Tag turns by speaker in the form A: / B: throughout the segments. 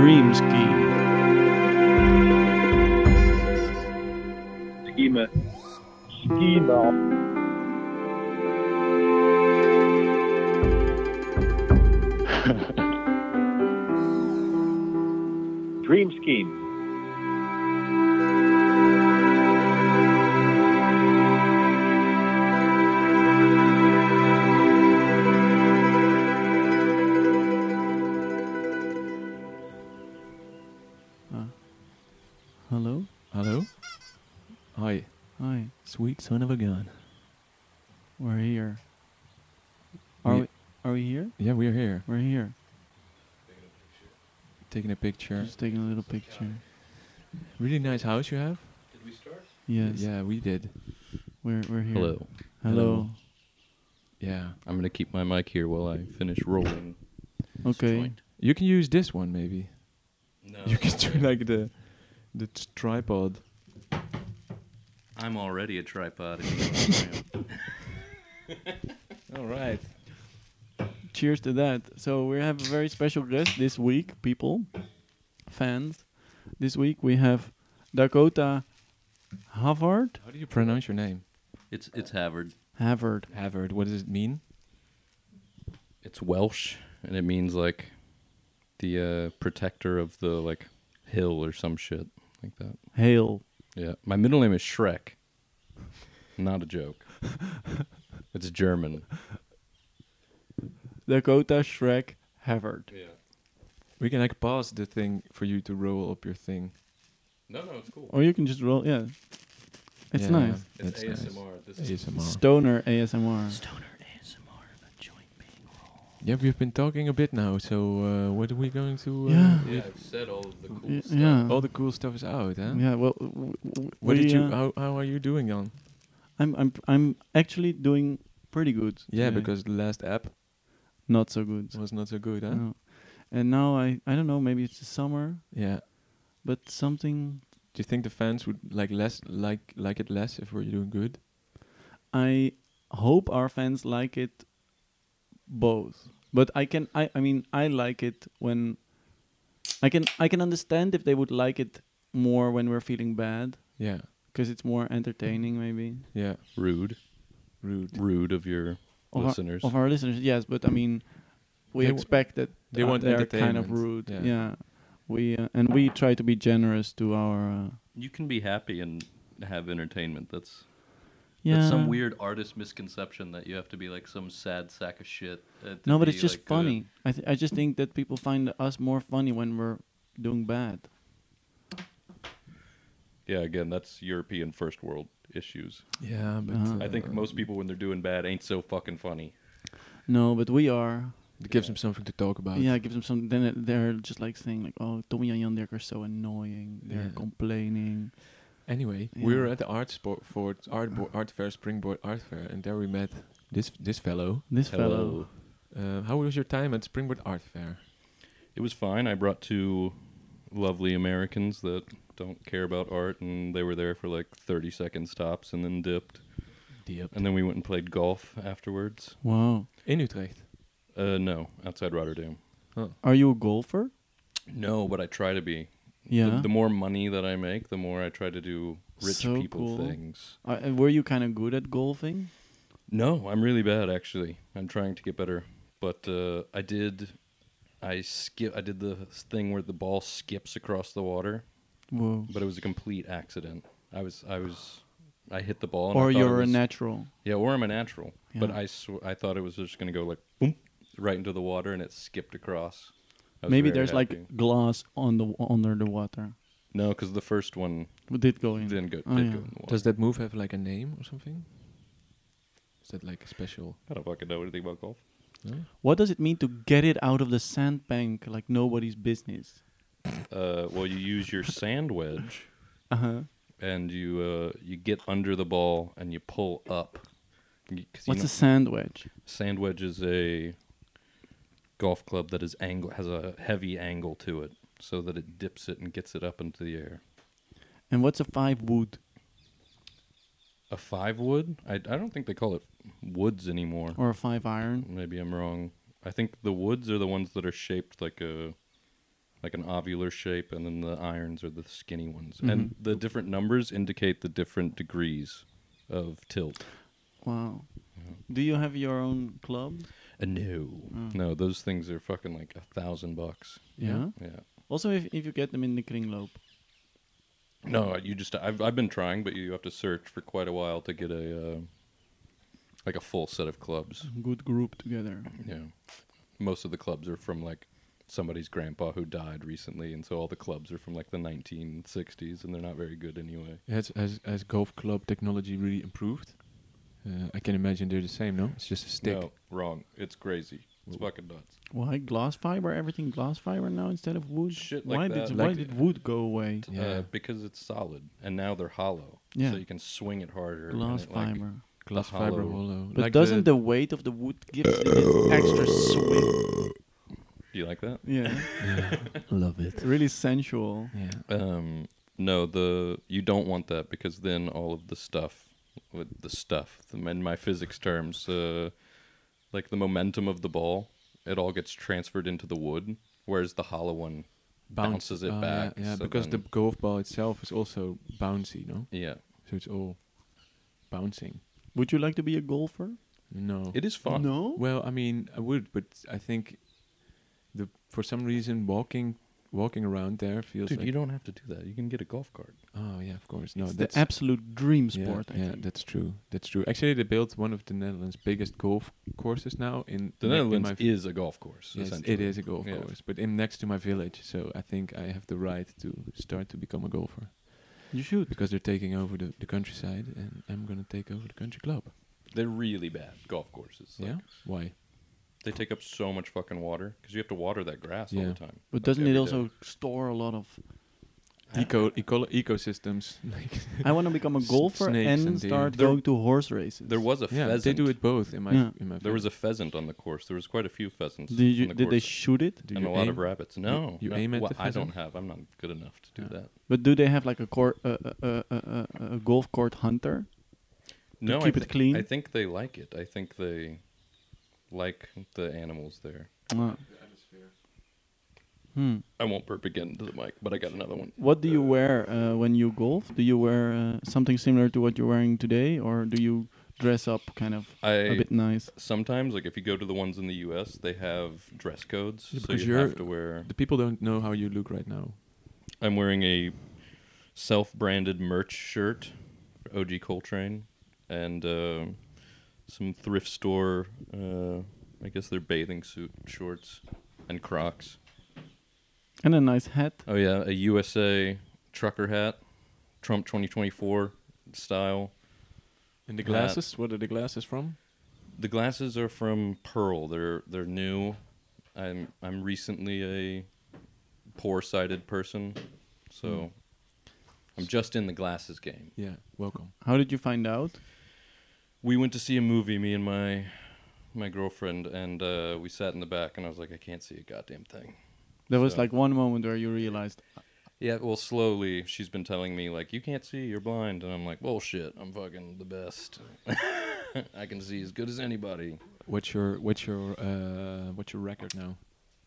A: scheme.
B: Schema. Schema. Dream scheme.
A: Hello?
C: Hello? Hi,
A: Hi.
C: sweet son of a gun.
A: We're here. Are
C: We-
A: we are we here?
C: Yeah, we're here.
A: We're here.
C: Taking a picture.
A: Just taking a little picture.
C: Really nice house you have?
A: Yes.
C: Yeah, we did.
A: We're we're here.
D: Hello.
A: Hello.
C: Yeah.
D: I'm gonna keep my mic here while I finish rolling.
A: Okay.
D: Joint.
C: You can use this one maybe.
D: No,
C: You can do like the the t- tripod.
D: I'm already a tripod. if you know what I am.
C: All right.
A: Cheers to that. So we have a very special guest this week, people, fans. This week we have Dakota Havard.
C: How do you pronounce your name?
D: it's it's Havard.
A: Havard.
C: Havard. What does it mean?
D: It's Welsh, and it means like the uh, protector of the like hill or some shit like that.
A: Hail.
D: Yeah, my middle name is Shrek. Not a joke. it's German.
A: Dakota Shrek Havard.
D: Yeah.
C: We can like pause the thing for you to roll up your thing.
D: No, no, it's cool.
A: Or you can just roll. Yeah. It's
C: Yeah,
A: nice.
C: It's, ASMR.
D: This
C: Nice. ASMR.
A: Stoner ASMR.
D: Stoner ASMR, a joint being rolled.
C: Yeah, we've been talking a bit now. So uh, what are we going to? Uh,
A: Yeah.
C: if-
D: I've said all of the cool
A: Y- yeah.
C: All the cool stuff is out, huh?
A: Yeah. Well, w- w-
C: What
A: we,
C: did you?
A: uh,
C: how, how are you doing on?
A: I'm I'm I'm actually doing pretty good.
C: Yeah,
A: today.
C: because the last app
A: not so good.
C: was not so good, huh?
A: No. And now I I don't know. Maybe it's the summer,
C: Yeah.
A: but something
C: Do you think the fans would like less like like it less if we're doing good?
A: I hope our fans like it both. But I can I I mean I like it when I can I can understand if they would like it more when we're feeling bad
C: Yeah.
A: because it's more entertaining maybe
C: Yeah.
D: Rude.
C: Rude.
D: Rude of your
A: Of our-
D: listeners.
A: of our listeners. Yes, but I mean we
C: They w-
A: expect that
C: they
A: uh,
C: want
A: they're kind of
C: entertainment.
A: rude.
C: Yeah.
A: Yeah. We uh, and we try to be generous to our uh,
D: you can be happy and have entertainment. That's
A: yeah.
D: that's some weird artist misconception that you have to be like some sad sack of shit. uh, to
A: No, but
D: be,
A: it's just
D: like, good.
A: funny. I th- I just think that people find us more funny when we're doing bad.
D: yeah, again, that's European first world issues.
C: Yeah, but uh,
A: Uh-huh.
D: I think most people when they're doing bad ain't so fucking funny.
A: No, but we are.
C: it gives them something to talk about.
A: yeah, it gives them some. Then it- they're just like saying like, "Oh, Tommy and Jan Dirk are so annoying. They're
C: Yeah.
A: complaining."
C: Anyway,
A: Yeah.
C: we were at the art sport for art bo- art fair, Springboard Art Fair, and there we met this this fellow.
A: This fellow.
D: Hello.
C: Uh, how was your time at Springboard Art Fair?
D: It was fine. I brought two lovely Americans that don't care about art and they were there for like 30 second stops and then dipped.
C: uh,
D: And then we went and played golf afterwards.
A: Wow.
C: In Utrecht.
D: Uh no, outside Rotterdam.
A: Are you a golfer?
D: No, but I try to be.
A: Yeah.
D: The, the more money that I make, the more I try to do rich
A: So
D: people
A: cool.
D: things.
A: Are- uh, were you kind of good at golfing?
D: No, I'm really bad actually. I'm trying to get better, but uh, I did. I skip. I did the thing where the ball skips across the water,
A: Whoa.
D: but it was a complete accident. I was. I was. I hit the ball. And I
A: Or
D: thought it
A: you're
D: was-
A: a natural.
D: Yeah, or I'm a natural. But
A: Yeah.
D: I. Sw- I thought it was just gonna go like boom, right into the water, and it skipped across. I was
A: Maybe
D: very
A: there's
D: happy.
A: like glass on the under the water.
D: no, because the first one
A: But did go in.
D: didn't go.
A: Oh,
D: did
A: yeah.
D: go in the water.
C: Does that move have like a name or something? Is that like a special?
D: I don't fucking know anything about golf.
C: No?
A: What does it mean to get it out of the sandbank like nobody's business?
D: Uh, well, you use your sand wedge.
A: Uh huh.
D: and you uh, you get under the ball and you pull up. You- 'cause you
A: What's
D: know,
A: a sandwich?
D: sand wedge is a golf club that is angle has a heavy angle to it, so that it dips it and gets it up into the air.
A: And what's a five wood?
D: A five wood? I, I don't think they call it woods anymore.
A: or a five iron.
D: Maybe I'm wrong. I think the woods are the ones that are shaped like a like an ovular shape, and then the irons are the skinny ones. And the different numbers indicate the different degrees of tilt.
A: Wow. Do you have your own club?
D: Uh, no, no, those things are fucking like a thousand bucks.
A: Yeah.
D: Yeah.
A: Also, if, if you get them in the kringloop.
D: No, you just I've I've been trying, but you have to search for quite a while to get a uh, like a full set of clubs.
A: Good group together.
D: Yeah, most of the clubs are from like somebody's grandpa who died recently, and so all the clubs are from like the 1960s, and they're not very good anyway.
C: Has, has has golf club technology really improved? Uh, I can imagine they're the same. No, it's just a stick.
D: No, wrong. It's crazy. It's fucking nuts.
A: Why glass fiber? Everything glass fiber now instead of wood.
D: Shit like
A: why
D: that.
A: did
D: Like
A: why
D: the-
A: did wood go away?
C: Yeah.
D: Uh, because it's solid, and now they're hollow,
A: Yeah.
D: so you can swing it harder. and
A: Glass
D: it, like-
A: fiber.
C: Glass
D: the
C: fiber
D: hollow-
C: hollow.
A: But doesn't the, weight of the wood give it an extra swing?
D: Do you like that?
A: Yeah,
C: love it?
A: really sensual.
C: Yeah.
D: Um, no, the you don't want that because then all of the stuff, with the stuff, the- in my physics terms, uh, like the momentum of the ball, it all gets transferred into the wood, whereas the hollow one bounces it
C: Ah,
D: back.
C: Yeah, yeah
D: so
C: because the
D: then-
C: golf ball itself is also bouncy, no?
D: yeah,
C: So it's all bouncing.
A: Would you like to be a golfer?
C: Oh. No.
D: it is fun.
A: No.
C: Well, I mean, I would, but I think the for some reason walking walking around there feels
D: Dude,
C: like
D: you don't have to do that. You can get a golf cart.
C: oh yeah, of course. No,
A: it's
C: that's
A: the absolute dream sport.
C: Yeah,
A: I
C: yeah
A: think.
C: that's true. That's true. Actually, they built one of the Netherlands' biggest golf courses now in
D: The
C: ne- in
D: Netherlands
C: my v-
D: is a golf course.
C: Yes,
D: essentially.
C: it is a golf
D: Yeah.
C: course, but in next to my village. So I think I have the right to start to become a golfer
A: you should.
C: because they're taking over the, the countryside, and I'm gonna take over the country club.
D: They're really bad golf courses. Like,
C: yeah, why?
D: They take up so much fucking water because you have to water that grass all
C: Yeah.
D: the time.
A: But
D: Like,
A: doesn't
D: every
A: it
D: day.
A: also store a lot of?
C: Eco, eco ecosystems. like-
A: I want to become a
C: S-
A: golfer
C: snakes
A: and,
C: and deer.
A: start
D: There-
A: going to horse races.
D: There was a
C: yeah,
D: pheasant.
C: they do it both in my
A: Yeah.
C: in my.
D: There was
C: village.
D: a pheasant on the course. There was quite a few pheasants.
A: Did you?
D: on the
A: did they
D: course
A: shoot it?
C: Do
D: and
C: you
D: a lot of
C: aim-
D: rabbits. No,
C: you
D: no.
C: aim at
D: Well,
C: the
D: I don't
C: pheasant?
D: have. I'm not good enough to do
C: Yeah.
D: that.
A: But do they have like a court, uh, uh, uh, uh, uh, a golf court hunter?
D: No,
A: keep
D: I
A: it clean?
D: I think they like it. I think they like the animals there.
A: Uh, hmm.
D: I won't burp again into the mic, but I got another one.
A: What do you wear uh, when you golf? Do you wear uh, something similar to what you're wearing today, or do you dress up kind of a
D: I
A: bit nice?
D: sometimes like if you go to the ones in the U.S., they have dress codes,
C: Yeah,
D: so
C: because
D: you
C: you're-
D: have to wear.
C: The people don't know how you look right now.
D: I'm wearing a self-branded merch shirt, for OG Coltrane, and um some thrift store. Uh, I guess they're bathing suit shorts and Crocs.
A: And a nice hat.
D: Oh yeah, a USA trucker hat, Trump 2024 style.
C: And the
D: Uh,
C: glasses? what are the glasses from?
D: The glasses are from Pearl. They're they're new. I'm I'm recently a poor-sighted person, so I'm just in the glasses game.
C: Yeah, welcome.
A: How did you find out?
D: we went to see a movie me and my my girlfriend and uh, we sat in the back and i was like i can't see a goddamn thing
A: There was
D: So-
A: like one moment where you realized,
D: yeah well slowly she's been telling me like you can't see you're blind and i'm like bullshit i'm fucking the best i can see as good as anybody
C: What's your what's your uh what's your record now?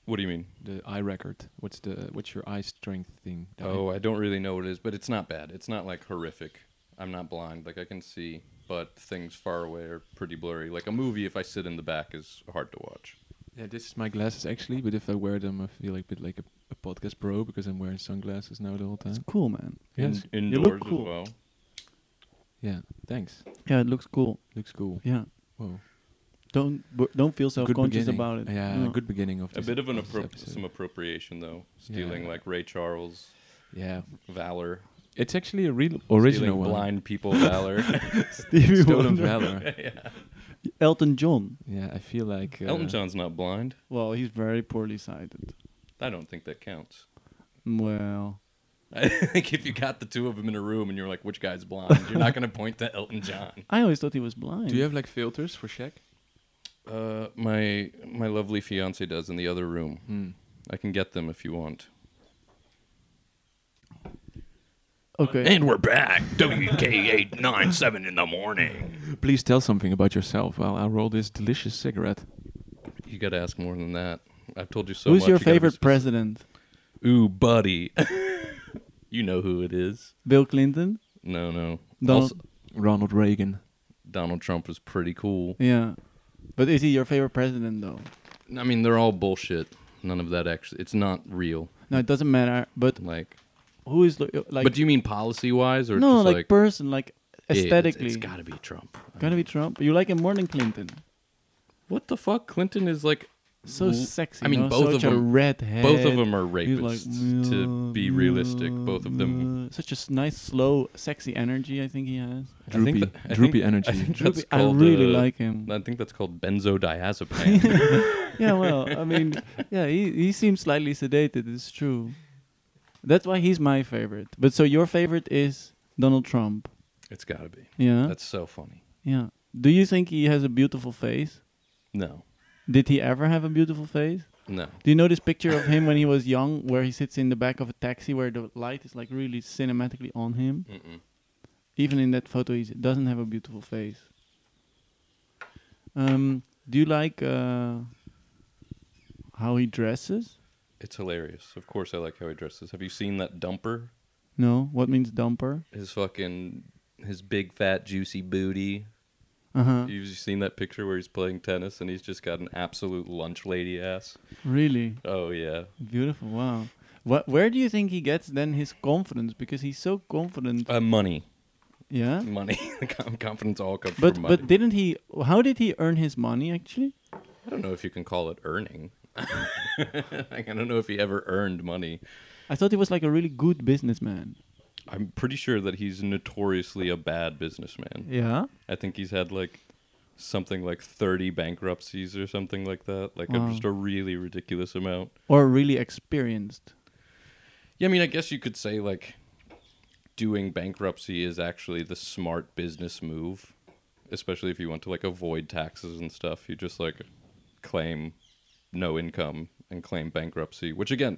D: what do you mean
C: The eye record. What's the what's your eye strength thing? that I-
D: oh i don't really know what it is but it's not bad it's not like horrific i'm not blind like i can see but things far away are pretty blurry like a movie if i sit in the back is hard to watch
C: yeah, this is my glasses actually. But if I wear them, I feel like a bit like a, a podcast pro because I'm wearing sunglasses now the whole
A: it's
C: time.
A: cool, man.
C: Yes.
D: In-
A: You
D: indoors
A: look cool.
D: as well
C: Yeah. Thanks.
A: Yeah, it looks cool.
C: Looks cool.
A: Yeah,
C: Whoa.
A: don't bu- don't feel
C: Good
A: self-conscious
C: beginning.
A: about it.
C: Yeah.
A: No.
C: Good beginning of
D: a
C: this-
D: bit of an
C: this
D: appro-
C: episode.
D: some appropriation though stealing
C: Yeah.
D: like ray charles
C: Yeah.
D: valor
C: It's actually a real original
D: stealing
C: one.
D: blind people valor
A: Stevie
C: Stolen
A: Wonder.
C: valor.
A: Elton John.
C: Yeah, I feel like uh,
D: elton john's not blind
A: Well, he's very poorly sighted.
D: i don't think that counts
A: Well,
D: i think if you got the two of them in a room and you're like which guy's blind you're not going to point to elton john
A: I always thought he was blind.
C: Do you have like filters for Shaq?
D: uh, my my lovely fiance does in the other room
C: Hmm.
D: i can get them if you want
A: okay?
E: And we're back. WK8 nine seven in the morning.
C: Please tell something about yourself while I roll this delicious cigarette.
D: you got to ask more than that i've told you so
A: Who's
D: much,
A: your
D: you gotta be
A: favorite
D: specific.
A: president?
D: Ooh, buddy. you know who it is.
A: Bill Clinton,
D: No, no.
A: Donald.
D: Also,
C: Ronald Reagan.
D: Donald Trump was pretty cool.
A: yeah, but is he your favorite president though?
D: I mean, they're all bullshit. None of that actually. It's not real.
A: No, it doesn't matter. But
D: Like,
A: who is lo- like?
D: but do you mean policy wise or
A: no,
D: just
A: like,
D: like,
A: person, like
D: yeah, it's-
A: aesthetically?
D: it's got to be Trump.
A: Gonna be Trump. You like him more than Clinton.
D: What the fuck? Clinton is like
A: So
D: Well,
A: sexy.
D: I mean,
A: no?
D: both of
A: Such a
D: them-
A: redhead.
D: both of them are
A: He's like, "Mmm,
D: rapists. to be realistic, both of them.
A: Such a s- nice, slow, sexy energy. I think he has.
D: I think
C: Droopy.
D: that- I
C: droopy
D: think-
C: energy.
D: I, think
A: Droopy-
D: that's
A: I
D: called,
A: really
D: uh,
A: like him.
D: I think that's called benzodiazepam.
A: yeah, well, I mean, yeah, he he seems slightly sedated. It's true. That's why he's my favorite. But so your favorite is Donald Trump.
D: it's got to be.
A: Yeah.
D: That's so funny.
A: yeah. Do you think he has a beautiful face?
D: No,
A: Did he ever have a beautiful face?
D: no.
A: Do you know this picture of him when he was young, where he sits in the back of a taxi, where the light is like really cinematically on him?
D: Mm-mm.
A: Even in that photo, he doesn't have a beautiful face. Um, do you like uh, how he dresses?
D: It's hilarious. Of course, I like how he dresses. Have you seen that dumper?
A: No. What means dumper?
D: His fucking his big fat juicy booty.
A: Uh huh.
D: You've seen that picture where he's playing tennis and he's just got an absolute lunch lady ass.
A: Really
D: Oh yeah.
A: beautiful. Wow. What? Where do you think he gets then his confidence? Because he's so confident.
D: Uh, money,
A: yeah.
D: money. Com- Confidence all comes
A: But
D: from money.
A: but didn't he? How did he earn his money actually?
D: I don't know if you can call it earning. like, I don't know if he ever earned money.
A: I thought he was like a really good businessman.
D: I'm pretty sure that he's notoriously a bad businessman.
A: Yeah.
D: I think he's had like something like 30 bankruptcies or something like that. Like a-
A: Wow.
D: just a really ridiculous amount.
A: Or really experienced.
D: Yeah, I mean, I guess you could say like doing bankruptcy is actually the smart business move, especially if you want to like avoid taxes and stuff. You just like claim no income and claim bankruptcy, which again,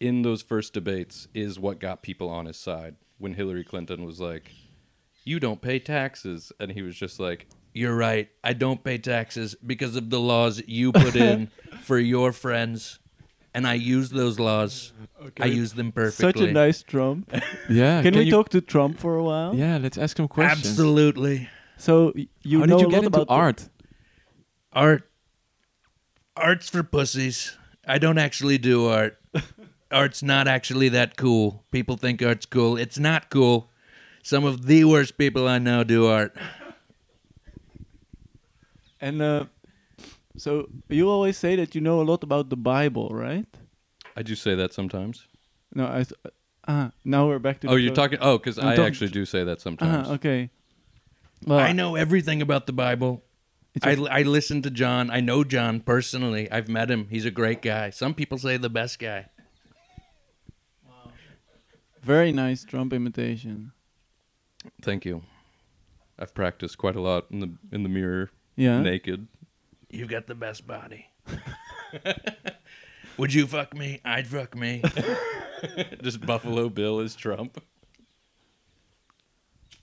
D: in those first debates is what got people on his side when Hillary Clinton was like, "You don't pay taxes." And he was just like,
E: You're right. I don't pay taxes because of the laws you put in for your friends. And I use those laws. I use them perfectly.
A: Such a nice Trump. Can,
C: Yeah.
A: we
C: you-
A: talk to Trump for a while?
C: Yeah, let's ask him questions.
E: Absolutely.
A: So y- you
C: How
A: know
C: did
A: a
C: you get
A: lot
C: into
A: about
C: art?
E: Art. Art's for pussies. I don't actually do art. Art's not actually that cool. People think art's cool. It's not cool. Some of the worst people I know do art.
A: And uh, so you always say that you know a lot about the Bible, right?
D: "I do say that sometimes."
A: No, I. s- Ah, now we're back to.
D: Oh,
A: the
D: you're
A: show.
D: talking. Oh, because
A: I'm
D: I
A: talking-
D: actually do say that sometimes.
A: Ah, okay. Well,
E: I know everything about the Bible.
A: Uh, It's
E: I,
A: a-
E: I listen to John. I know John personally. I've met him. He's a great guy. Some people say the best guy.
A: Very nice Trump imitation.
D: Thank you. I've practiced quite a lot in the in the mirror,
A: Yeah.
D: naked.
E: You've got the best body. Would you fuck me? I'd fuck me.
D: Just Buffalo Bill is Trump.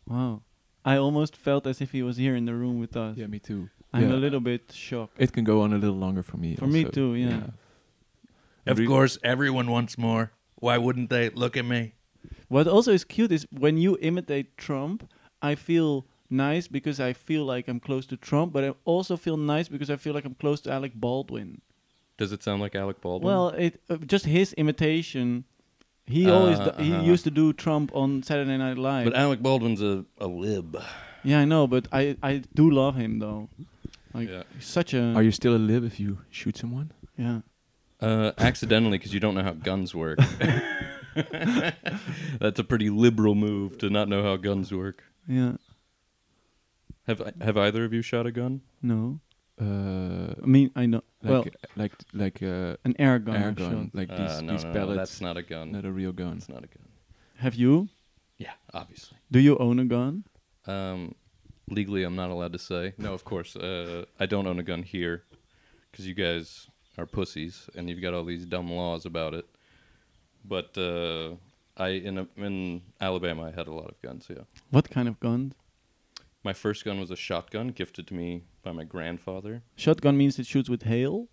A: Wow. I almost felt as if he was here in the room with us.
C: Yeah, me too.
A: I'm
C: Yeah.
A: a little bit shocked.
C: It can go on a little longer for me.
A: For me
C: also.
A: too, yeah.
E: of
C: Really?
E: course, everyone wants more. Why wouldn't they? Look at me.
A: What also is cute is when you imitate Trump, I feel nice because I feel like I'm close to Trump, but I also feel nice because I feel like I'm close to Alec Baldwin.
D: Does it sound like Alec Baldwin?
A: Well, it uh, just his imitation. He always
D: Uh,
A: d- he
D: uh-huh.
A: used to do Trump on Saturday Night Live.
D: but uh, Alec Baldwin's a, a lib.
A: yeah, I know, but I I do love him though. Like
D: Yeah.
A: he's such a
C: Are you still a lib if you shoot someone?
A: yeah.
D: Uh, accidentally, because you don't know how guns work. That's a pretty liberal move to not know how guns work.
A: Yeah.
D: Have I- have either of you shot a gun?
A: No.
C: Uh,
A: I mean, I know.
C: like,
A: well,
C: like, like uh,
A: an air gun.
C: air
A: I've
C: gun,
A: shot.
C: like these,
D: uh, no,
C: these
D: no, no,
C: pellets.
D: that's not a gun.
C: not a real gun.
D: That's not a gun.
A: Have you?
D: Yeah, obviously.
A: Do you own a gun?
D: Um, legally, I'm not allowed to say. No, of course. Uh, I don't own a gun here because you guys are pussies and you've got all these dumb laws about it. But uh, I in a, in Alabama, I had a lot of guns. Yeah,
A: What kind of gun?
D: my first gun was a shotgun gifted to me by my grandfather.
A: Shotgun means it shoots with hail.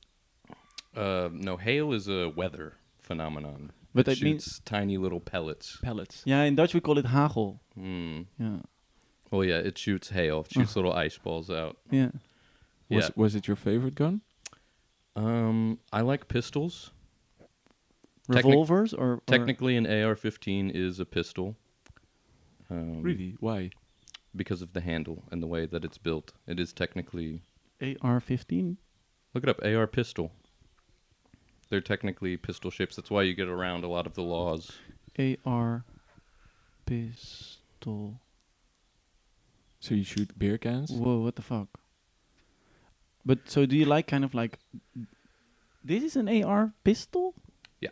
D: Um, Uh, no, hail is a weather phenomenon.
A: But
D: it
A: that means
D: shoots tiny little pellets.
A: pellets. Yeah, in Dutch we call it hagel.
D: Mm.
A: Yeah,
D: Well, yeah, it shoots hail. It shoots little ice balls out.
A: yeah.
D: Yeah.
C: Was, was it your favorite gun?
D: Um, I like pistols. Technic-
A: Revolvers or, or
D: Technically, an AR-15 is a pistol.
A: Oh.
D: Um,
C: Really? Why?
D: Because of the handle and the way that it's built, it is technically.
A: AR-15.
D: Look it up. AR pistol. They're technically pistol shapes. That's why you get around a lot of the laws.
A: AR pistol.
C: So you shoot beer cans?
A: Whoa, what the fuck? But so do you like kind of like this is an AR pistol?
D: Yeah.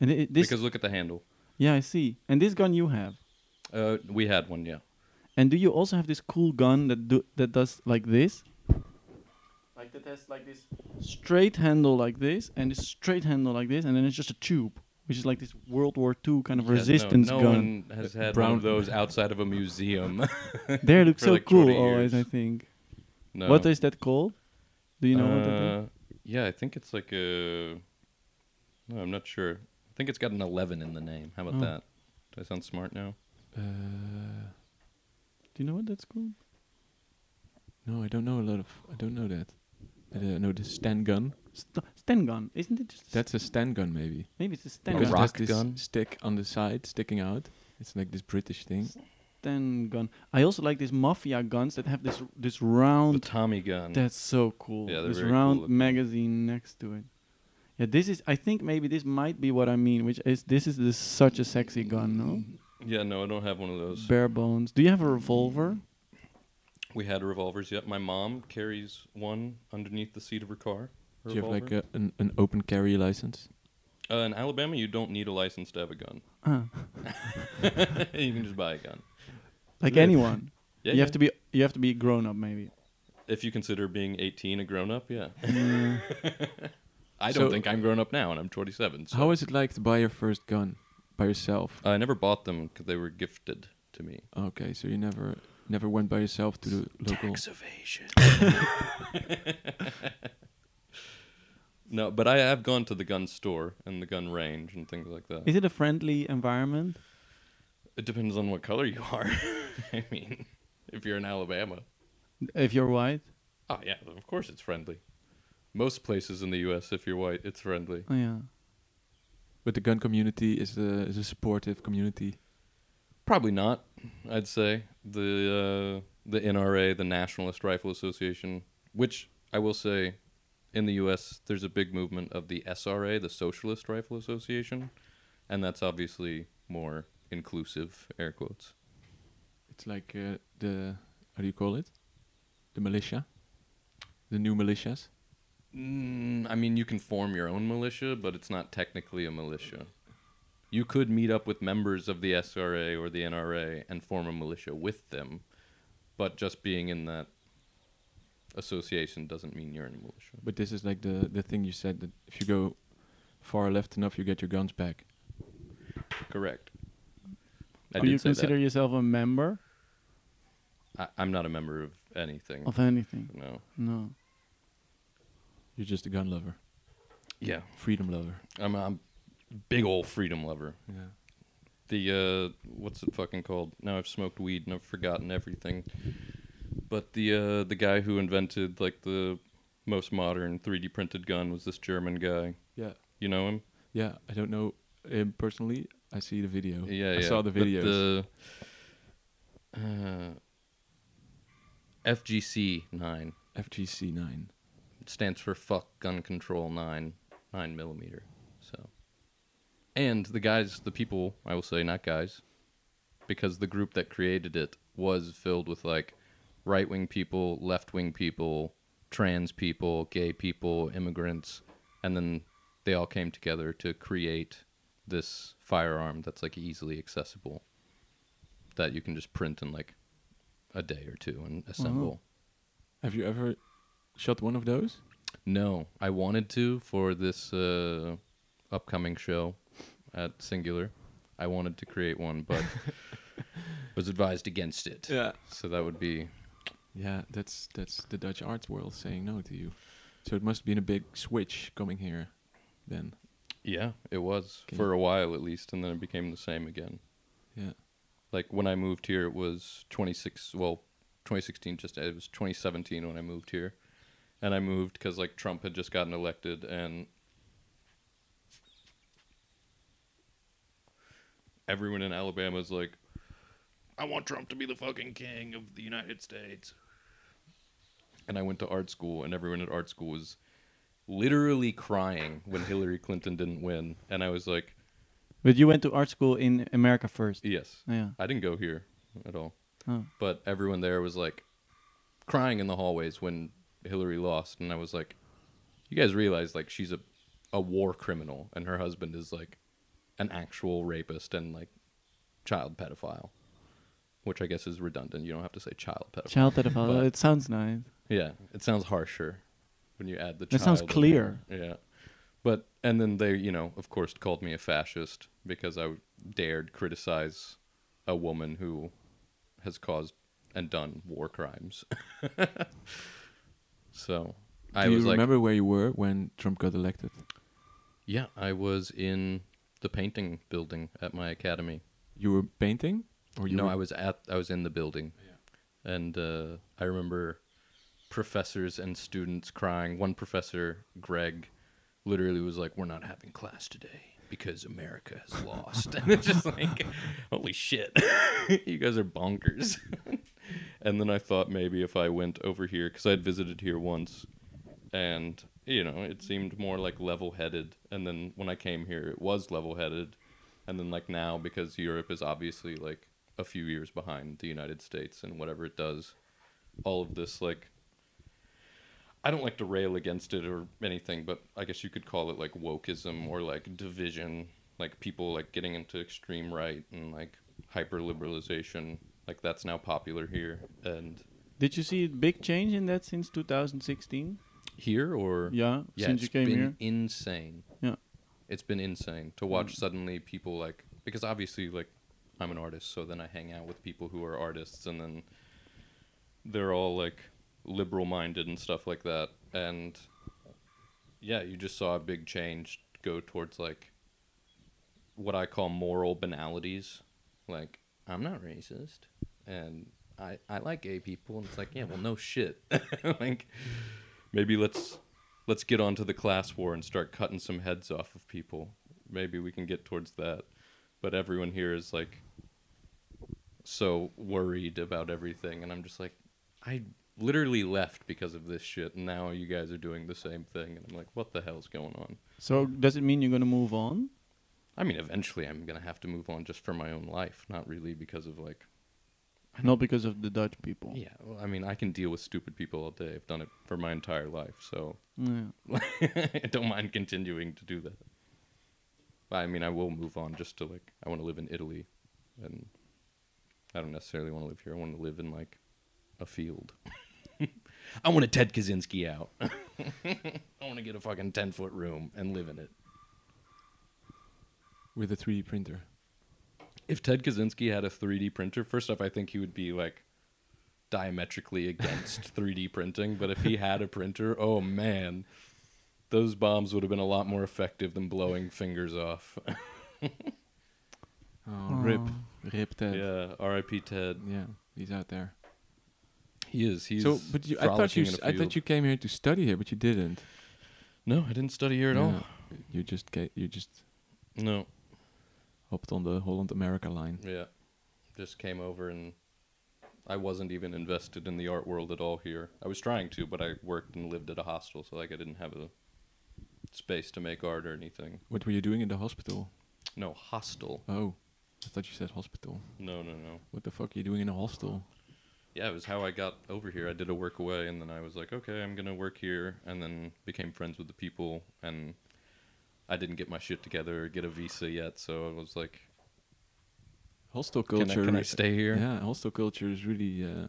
A: And it, this
D: because look at the handle.
A: Yeah, I see. And this gun you have.
D: Uh, we had one, yeah.
A: And do you also have this cool gun that do that does like this? Like that has like this straight handle like this and this straight handle like this and then it's just a tube, which is like this World War II kind of
D: Yeah, no-
A: resistance
D: no,
A: gun.
D: one has had one
C: Brown-
D: of those outside of a museum.
A: They look
D: for
A: so
D: like 40
A: cool always, I
D: years.
A: think.
D: no.
A: What is that called? Do you know what that is?
D: Uh, Yeah, I think it's like a. No, I'm not sure. I think it's got an 11 in the name. How about
A: Oh.
D: that? Do I sound smart now?
C: Uh,
A: Do you know what that's called?
C: no, I don't know a lot of. I don't know that. I don't know the stand gun.
A: St- Sten gun, isn't it just?
C: That's a stand gun, maybe.
A: maybe it's a
D: A
A: Sten
C: Because
A: gun.
C: it
D: rock
C: has this
D: gun?
C: stick on the side sticking out. It's like this British thing.
A: Sten gun. I also like these mafia guns that have this this
D: The
A: round.
D: Tommy gun.
A: That's so cool.
D: Yeah, they're
A: this
D: very cool
A: round
D: looking.
A: magazine next to it. Yeah, this is. I think maybe this might be what I mean, which is this is this such a sexy gun, no?
D: Yeah, no, I don't have one of those.
A: Bare bones. Do you have a revolver?
D: We had revolvers yet. My mom carries one underneath the seat of her car.
C: Do you have like
D: revolver.
C: a, an, an open carry license?
D: uh, in Alabama, you don't need a license to have a gun.
A: Ah,
D: you can just buy a gun.
A: like
D: Yeah.
A: anyone.
D: Yeah,
A: you
D: yeah.
A: have to be. You have to be grown up, maybe.
D: If you consider being 18 a grown up, yeah.
A: Yeah.
D: I
C: Mm.
D: don't
C: So-
D: think I'm grown up now, and I'm 27. So
C: How is it like to buy your first gun by yourself?
D: I never bought them because they were gifted to me.
C: Okay, so you never never went by yourself to the local.
E: Tax evasion.
D: No, but I have gone to the gun store and the gun range and things like that.
A: Is it a friendly environment?
D: It depends on what color you are. I mean, if you're in Alabama,
A: If you're white.
D: oh yeah, of course it's friendly. Most places in the U.S., if you're white, it's friendly.
A: Oh yeah.
C: But the gun community is a is a supportive community.
D: Probably not. I'd say the uh, the NRA, the Nationalist Rifle Association, which I will say, in the U.S., there's a big movement of the SRA, the Socialist Rifle Association, and that's obviously more inclusive. Air quotes.
C: It's like uh, the how do you call it? The militia, the new militias.
D: Mm, I mean, you can form your own militia, but it's not technically a militia. You could meet up with members of the SRA or the NRA and form a militia with them, but just being in that association doesn't mean you're in a militia.
C: But this is like the the thing you said that if you go far left enough, you get your guns back.
D: Correct. I
A: Do you
D: did say
A: consider yourself a member
D: that. I, I'm not a member of anything.
A: of anything?
D: No.
A: No.
C: You're just a gun lover,
D: Yeah,
C: freedom lover.
D: I'm a big old freedom lover.
C: Yeah.
D: the uh what's it fucking called now i've smoked weed and i've forgotten everything but the uh the guy who invented like the most modern 3d printed gun was this german guy
C: Yeah.
D: you know him
C: Yeah. I don't know him personally. I see the video.
D: yeah
C: I
D: yeah.
C: saw the
D: But
C: videos.
D: the, uh, fgc 9
C: FGC nine.
D: it stands for fuck gun control 9 9 millimeter so and the guys the people i will say not guys because the group that created it was filled with like right wing people left wing people trans people gay people immigrants and then they all came together to create this firearm that's like easily accessible that you can just print in like a day or two and assemble
C: Have you ever shot one of those?
D: no, I wanted to for this uh, upcoming show at Singular. I wanted to create one, but was advised against it.
C: Yeah.
D: So that would be
C: Yeah, that's that's the Dutch arts world saying no to you. So it must have been a big switch coming here, then.
D: Yeah, it was
C: Okay.
D: for a while at least, and then it became the same again.
C: Yeah.
D: Like when I moved here, it was 26. Well, 2016 just it was 2017 when I moved here, and I moved because like Trump had just gotten elected and everyone in Alabama is like, I want Trump to be the fucking king of the United States. And I went to art school, and everyone at art school was literally crying when Hillary Clinton didn't win. And I was like,
A: But you went to art school in America first.
D: yes.
A: Yeah.
D: I didn't go here at all.
A: Oh.
D: But everyone there was like crying in the hallways when Hillary lost. And I was like, you guys realize like she's a, a war criminal and her husband is like an actual rapist and like child pedophile, which I guess is redundant. You don't have to say child pedophile.
A: Child pedophile.
D: But-
A: it sounds nice.
D: Yeah, it sounds harsher when you add the.
A: That sounds
D: child in
A: clear.
D: there. Yeah, but and then they, you know, of course, called me a fascist because I dared criticize a woman who has caused and done war crimes. so I
C: Do
D: was
C: you
D: like,
C: remember where you were when Trump got elected?
D: yeah, I was in the painting building at my academy.
C: You were painting, or you
D: no,
C: were-
D: I was at I was in the building, and uh, I remember professors and students crying. One professor, Greg, literally was like, "We're not having class today because America has lost." and it's just like, "Holy shit, you guys are bonkers." and then I thought maybe if I went over here because I had visited here once, and you know it seemed more like level-headed. And then when I came here, it was level-headed. And then like now because Europe is obviously like a few years behind the United States and whatever it does, all of this like I don't like to rail against it or anything, but I guess you could call it like wokeism or like division, like people like getting into extreme right and like hyper liberalization. Like that's now popular here and
A: Did you see a big change in that since 2016?
D: here or
A: Yeah,
D: yeah,
A: since you
D: it's
A: came
D: been
A: here.
D: insane.
A: Yeah. Mm.
D: it's been insane to watch suddenly people like because obviously like I'm an artist, so then I hang out with people who are artists, and then they're all like liberal minded and stuff like that. And yeah, you just saw a big change go towards like what I call moral banalities. Like I'm not racist, and I I like gay people, and it's like yeah, well, no shit. like maybe let's let's get onto the class war and start cutting some heads off of people. Maybe we can get towards that. But everyone here is like so worried about everything and I'm just like I literally left because of this shit and now you guys are doing the same thing and I'm like what the hell's going on?
A: So does it mean you're gonna move on?
D: I mean eventually I'm going to have to move on just for my own life, not really because of like
A: Not because of the Dutch people.
D: yeah, well, I mean I can deal with stupid people all day. I've done it for my entire life. So
A: Yeah.
D: I don't mind continuing to do that. But, I mean, I will move on just to like, I want to live in Italy, and I don't necessarily want to live here. I want to live in like a field. I want a Ted Kaczynski out. I want to get a fucking ten foot room and live in it.
C: with a 3D printer.
D: If Ted Kaczynski had a 3D printer, first off, I think he would be like diametrically against 3D printing. But if he had a printer, oh man, those bombs would have been a lot more effective than blowing fingers off.
C: Oh, rip, rip Ted. Yeah,
D: Yeah, R.I.P. Ted.
C: he's out there.
D: He is. He's
C: so, but you, I thought you,
D: frolicking in
C: s-
D: a
C: I thought
D: field.
C: you came here to study here, but you didn't.
D: No, I didn't study here at
C: No,
D: all.
C: You just ca- you just
D: No.
C: hopped on the Holland America line.
D: Yeah. Just came over and I wasn't even invested in the art world at all here. I was trying to, but I worked and lived at a hostel, so like I didn't have a space to make art or anything.
C: What were you doing in the hospital?
D: No hostel.
C: Oh, I thought you said hospital.
D: No, no, no.
C: What the fuck are you doing in a hostel?
D: Yeah, it was how I got over here. I did a work away, and then I was like, okay, I'm gonna work here, and then became friends with the people. And I didn't get my shit together, or get a visa yet, so I was like,
C: Hostel
D: can
C: culture.
D: I, can I
C: is-
D: stay here?
C: Yeah, hostel culture is really. Uh,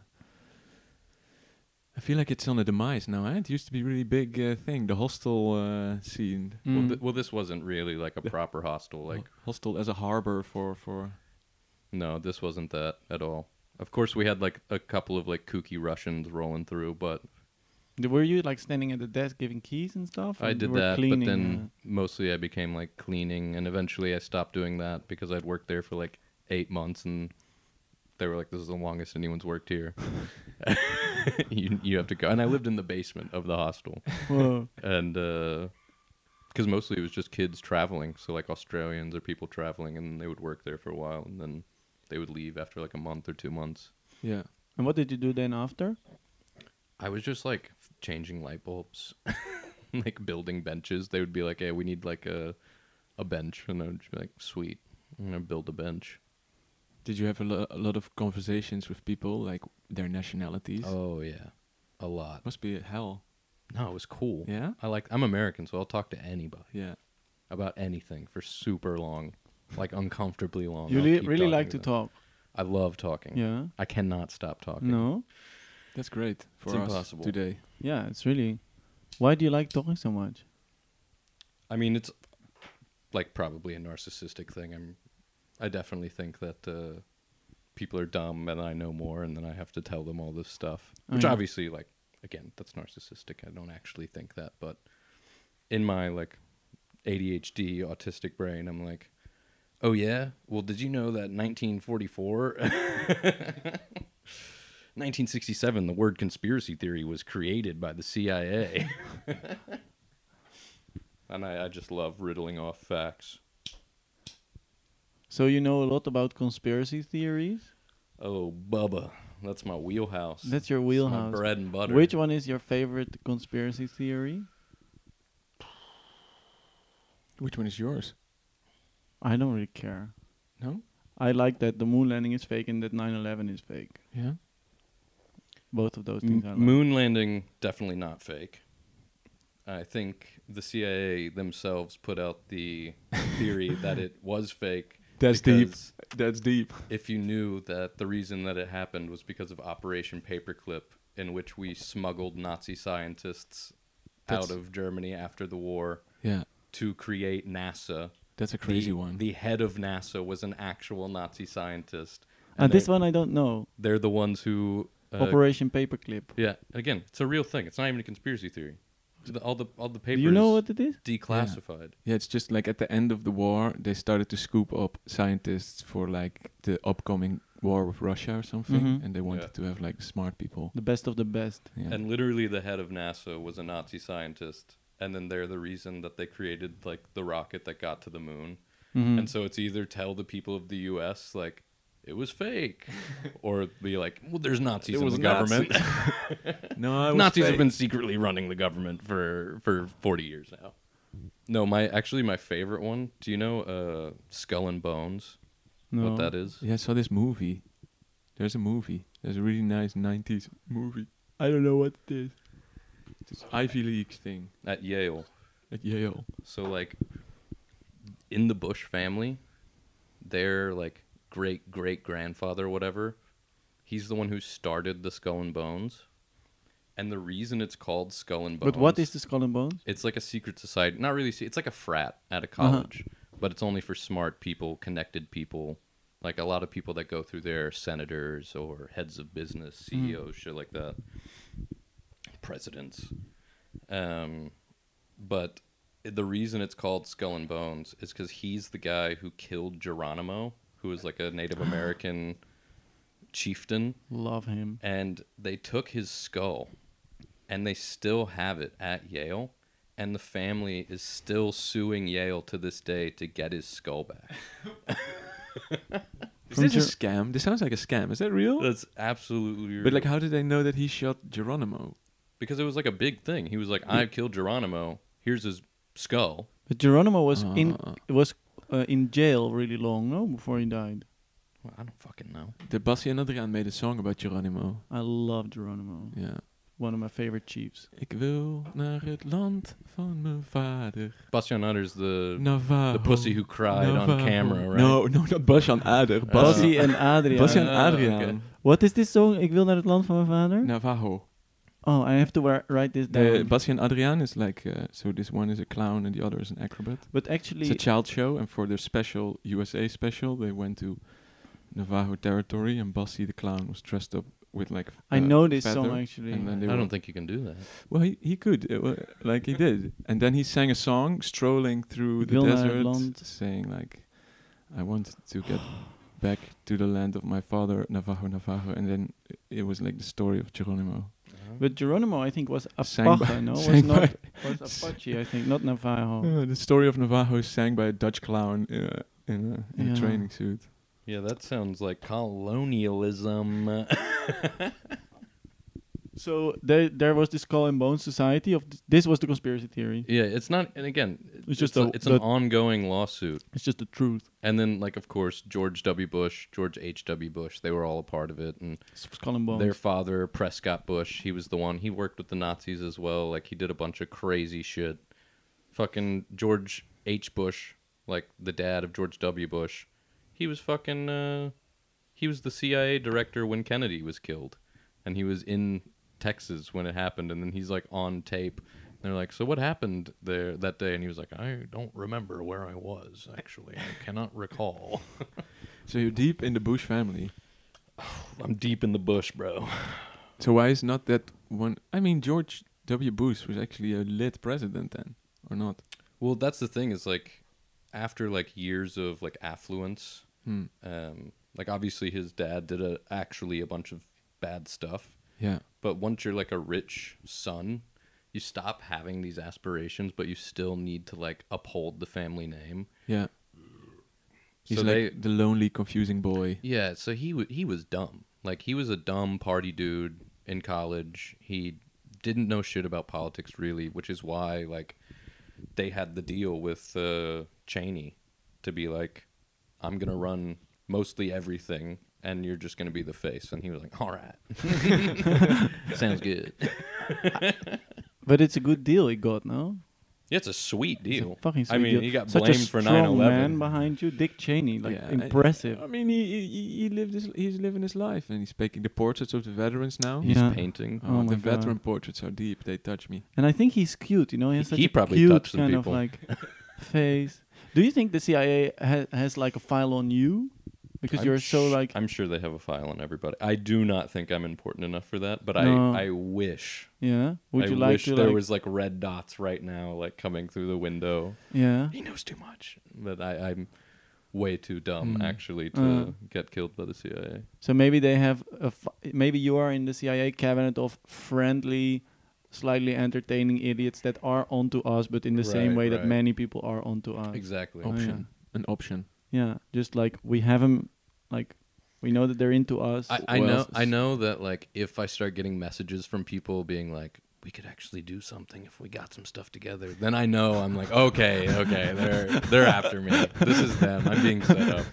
C: I feel like it's on the demise now. Eh? It used to be really big uh, thing, the hostel uh, scene,
D: Well,
A: Mm.
D: th- well, this wasn't really like a proper hostel. Like,
C: Ho- hostel as a harbor for for.
D: no, this wasn't that at all. Of course, we had like a couple of like kooky Russians rolling through, but
A: D- Were you like standing at the desk giving keys and stuff?
D: I
A: And you
D: did
A: were
D: that, but
A: cleaning,
D: then mostly I became like cleaning, and eventually I stopped doing that because I'd worked there for like eight months, and they were like, "This is the longest anyone's worked here. you you have to go." And I lived in the basement of the hostel,
A: uh, whoa.
D: and because mostly it was just kids traveling, so like Australians or people traveling, and they would work there for a while, and then they would leave after like a month or two months.
C: Yeah.
A: and what did you do then after?
D: I was just like changing light bulbs, like building benches. They would be like, "Hey, we need like a a bench," and I'd just be like, "Sweet, I'm gonna build a bench."
C: Did you have a, lo- a lot of conversations with people, like their nationalities?
D: Oh yeah, a lot.
C: Must be hell.
D: No, it was cool.
C: Yeah?
D: I like. I'm American, so I'll talk to anybody
C: Yeah.
D: about anything for super long, like uncomfortably long.
A: you
D: I'll
A: li-
D: keep
A: really
D: talking
A: like to
D: them.
A: talk.
D: I love talking.
A: Yeah.
D: I cannot stop talking.
A: No.
C: That's great for
D: It's
C: us
D: impossible.
C: today.
A: Yeah, it's really. Why do you like talking so much?
D: I mean, it's like probably a narcissistic thing. I'm, I definitely think that uh, people are dumb and I know more, and then I have to tell them all this stuff,
A: Oh,
D: which
A: yeah.
D: obviously, like, again, that's narcissistic. I don't actually think that, but in my like ADHD autistic brain, I'm like, oh yeah, well, did you know that 1944? 1967, the word conspiracy theory was created by the CIA. and I, I just love riddling off facts.
A: So you know a lot about conspiracy theories.
D: Oh, Bubba, that's my wheelhouse.
A: That's your
D: It's my
A: wheelhouse.
D: bread and butter.
A: Which one is your favorite conspiracy theory?
C: Which one is yours?
A: I don't really care.
C: No?
A: I like that the moon landing is fake and that 9/11 is fake.
C: Yeah.
A: Both of those
D: M-
A: things. I like.
D: moon landing definitely not fake. I think the CIA themselves put out the theory that it was fake.
C: That's deep.
D: because
C: That's deep.
D: If you knew that the reason that it happened was because of Operation Paperclip, in which we smuggled Nazi scientists
C: That's-
D: out of Germany after the war
C: Yeah.
D: to create NASA.
C: That's a crazy
D: the,
C: one.
D: The head of NASA was an actual Nazi scientist.
A: And Uh, this
D: they're,
A: one I don't know.
D: they're the ones who uh,
A: Operation Paperclip.
D: Yeah, again, it's a real thing. It's not even a conspiracy theory. The- all the all the
A: Do
D: papers
A: you know what it is?
D: declassified.
C: yeah, it's just like at the end of the war, they started to scoop up scientists for like the upcoming war with Russia or something,
A: Mhm.
D: Mm-hmm.
C: and they wanted
D: Yeah.
C: to have like smart people.
A: The best of the best.
C: Yeah.
D: And literally the head of NASA was a Nazi scientist and then they're the reason that they created like the rocket that got to the moon.
A: Mhm.
D: And so it's either tell the people of the US like it was fake or be like, well there's Nazis
C: It
D: in
C: was
D: the government.
C: no,
D: Nazis have been secretly running the government for for 40 years now. No, my actually my favorite one, do you know uh Skull and Bones?
A: No.
D: What that is?
C: Yeah, I saw this movie. There's a movie. There's a really nice '90s movie.
A: I don't know what it is.
C: It's Ivy League thing
D: At Yale.
C: at Yale.
D: So like in the Bush family, their like great great grandfather, whatever, he's the one who started the Skull and Bones. And the reason it's called Skull and Bones
A: But what is the Skull and Bones?
D: it's like a secret society. Not really. se- It's like a frat at a college, but it's only for smart people, connected people. Like a lot of people that go through there, are senators or heads of business, CEOs, shit like that, presidents. Um, but the reason it's called Skull and Bones is because he's the guy who killed Geronimo, who was like a Native American chieftain
A: Love him.
D: and they took his skull and they still have it at Yale and the family is still suing Yale to this day to get his skull back.
C: Is
A: From
C: this
A: Jer-
C: a scam? This sounds like a scam. Is that real?
D: That's absolutely real.
C: but like, how did they know that he shot Geronimo?
D: because it was like a big thing. He was like, "I killed Geronimo. Here's his skull."
A: But Geronimo was in
C: Ah.
A: was uh, in jail really long, no, before he died.
D: Well, I don't fucking know.
C: The Bassi en Adriaan made a song about Geronimo.
A: I love Geronimo.
C: Yeah.
A: One of my favorite chiefs.
C: Ik wil naar het land van mijn vader.
D: Bastian Utter's the
C: Navarro.
D: the pussy who cried on
C: Navarro.
D: camera, right? Oh,
C: No, no, not Bastian Ader. Bassi.
A: Bassi and Adrian.
C: Bastian
D: Ah,
C: Adriaan.
D: okay.
A: What is this song? Ik wil naar het land van mijn vader.
C: Navajo.
A: Oh, I have to wi- write this down.
C: The Bassi and Adriaan is like, uh, so this one is a clown and the other is an acrobat. It's
A: but
C: a
A: actually,
C: child show, and for their special USA special, they went to Navajo territory, and Bassi the clown was dressed up with like.
A: I
C: uh,
A: noticed some
C: feather,
A: actually.
C: and then they
D: I
C: were-
D: don't think you can do that.
C: Well, he, he could, uh, well, like he did, and then he sang a song, strolling through the
A: Wilna
C: desert,
A: land.
C: saying like, "I want to get back to the land of my father, Navajo, Navajo," and then i- it was like the story of Geronimo.
A: But Geronimo, I think, was
C: Sang by-
A: Apache, no? Was
C: sang
A: not
C: by-
A: was Apache, I think, not Navajo.
C: Uh, the story of Navajo sang by a Dutch clown in a, in a, in
A: Yeah.
C: a training suit.
D: Yeah, that sounds like colonialism.
A: So there, there was this skull and bone society of th- this was the conspiracy theory.
D: yeah, it's not. And again,
A: It's just
D: a,
A: a-
D: it's an
A: that-
D: ongoing lawsuit.
A: It's just the truth.
D: And then, like, of course, George W. Bush, George H. W. Bush, they were all a part of it, and
A: It's skull and bones.
D: their father, Prescott Bush, he was the one. He worked with the Nazis as well. Like, he did a bunch of crazy shit. Fucking George H. Bush, like the dad of George W. Bush, he was fucking. Uh, he was the CIA director when Kennedy was killed, and he was in Texas when it happened. And then he's like on tape. And they're like, "So what happened there that day?" And he was like, "I don't remember where I was. Actually, I cannot recall.
C: So you're deep in the Bush family.
D: I'm deep in the bush, bro."
C: So why is not that one? I mean, George W. Bush was actually a lit president then, or not?
D: Well, that's the thing is like after like years of like affluence,
C: Hmm.
D: um, like obviously his dad did a, actually a bunch of bad stuff.
C: Yeah.
D: But once you're like a rich son, you stop having these aspirations, but you still need to like uphold the family name.
C: Yeah. He's
D: So
C: like
D: they-
C: the lonely, confusing boy.
D: Yeah, so he w- he was dumb. Like he was a dumb party dude in college. He didn't know shit about politics really, which is why like they had the deal with uh, Cheney to be like, I'm gonna run mostly everything, and you're just gonna be the face. And he was like, All right, sounds good. Yeah,
A: but it's a good deal he got, no?
D: it's a sweet deal.
A: It's a fucking
D: I
A: sweet
D: mean,
A: deal.
D: he got
A: Such a
D: blamed for
A: strong
D: 9/11.
A: man behind you, Dick Cheney, like
C: Yeah, I-
A: impressive.
C: I, mean, he, he he lived his he's living his life, and he's painting the portraits of the veterans now.
D: He's
A: Yeah.
D: painting.
C: Oh,
A: Oh my
C: the
A: God.
C: veteran portraits are deep. They touch me.
A: and I think he's cute, you know. He has such
D: He
A: a
D: probably
A: cute
D: touched some
A: kind
D: people.
A: of like face. Do you think the CIA ha- has like a file on you because
D: I'm
A: you're so
D: sh-
A: like
D: I'm sure they have a file on everybody. I do not think I'm important enough for that, but
A: No.
D: I I wish.
A: yeah? Would
D: I
A: you like
D: wish
A: to
D: there
A: like
D: was like red dots right now, like coming through the window.
A: yeah?
D: He knows too much, but I, I'm way too dumb actually to
A: Uh.
D: get killed by the CIA.
A: So maybe they have a f- maybe you are in the CIA cabinet of friendly, slightly entertaining idiots that are onto us, but in the same
D: Right,
A: way that
D: right.
A: many people are onto us.
D: Exactly.
A: yeah.
C: Option, an option.
A: Yeah, just like we have them, like we know that they're into us.
D: I, I
C: Well,
D: know.
C: s-
D: I know that like if I start getting messages from people being like. We could actually do something if we got some stuff together. Then I know I'm like, okay, okay, they're they're after me. This is them. I'm being set up.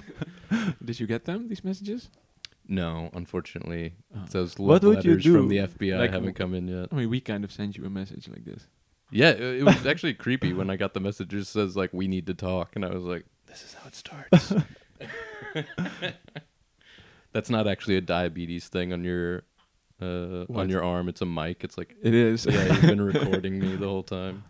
C: Did you get them these messages?
D: No, unfortunately,
C: Oh.
D: those love
A: What would you
D: letters from
A: do?
D: the FBI
C: Like,
D: haven't come in yet.
C: I mean, we kind of send you a message like this.
D: Yeah, it, it was actually creepy when I got the messages says like we need to talk, and I was like, this is how it starts. That's not actually a diabetes thing on your uh,
C: What?
D: on your arm. It's a mic. It's like,
C: It is.
D: yeah, you've been recording me the whole time,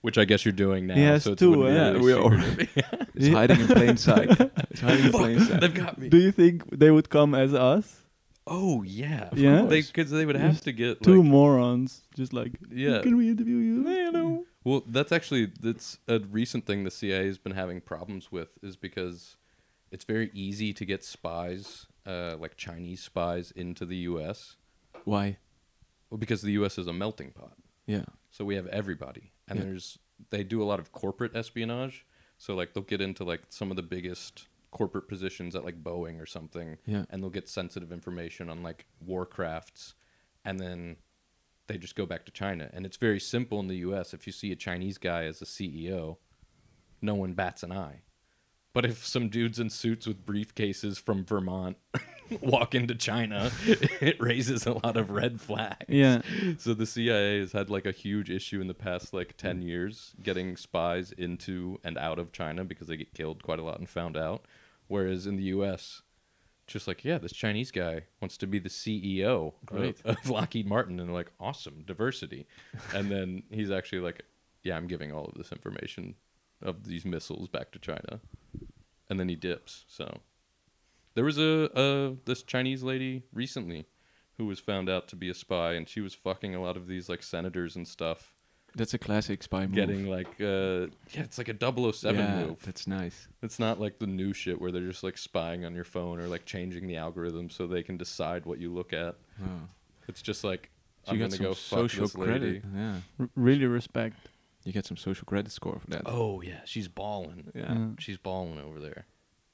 D: which I guess you're doing now.
A: He has
D: so it's
A: two,
D: wouldn't be
A: eh?
C: yeah,
D: really
C: we are.
D: secret.
C: already- it's hiding in plain sight. It's hiding in plain sight.
D: They've got me.
A: Do you think they would come as us?
D: Oh yeah, of
A: Yeah?
D: course. They because they would have to get
A: Two
D: like,
A: morons, just like
D: Yeah.
A: Can we interview you? Hello.
D: Well, that's actually that's a recent thing the CIA has been having problems with is because it's very easy to get spies, uh, like Chinese spies, into the U.S.
C: Why?
D: Well, because the U.S. is a melting pot,
C: Yeah.
D: so we have everybody, and
C: Yeah.
D: there's they do a lot of corporate espionage. So like they'll get into like some of the biggest corporate positions at like Boeing or something,
C: Yeah.
D: and they'll get sensitive information on like warcrafts, and then they just go back to China. And it's very simple in the US. If you see a Chinese guy as a CEO, no one bats an eye. But if some dudes in suits with briefcases from Vermont walk into China, it raises a lot of red flags.
A: Yeah.
D: So the CIA has had like a huge issue in the past like 10 years getting spies into and out of China because they get killed quite a lot and found out. Whereas in the US, just like, yeah, this Chinese guy wants to be the CEO
C: Great.
D: of, of Lockheed Martin. And they're like, awesome, diversity. and then he's actually like, yeah, I'm giving all of this information of these missiles back to China. And then he dips. So there was a, a this Chinese lady recently. who was found out to be a spy, and she was fucking a lot of these like senators and stuff,
C: That's a classic spy move.
D: getting like uh, yeah, it's like a 007
C: yeah,
D: move.
C: That's nice.
D: It's not like the new shit where they're just like spying on your phone or like changing the algorithm so they can decide what you look at.
C: Wow.
D: It's just like
C: So
D: I'm
C: you
D: gonna
C: got some
D: go fuck
C: social
D: this lady.
C: credit. Yeah.
A: R- really respect.
C: You get some social credit score for that.
E: Oh yeah, she's balling.
C: Yeah.
A: Yeah.
D: She's balling over there.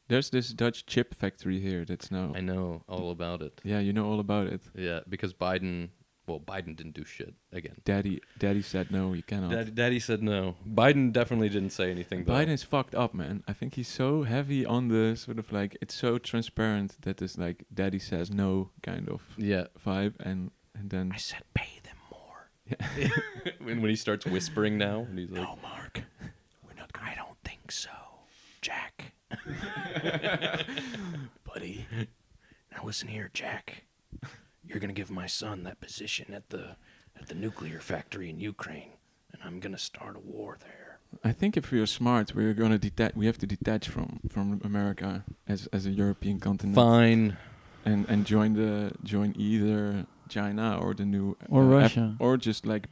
C: There's this Dutch chip factory here that's now.
D: I know all about it.
C: Yeah, you know all about it.
D: Yeah, because Biden, well, Biden didn't do shit again.
C: Daddy, daddy said no, you cannot.
D: Daddy, Daddy said no. Biden definitely didn't say anything. Though.
C: Biden is fucked up, man. I think he's so heavy on the sort of like it's so transparent that this like daddy says no kind of
D: Yeah,
C: vibe, and and then
E: I said pay them more.
D: when, when he starts whispering now, and he's like,
E: No, Mark. We're not. I don't think so, Jack. Buddy, now listen here, Jack. You're gonna give my son that position at the at the nuclear factory in Ukraine, and I'm gonna start a war there.
C: I think if we are smart, we are gonna detach. We have to detach from from America as as a European continent,
D: "Fine."
C: and and join the join either China or the new
A: Or
C: uh, Af-
A: Russia.
C: or just like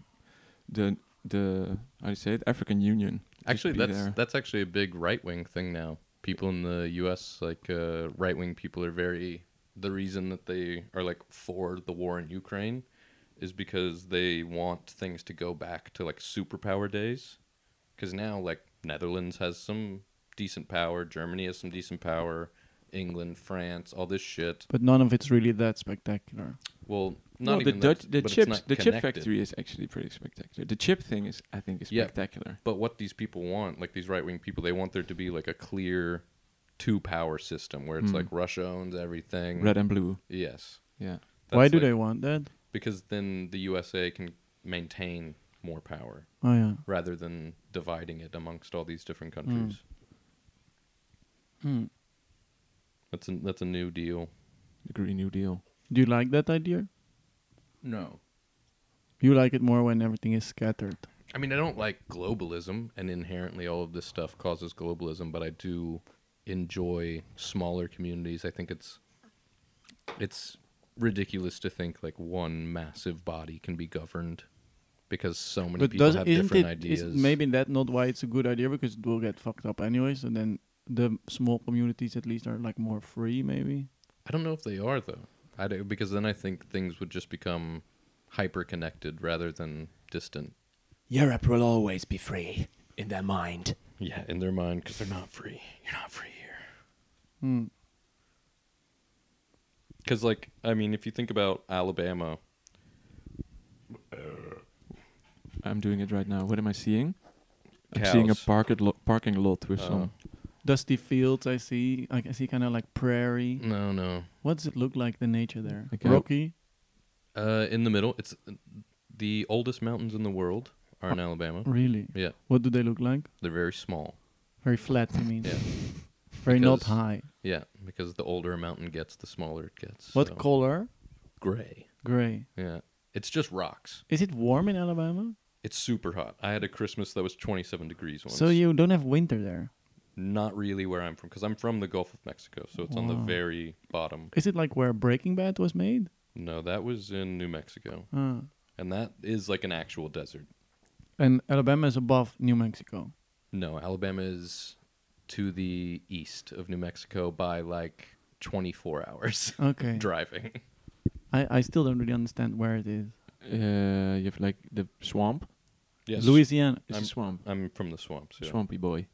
C: the the how do you say it African Union. Just
D: Actually,
C: be
D: that's
C: there.
D: that's actually a big right wing thing now. People in the U.S. like uh, right wing people are very. The reason that they are like for the war in Ukraine is because they want things to go back to like superpower days. Because now, like Netherlands has some decent power, Germany has some decent power, England, France, all this shit.
A: But none of it's really that spectacular.
D: Well, not
C: no,
D: even
C: the
D: that,
C: Dutch, the
D: but it's
C: chips,
D: not
C: the chip
D: connected.
C: factory is actually pretty spectacular. The chip thing is, I think, is
D: Yeah.
C: spectacular.
D: But what these people want, like these right wing people, they want there to be like a clear two power system where it's like Russia owns everything.
C: Hmm. Red and blue,
D: Yes.
C: yeah.
D: That's
A: Why do
D: like-
A: they want that?
D: Because then the USA can maintain more power
A: Oh yeah.
D: rather than dividing it amongst all these different countries.
A: Hmm.
D: That's a, that's a new deal.
C: The Green New Deal.
A: Do you like that idea?
D: No.
A: You like it more when everything is scattered.
D: I mean, I don't like globalism, and inherently all of this stuff causes globalism, but I do enjoy smaller communities. I think it's it's ridiculous to think like one massive body can be governed because so many
A: But
D: people
A: does
D: have
A: not
D: different
A: it
D: ideas.
A: is maybe that not why it's a good idea because it will get fucked up anyway. So then the small communities at least are like more free, maybe.
D: I don't know if they are though. I do, because then I think things would just become hyper connected rather than distant.
F: Europe will always be free in their mind.
D: Yeah, in their mind because they're not free. You're not free here.
A: Hmm.
D: Because, like, I mean, if you think about Alabama,
C: I'm doing it right now. What am I seeing? I'm seeing a
D: Cows.
C: parked lo- parking lot with
D: Oh.
C: some.
A: Dusty fields, I see. I can see kind of like prairie.
D: no, no,
A: What does it look like? The nature there,
C: Okay.
A: rocky.
D: Uh, in the middle, it's the oldest mountains in the world are in Alabama.
A: Really?
D: Yeah,
A: What do they look like?
D: they're very small.
A: Very flat, I mean.
D: Yeah,
A: Very not
D: because-
A: high.
D: yeah, because the older a mountain gets, the smaller it gets.
A: What
D: so-
A: color?
D: Gray.
A: Gray.
D: Yeah, it's just rocks.
A: Is it warm in Alabama?
D: It's super hot. I had a Christmas that was 27 degrees once.
A: So you don't have winter there.
D: not really where I'm from because I'm from the Gulf of Mexico, so it's on the
A: Wow.
D: very bottom.
A: Is it like where Breaking Bad was made?
D: No, that was in New Mexico,
A: Ah.
D: and that is like an actual desert.
A: And Alabama is above New Mexico.
D: No, Alabama is to the east of New Mexico by like 24 hours
A: Okay.
D: driving.
A: I, I still don't really understand where it is.
C: Uh, you have like the swamp.
D: Yes.
A: Louisiana.
C: It's
D: I'm-
C: a swamp.
D: I'm from the swamps. Yeah.
C: Swampy boy.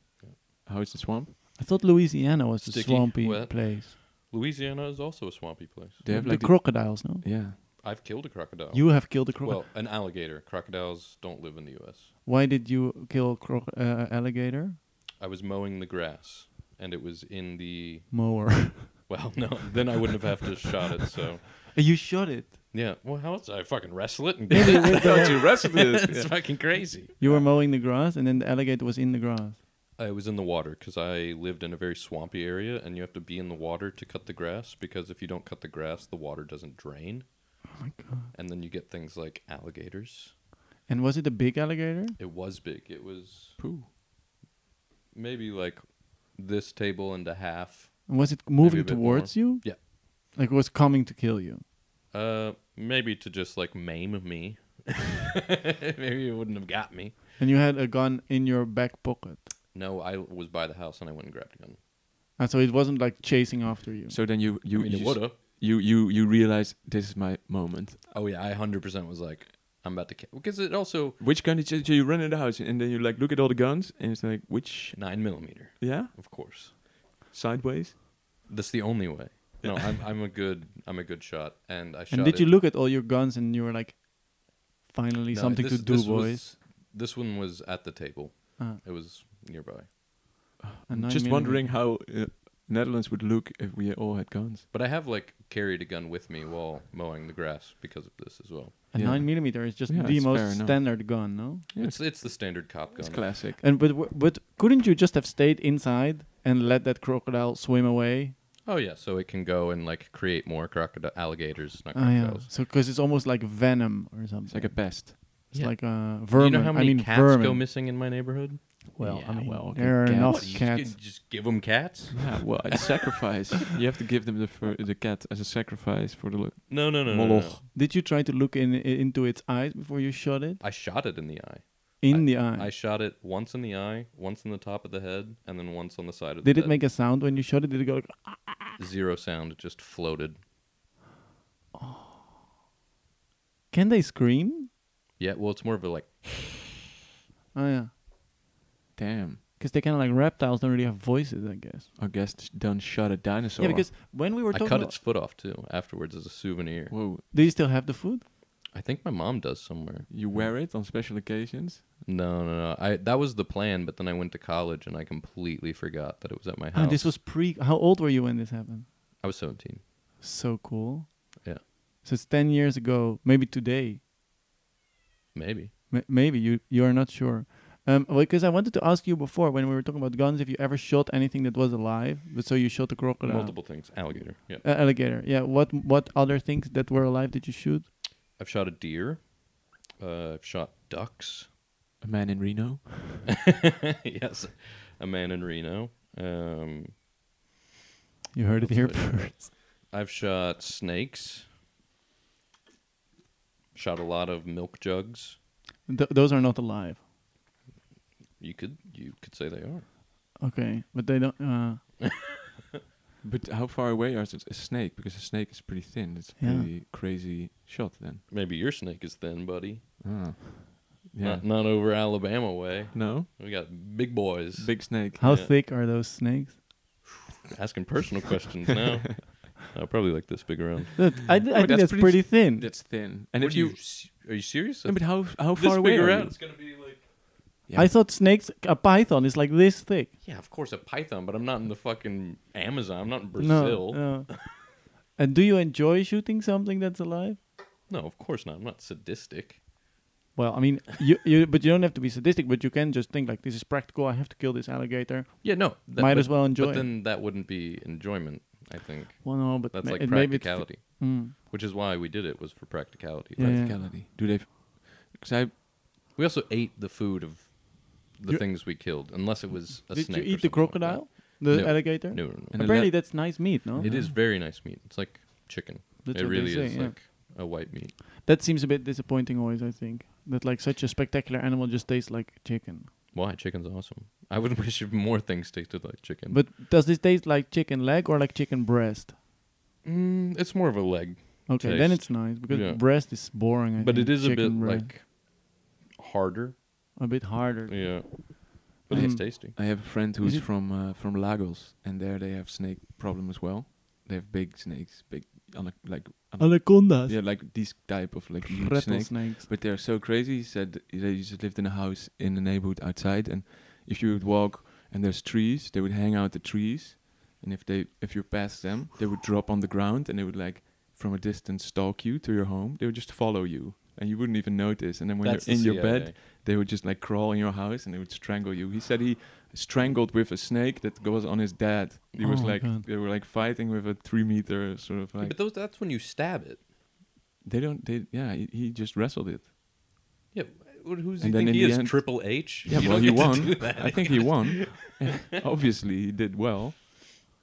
C: How is the swamp?
A: I thought Louisiana was the
D: Sticky,
A: swampy
D: wet.
A: place.
D: Louisiana is also a swampy place.
C: They have
A: the
C: like the-
A: crocodiles, no?
C: yeah.
D: I've killed a crocodile.
A: You have killed a crocodile.
D: well, an alligator. Crocodiles don't live in the U.S.
A: Why did you kill a croc- uh, alligator?
D: I was mowing the grass, and it was in the.
A: Mower.
D: Well, no, then I wouldn't have had to shot it. So
A: you shot it.
D: yeah. Well, how else I fucking wrestle it and get it? How would you wrestle it? It's fucking crazy.
A: You were mowing the grass and then the alligator was in the grass.
D: I was in the water because I lived in a very swampy area, and you have to be in the water to cut the grass because if you don't cut the grass, the water doesn't drain,
A: Oh my god.
D: and then you get things like alligators.
A: And was it a big alligator?
D: It was big. It was
C: Pooh.
D: maybe like this table and a half.
A: And was it
D: Maybe a
A: moving
D: bit
A: towards you?
D: Yeah.
A: Like it was coming to kill you.
D: Uh, Maybe to just like maim me. Maybe it wouldn't have got me.
A: And you had a gun in your back pocket.
D: No, I was by the house and I went and grabbed a gun.
A: And so it wasn't like chasing after you.
C: So then you you
D: I mean,
C: you,
D: it would have.
C: you you you realize this is my moment.
D: Oh yeah, I hundred percent was like, I'm about to kill. Because it also
C: Which gun did you, so you run in the house and then you like look at all the guns and it's like which
D: nine millimeter,
C: yeah
D: of course.
C: sideways.
D: That's the only way. No, I'm I'm a good I'm a good shot, and I shot.
A: and did you
D: it-
A: look at all your guns and you were like, finally
D: No,
A: something
D: this-
A: to do,
D: this
A: boys?
D: was- this one was at the table.
A: Ah.
D: It was nearby,
A: A
C: I'm
A: nine
C: just
A: millimeter.
C: wondering how uh, Netherlands would look if we all had guns.
D: but I have like carried a gun with me while mowing the grass because of this as well.
A: A
C: Yeah.
A: nine millimeter is just
C: Yeah,
A: the
C: it's fair
A: most
C: enough.
A: standard gun, no?
C: Yeah,
D: it's it's the standard cop gun.
C: It's classic.
A: And but w- but couldn't you just have stayed inside and let that crocodile swim away?
D: Oh yeah, so it can go and like create more crocodile alligators, not
A: Oh yeah.
D: crocodiles.
A: So because it's almost like venom or something.
C: It's like a pest.
A: It's
D: Yeah.
A: like, uh, vermin.
D: You know how many
A: I mean
D: cats
A: vermin.
D: go missing in my neighborhood?
A: well, I
C: Yeah,
A: mean,
C: well, okay,
A: there are
C: cats.
A: enough
C: What,
D: You
A: cats.
D: could just give them cats?
C: Yeah, well, it's sacrifice. You have to give them the fur, the cat as a sacrifice for the lo-
D: No, no, no, no, no, no.
C: moloch.
A: Did you try to look in i- into its eyes before you shot it?
D: I shot it in the eye.
A: In the eye.
D: I shot it once in the eye, once in the top of the head, and then once on the side of
A: Did
D: the
A: it make a sound when you shot it? Did it go? Like,
D: make zero sound? It just floated.
A: Can they scream?
D: Yeah, well, it's more of a like
A: Oh yeah,
C: Damn,
A: because they kind of like reptiles don't really have voices, I guess.
C: our guest done shot a dinosaur.
A: yeah, because when we were
D: I
A: talking,
D: cut
A: about-
D: its foot off too afterwards as a souvenir.
C: whoa,
A: do you still have the food?
D: I think my mom does somewhere.
C: you wear it on special occasions.
D: No, no, no. I that was the plan, but then I went to college and I completely forgot that it was at my
A: Oh,
D: house.
A: this was pre. How old were you when this happened?
D: I was seventeen.
A: So cool.
D: Yeah.
A: So it's ten years ago, maybe today.
D: Maybe.
A: M- maybe you you are not sure. Um, well, because I wanted to ask you before when we were talking about guns, if you ever shot anything that was alive, but so you shot the crocodile,
D: Multiple things. Alligator. Yeah.
A: uh, alligator. Yeah. What what other things that were alive did you shoot?
D: I've shot a deer. Uh, I've shot ducks.
C: A man in Reno.
D: yes. A man in Reno. Um,
A: You heard it here
D: That's what
A: first.
D: I've shot snakes. Shot a lot of milk jugs.
A: Th- those are not alive.
D: You could you could say they are.
A: Okay, but they don't. Uh,
C: But how far away are s- a snake? Because a snake is pretty thin. It's a
A: Yeah.
C: pretty crazy shot then.
D: Maybe your snake is thin, buddy.
C: Ah. Yeah.
D: Not not over Alabama way.
C: no.
D: We got big boys.
C: Big snake.
A: how
D: Yeah.
A: thick are those snakes?
D: asking personal questions now. Uh, probably like this big around.
A: That, I, d- I
C: that's
A: think that's
C: pretty
A: pretty, thin.
C: That's thin. And
D: What
C: if
D: do
C: you,
D: s- are you serious?
C: No, but how f- how
D: this
C: far away
D: big
C: are
D: around,
C: you?
D: it's gonna be like.
C: Yeah.
A: I thought snakes, a python is like this thick.
D: Yeah, of course a python, but I'm not in the fucking Amazon. I'm not in
A: No,
D: Brazil. No,
A: no. and do you enjoy shooting something that's alive?
D: of course not. I'm not sadistic.
A: Well, I mean, you, you but you don't have to be sadistic, but you can just think like this is practical. I have to kill this alligator.
D: Yeah, no. that-
A: Might
D: but-
A: as well enjoy.
D: But
A: it.
D: then that wouldn't be enjoyment. I think
A: well, no, but
D: that's
A: ma-
D: like
A: it made me th-
D: practicality,
A: Mm.
D: which is why we did it was for practicality.
A: Yeah.
C: Practicality. Do they? Because I
D: We also ate the food of the
A: You-
D: things we killed, unless it was a
A: Did
D: snake.
A: you
D: or
A: eat the
D: something like
A: crocodile,
D: that.
A: the
D: No.
A: alligator?
D: No, no, no.
C: And a
A: Apparently, that's nice meat, no?
D: It is very nice meat. It's like chicken.
A: That's
D: it
A: what they
D: really
A: say,
D: is
A: yeah.
D: like a white meat.
A: That seems a bit disappointing, always. I think that like such a spectacular animal just tastes like chicken.
D: Why? Chicken's awesome. I would wish if more things tasted like chicken.
A: But does this taste like chicken leg or like chicken breast?
D: mm, it's more of a leg.
A: Okay, then
D: Taste.
A: it's nice because
D: Yeah.
A: breast is boring. I
C: Mm,
D: But
A: think.
D: it is a bit
A: Chicken breast.
D: like harder.
A: a bit harder.
D: Yeah. But it's
A: Mm.
D: tasty.
C: I have a friend
A: Is
C: who's
A: it-
C: from uh, from Lagos, and there they have snake problem as well. They have big snakes, big ana- like ana-
A: Anacondas,
C: yeah, like these type of like huge
A: rattlesnakes.
C: snakes. But they're so crazy. He said they just lived in a house in the neighborhood outside, and if you would walk and there's trees, they would hang out the trees, and if they if you passed them, they would drop on the ground, and they would like from a distance stalk you to your home. They would just follow you, and you wouldn't even notice. And then when
D: That's
C: you're in
D: the
C: your
D: CIA.
C: bed, they would just like crawl in your house and they would strangle you. He said he strangled with a snake that goes on his dad. He was
A: Oh my
C: like
A: God.
C: they were like fighting with a three meter sort of
D: Yeah,
C: like
D: but those that's when you stab it.
C: they don't they yeah he, he just wrestled it.
D: Yeah. wh-
C: And
D: Who's he
C: then
D: think
C: in
D: he
C: the
D: is?
C: end-
D: Triple H?
C: Yeah,
D: You
C: well
D: don't
C: he
D: get to do
C: won.
D: that.
C: I think he won. Obviously he did well.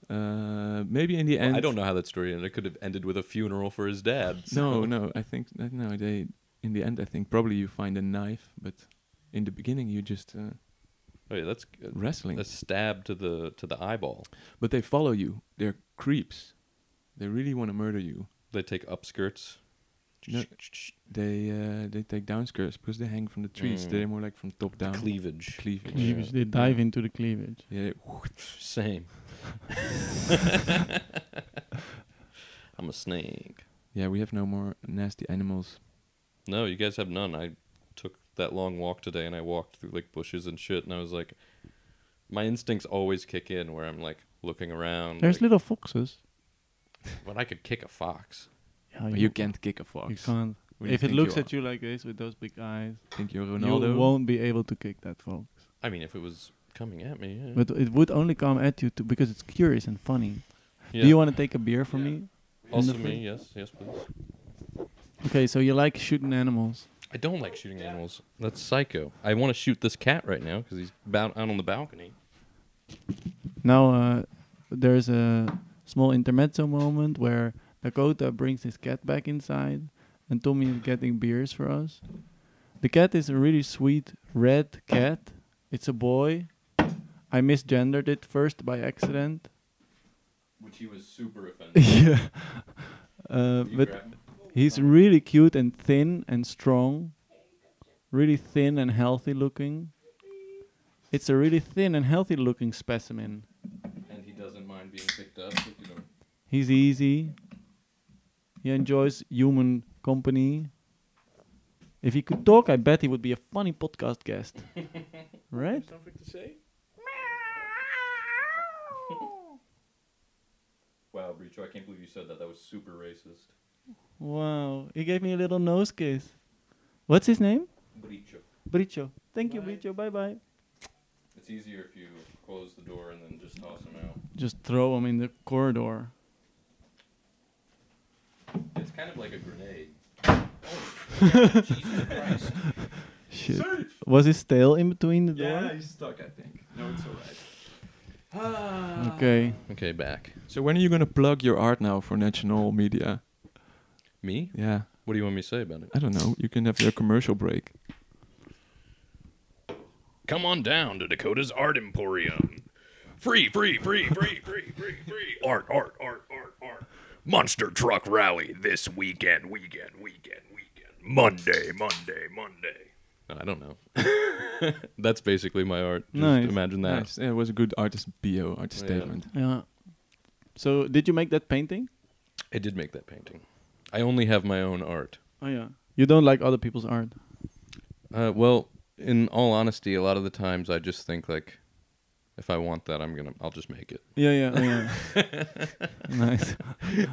C: Uh, maybe in the end.
D: I don't know how that story ended. It could have ended with a funeral for his dad.
C: No, no. I think that no. They in the end. I think probably you find a knife, but in the beginning you just uh,
D: Oh yeah, that's good.
C: wrestling.
D: A stab to the to the eyeball.
C: But they follow you. They're creeps. They really want to murder you.
D: They take upskirts.
C: No, they uh, they take down skirts because they hang from the trees.
D: Mm.
C: They're more like from top down.
D: Cleavage.
C: Oh. Cleavage.
A: Cleavage. They dive into the cleavage.
C: Yeah, they-
D: Same. I'm a snake.
C: yeah. We have no more nasty animals.
D: No, you guys have none. I took that long walk today and I walked through like bushes and shit and I was like my instincts always kick in where I'm like looking around.
A: There's
D: like,
A: little foxes.
D: when I could kick a fox.
A: Yeah,
C: But you can't kick a fox.
A: You can't.
C: When you
A: if it
C: think
A: looks
C: you
A: at you like this with those big eyes,
C: think you're Ronaldo.
A: you won't be able to kick that fox.
D: I mean if it was coming at me, yeah.
A: But it would only come at you to, because it's curious and funny.
D: yeah.
A: Do you want to take a beer from
D: Yeah.
A: me?
D: also
A: in the
D: me,
A: fridge?
D: yes, yes please.
A: Okay, so you like shooting animals.
D: I don't like shooting animals. That's psycho. I want to shoot this cat right now because he's about out on the balcony.
A: Now uh, there's a small intermezzo moment where Dakota brings his cat back inside, and Tommy is getting beers for us. The cat is a really sweet red cat. It's a boy. I misgendered it first by accident.
D: Which he was super offended.
A: yeah. Uh, but He's really cute and thin and strong. Really thin and healthy looking. It's a really thin and healthy looking specimen.
D: and he doesn't mind being picked up.
A: He's easy. He enjoys human company. If he could talk, I bet he would be a funny podcast guest. right?
F: Something to say?
D: Wow, Bricho, I can't believe you said that. That was super racist.
A: Wow. He gave me a little nose kiss. What's his name?
D: Bricho.
A: Bricho. Thank you, Bricho. Bye bye.
D: It's easier if you close the door and then just toss him out.
A: Just throw him in the corridor.
D: It's kind of like a grenade.
A: Shit. Was his tail in between the door?
D: he's stuck, I think. No, it's alright.
A: Okay.
D: Okay, back.
C: So when are you gonna plug your art now for national media?
D: Me?
C: Yeah,
D: What do you want me to say about it?
C: I don't know. You can have your commercial break.
G: Come on down to Dakota's Art Emporium. Free, free, free, free, free, free, free. Art, art, art, art, art. Monster Truck Rally this weekend, weekend, weekend, weekend. Monday, Monday, Monday.
D: I don't know. That's basically my art. Just
A: Nice.
D: imagine that.
C: Nice. Yeah, it was a good artist bio, artist
D: Oh, Yeah.
C: statement.
A: Yeah. So did you make that painting?
D: I did make that painting. I only have my own art.
A: Oh yeah. You don't like other people's art.
D: Uh, well, in all honesty, a lot of the times I just think like, if I want that, I'm gonna, I'll just make it.
A: Yeah, yeah, oh, yeah. nice.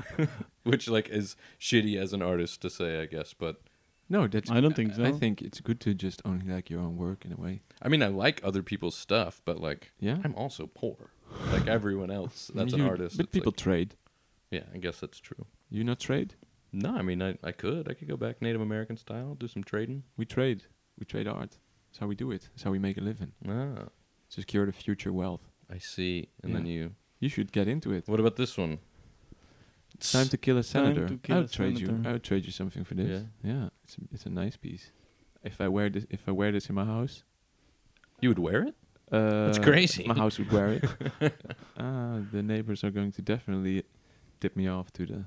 D: Which like is shitty as an artist to say, I guess. But
C: No, that's.
A: I don't think so.
C: I think it's good to just only like your own work in a way.
D: I mean, I like other people's stuff, but like,
C: Yeah.
D: I'm also poor, like everyone else. That's an
C: You-
D: artist.
C: But
D: It's
C: people
D: like-
C: trade.
D: yeah, I guess that's true.
C: You not trade?
D: No, I mean, I, I could, I could go back Native American style, do some trading.
C: We trade. We trade art. That's how we do it. That's how we make a living.
D: Ah,
C: Secure the future wealth.
D: I see. And then
C: Yeah.
D: you.
C: You should get into it.
D: What about this one?
C: It's time to kill a senator.
A: to kill
C: I'll
A: a
C: trade you.
A: senator.
C: I'll trade you something for this. Yeah, It's a, it's a nice piece. If I wear this, if I wear this in my house,
D: You would wear it?
C: uh,
D: crazy.
C: My house would wear it. Ah, the neighbors are going to definitely tip me off to the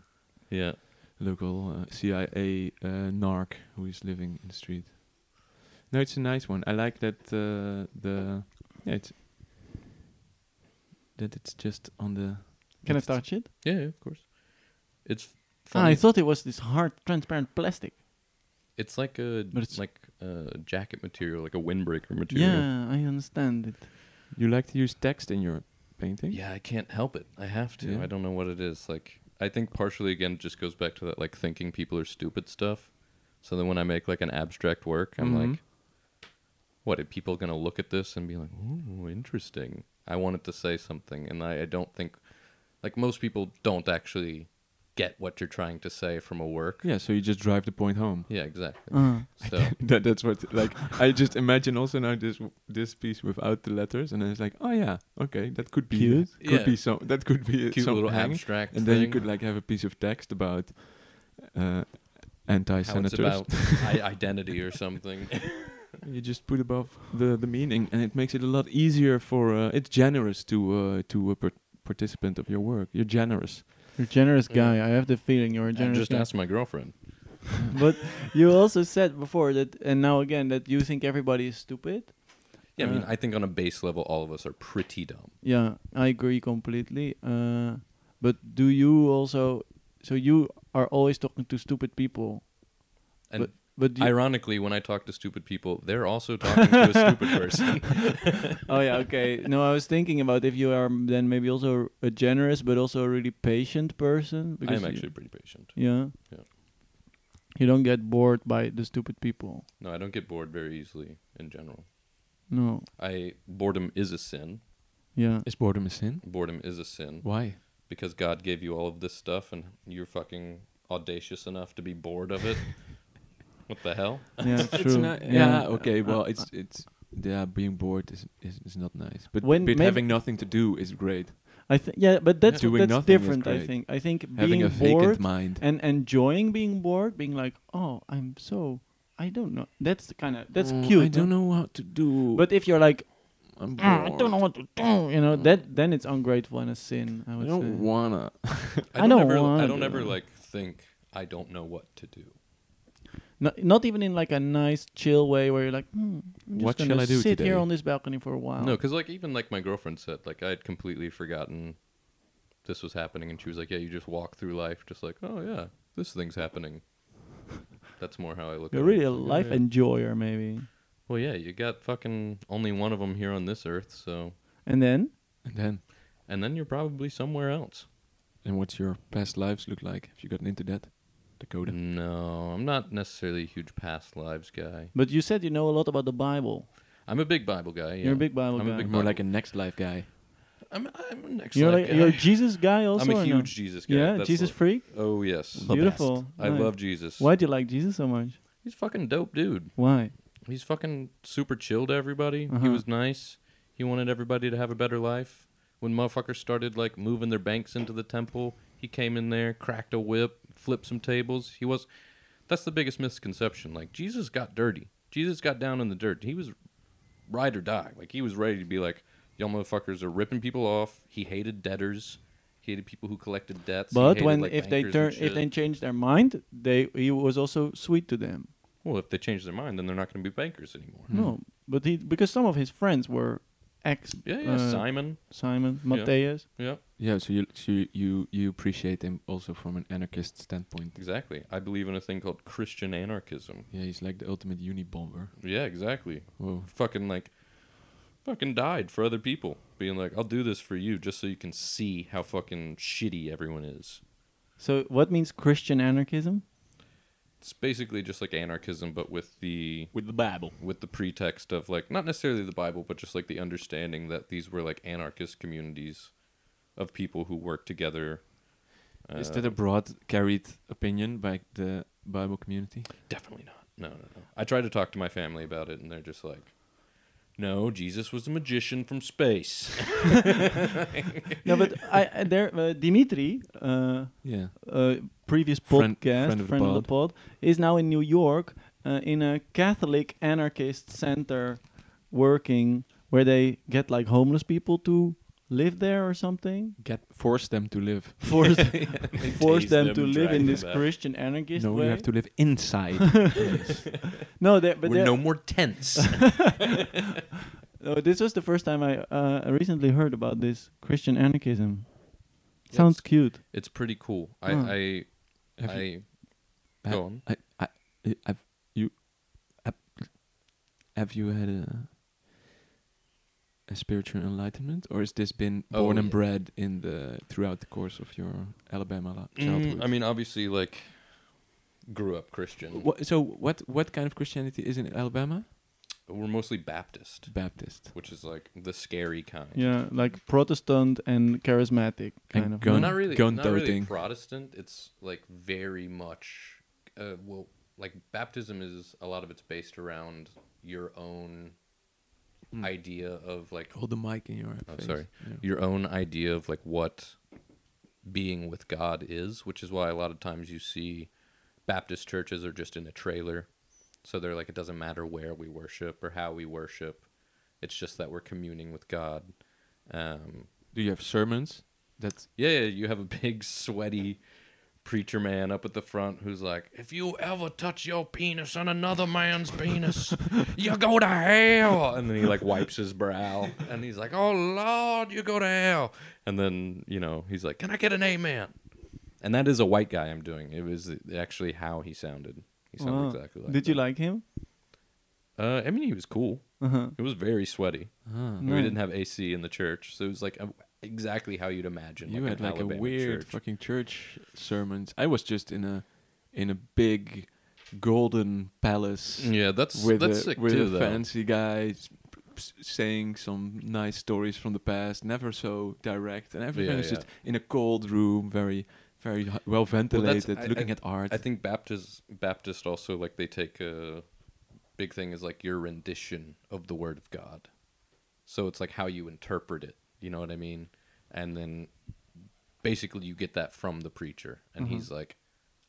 D: Yeah.
C: local uh, CIA uh, narc who is living in the street. No, it's a nice one. I like that uh, the yeah, it's that it's just on the.
A: Can I
C: it's-
A: touch it?
D: Yeah, yeah, of course. It's.
A: Ah,
D: Funny.
A: I thought it was this hard, transparent plastic.
D: It's like a
A: But it's-
D: like a jacket material, like a windbreaker material.
A: Yeah, I understand it.
C: You like to use text in your painting?
D: Yeah, I can't help it. I have to.
C: Yeah.
D: I don't know what it is. Like I think partially again it just goes back to that like thinking people are stupid stuff. So then when I make like an abstract work, I'm like
C: Mhm.
D: what are people going to look at this and be like, "Ooh, interesting." I want it to say something and I, I don't think like most people don't actually get what you're trying to say from a work.
C: Yeah, Uh, so you just drive the point home.
D: Yeah, exactly. So
C: That that's what like I just imagine also now this this piece without the letters, and then it's like, oh yeah, okay, that could be
A: Cute.
C: could
D: Yeah.
C: be so that could be
D: cute
C: some
D: little
C: hang.
D: abstract
C: and then you
D: thing,
C: could like have a piece of text about uh,
D: how it's
C: anti-senators.
D: about i- identity or something.
C: you just put above the the meaning, and it makes it a lot easier for uh, it's generous to uh, to a par- participant of your work. You're generous.
A: You're a generous
D: Yeah.
A: guy. I have the feeling you're a
D: And
A: generous
D: just
A: guy.
D: ask my girlfriend.
A: but you also said before that, and now again, that you think everybody is stupid.
D: Yeah, I mean,
A: Uh,
D: I think on a base level, all of us are pretty dumb.
A: Yeah, I agree completely. Uh, but do you also? So you are always talking to stupid people.
D: And
A: but but do you,
D: Ironically, when I talk to stupid people, they're also talking to a stupid person.
A: oh yeah, okay. No, I was thinking about if you are then maybe also a generous but also a really patient person.
D: I'm
A: you-
D: actually pretty patient.
A: yeah.
D: Yeah.
A: You don't get bored by the stupid people.
D: No, I don't get bored very easily in general.
A: No.
D: I boredom is a sin.
A: Yeah.
C: Is boredom a sin?
D: Boredom is a sin
C: Why?
D: because God gave you all of this stuff and you're fucking audacious enough to be bored of it. what the hell?
A: Yeah. Uh, true.
C: It's not, yeah, okay. Well, it's it's yeah. Being bored is is, is not nice, but,
A: When-
C: but
A: maybe-
C: having nothing to do is great.
A: I think yeah, but that's
C: Doing
A: that's
C: nothing is
A: different. I
C: great.
A: think. I think
C: having
A: being
C: a
A: bored
C: vacant mind.
A: and enjoying being bored, being like, oh, I'm so I don't know. That's kind of that's cute.
C: Oh, Mm, I don't
A: no?
C: know what to do.
A: But if you're like,
C: I'm bored. Mm.
A: "Ah, I don't know what to do, you know that then it's ungrateful and a sin. I
C: I
A: would
C: don't
A: say.
C: wanna.
A: I don't
D: ever, I
A: want
D: don't
A: to.
D: ever like think I don't know what to do.
A: No- not even in like a nice chill way where you're like, hmm, I'm just
C: What shall
A: gonna
C: I do
A: sit
C: today?
A: here on this balcony for a while.
D: No, because like even like my girlfriend said, like I had completely forgotten this was happening, and she was like, "Yeah, you just walk through life, just like, oh yeah, this thing's happening." That's more how I look.
A: you're
D: at it.
A: really a
D: It's like, oh,
A: life
D: yeah.
A: enjoyer maybe.
D: Well, yeah, you got fucking only one of them here on this earth, so
A: And then
C: And then,
D: and then you're probably somewhere else.
C: and what's your past lives look like? Have you gotten into that, Dakota?
D: Mm, No, I'm not necessarily a huge past lives guy.
A: but you said you know a lot about the Bible.
D: I'm a big Bible guy. Yeah.
A: You're a big Bible
D: I'm
A: guy.
D: A big
C: More
D: Bible-
C: like a next life guy.
D: I'm, I'm an next
A: You're
D: life
A: like
D: guy.
A: you're a Jesus guy also.
D: uh, I'm a
A: or
D: huge
A: no?
D: Jesus guy.
A: Yeah,
D: That's
A: Jesus
D: what-
A: freak.
D: Oh yes,
C: The
A: Beautiful.
D: I
A: Nice.
D: love Jesus.
A: Why do you like Jesus so much?
D: He's a fucking dope, dude.
A: Why?
D: He's fucking super chill to everybody. He
A: Uh-huh.
D: was nice. He wanted everybody to have a better life. When motherfuckers started like moving their banks into the temple, he came in there, cracked a whip, flipped some tables. He was that's the biggest misconception. Like Jesus got dirty. Jesus got down in the dirt. He was ride or die. Like he was ready to be like, Y'all motherfuckers are ripping people off. He hated debtors. He hated people who collected debts. He
A: But
D: hated,
A: when
D: like,
A: if they
D: bankers and
A: turn if
D: shit.
A: they change their mind, they he was also sweet to them.
D: Well, if they change their mind, then they're not gonna be bankers anymore.
A: No, but he because some of his friends were ex
D: Yeah, yeah.
A: uh,
D: Simon.
A: Simon Matthias.
D: Yeah.
C: Yeah, so you so you- you you appreciate him also from an anarchist standpoint.
D: Exactly. I believe in a thing called Christian anarchism.
C: Yeah, he's like the ultimate unibomber.
D: Yeah, exactly.
F: Hmm.
C: Whoa.
D: Fucking like fucking died for other people. Being like, I'll do this for you just so you can see how fucking shitty everyone is.
A: So what means Christian anarchism?
D: It's basically just like anarchism but with the
F: With the Bible.
D: with the pretext of like not necessarily the Bible, but just like the understanding that these were like anarchist communities of people who work together.
C: Is
D: Uh,
C: that a broad carried opinion by the Bible community?
D: Definitely not. No, no, no. I tried to talk to my family about it, and they're just like, "No, Jesus was a magician from space."
A: no, but I I- there uh, Dimitri, uh,
C: Yeah.
A: uh, previous
C: Friend-
A: podcast
C: friend of the
A: pod, is now in New York uh, in a Catholic anarchist center working where they get like homeless people to live there or something.
C: Get force them to live.
A: force, force
D: tase
A: them,
D: them,
A: to live
D: drag
A: in
D: them
A: this
D: back.
A: Christian anarchist
C: no,
A: way.
C: you have to live inside. the place.
A: No, there- but
D: We're
A: there-
D: no more tents.
A: no, oh, this was the first time I uh, recently heard about this Christian anarchism. Sounds cute.
D: it's pretty cool. I,
A: Huh.
D: I,
C: Hmm. Have
D: I,
C: you-
D: go on.
C: I, I, I- I've, you, i have you had a, a spiritual enlightenment, or has this been
D: Oh,
C: born and
D: yeah.
C: bred in the throughout the course of your Alabama li- childhood?
D: Mm, I mean, obviously, like, grew up Christian.
C: Wha- so what what kind of Christianity is in Alabama?
D: we're mostly Baptist,
C: Baptist.
D: which is like the scary kind.
A: Yeah, like Protestant and charismatic kind
C: And
A: of.
C: gun-
D: not really,
C: gun
D: not really
C: toting.
D: Protestant. It's like very much, uh, well, like baptism is a lot of it's based around your own
C: Hmm.
D: idea of like
C: Hold the mic in your
D: Oh,
C: face.
D: sorry.
C: Yeah.
D: Your own idea of like what being with God is, which is why a lot of times you see Baptist churches are just in a trailer. So they're like, it doesn't matter where we worship or how we worship. It's just that we're communing with God. Um,
C: Do you have sermons? That's
D: yeah, yeah, you have a big sweaty preacher man up at the front who's like,
G: If you ever touch your penis on another man's penis, you go to hell.
D: "Oh," and then he like wipes his brow and he's like, oh Lord, you go to hell. And then, you know, he's like,
G: Can I get an amen?
D: And that is a white guy I'm doing. It was actually how he sounded. He sounded
C: Uh-huh.
A: Wow.
D: exactly like
A: Did you like him?
D: Uh, I mean, he was cool.
A: Uh-huh.
D: It was very sweaty.
C: ah,
D: And We didn't have AC in the church, so it was like a, exactly how you'd imagine.
C: you
D: like
C: had
D: an
C: like
D: Alabama
C: a weird
D: church.
C: fucking church sermons. I was just in a in a big golden palace
D: Yeah, that's
C: with
D: that's
C: a,
D: sick
C: with
D: too.
C: a
D: though.
C: fancy guy s- s- saying some nice stories from the past, never so direct, and everything
D: Yeah,
C: was
D: yeah.
C: just in a cold room, very very h- well ventilated,
D: I-
C: looking at art.
D: I think Baptist Baptist also like they take a big thing is like your rendition of the Word of God. So it's like how you interpret it. You know what I mean? And then basically you get that from the preacher, and he's like,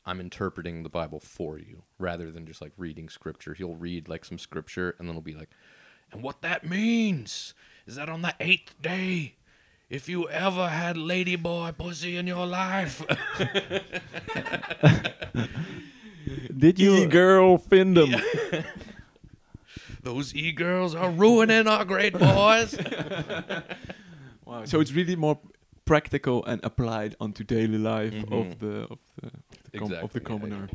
D: "I'm interpreting the Bible for you," rather than just like reading scripture. He'll read like some scripture, and then it'll be like,
G: And what that means is that on the eighth day, if you ever had ladyboy pussy in your life,
A: Did you?
C: girl findom.
G: those e girls are ruining our great boys.
C: Wow. So it's really more practical and applied onto daily life of the of the of the, com- of the
D: Mm-hmm. Exactly, yeah,
C: commoner.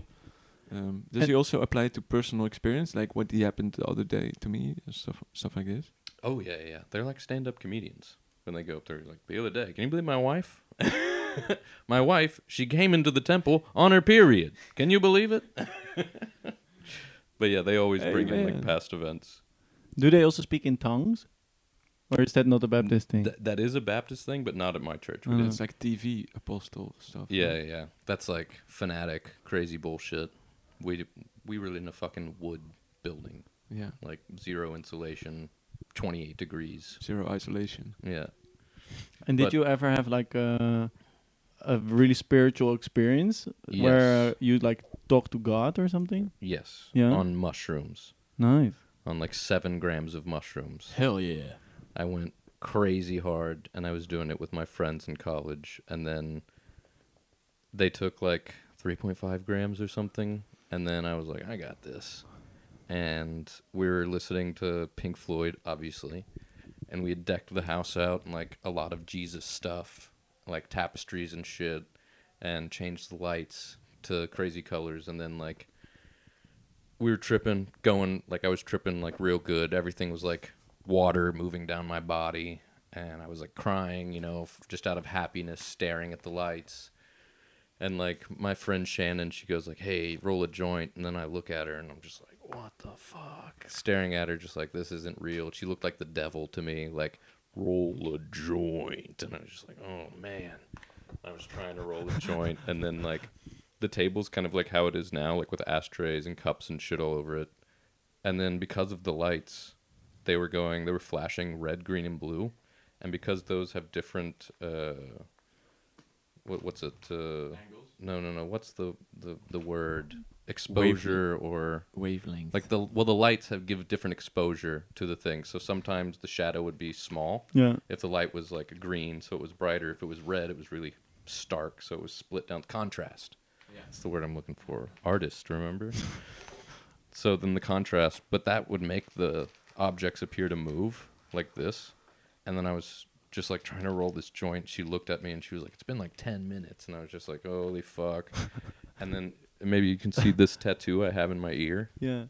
C: Um, does he also apply to personal experience, like what happened the other day to me, and stuff stuff like this?
D: "Oh yeah, yeah, yeah." They're like stand-up comedians. When they go up there, like the other day, can you believe my wife? my wife, she came into the temple on her period. Can you believe it? but yeah, they always bring in like
C: Amen.
D: past events.
A: Do they also speak in tongues, or is that not a Baptist thing?
D: Th- that is a Baptist thing, but not at my church. We
C: But
D: did-
C: It's like TV apostle stuff.
D: Yeah,
C: right?
D: yeah, that's like fanatic, crazy bullshit. We we were in a fucking wood building,
C: yeah.
D: like zero insulation, twenty-eight degrees.
C: Zero isolation.
D: Yeah.
A: and did
D: but-
A: you ever have like a a really spiritual experience where
D: Yes.
A: you like talk to God or something?
D: Yes.
A: Yeah.
D: On mushrooms.
A: Nice.
D: on like seven grams of mushrooms.
F: Hell yeah.
D: I went crazy hard and I was doing it with my friends in college. And then they took like 3.5 grams or something. And then I was like, I got this. And we were listening to Pink Floyd, obviously. And we had decked the house out and like a lot of Jesus stuff, like tapestries and shit, and changed the lights to crazy colors. And then like we were tripping, going like I was tripping like real good. Everything was like water moving down my body, and I was like crying, you know, f- just out of happiness, staring at the lights. And like my friend Shannon, she goes like, "Hey, roll a joint," and then I look at her and I'm just like, "What the fuck?" Staring at her, just like this isn't real. She looked like the devil to me, like roll a joint, and I was just like, "Oh man." I was trying to roll a joint, and then like the table's kind of like how it is now, like with ashtrays and cups and shit all over it. And then because of the lights, they were going, they were flashing red, green, and blue, and because those have different, uh, what what's it? Uh, Angles. No, no, no. What's the the the word? Exposure or
F: Wavelength.
D: like the well, the lights have give different exposure to the thing. So sometimes the shadow would be small,
A: Yeah.
D: if the light was like green, so it was brighter. If it was red, it was really stark, so it was split down. Contrast. Yeah. That's the word I'm looking for. Artist, remember? so then the contrast, but that would make the objects appear to move like this. And then I was just like trying to roll this joint. She looked at me and she was like, It's been like 10 minutes. And I was just like, Holy fuck. and then maybe you can see this tattoo I have in my ear.
A: Yeah.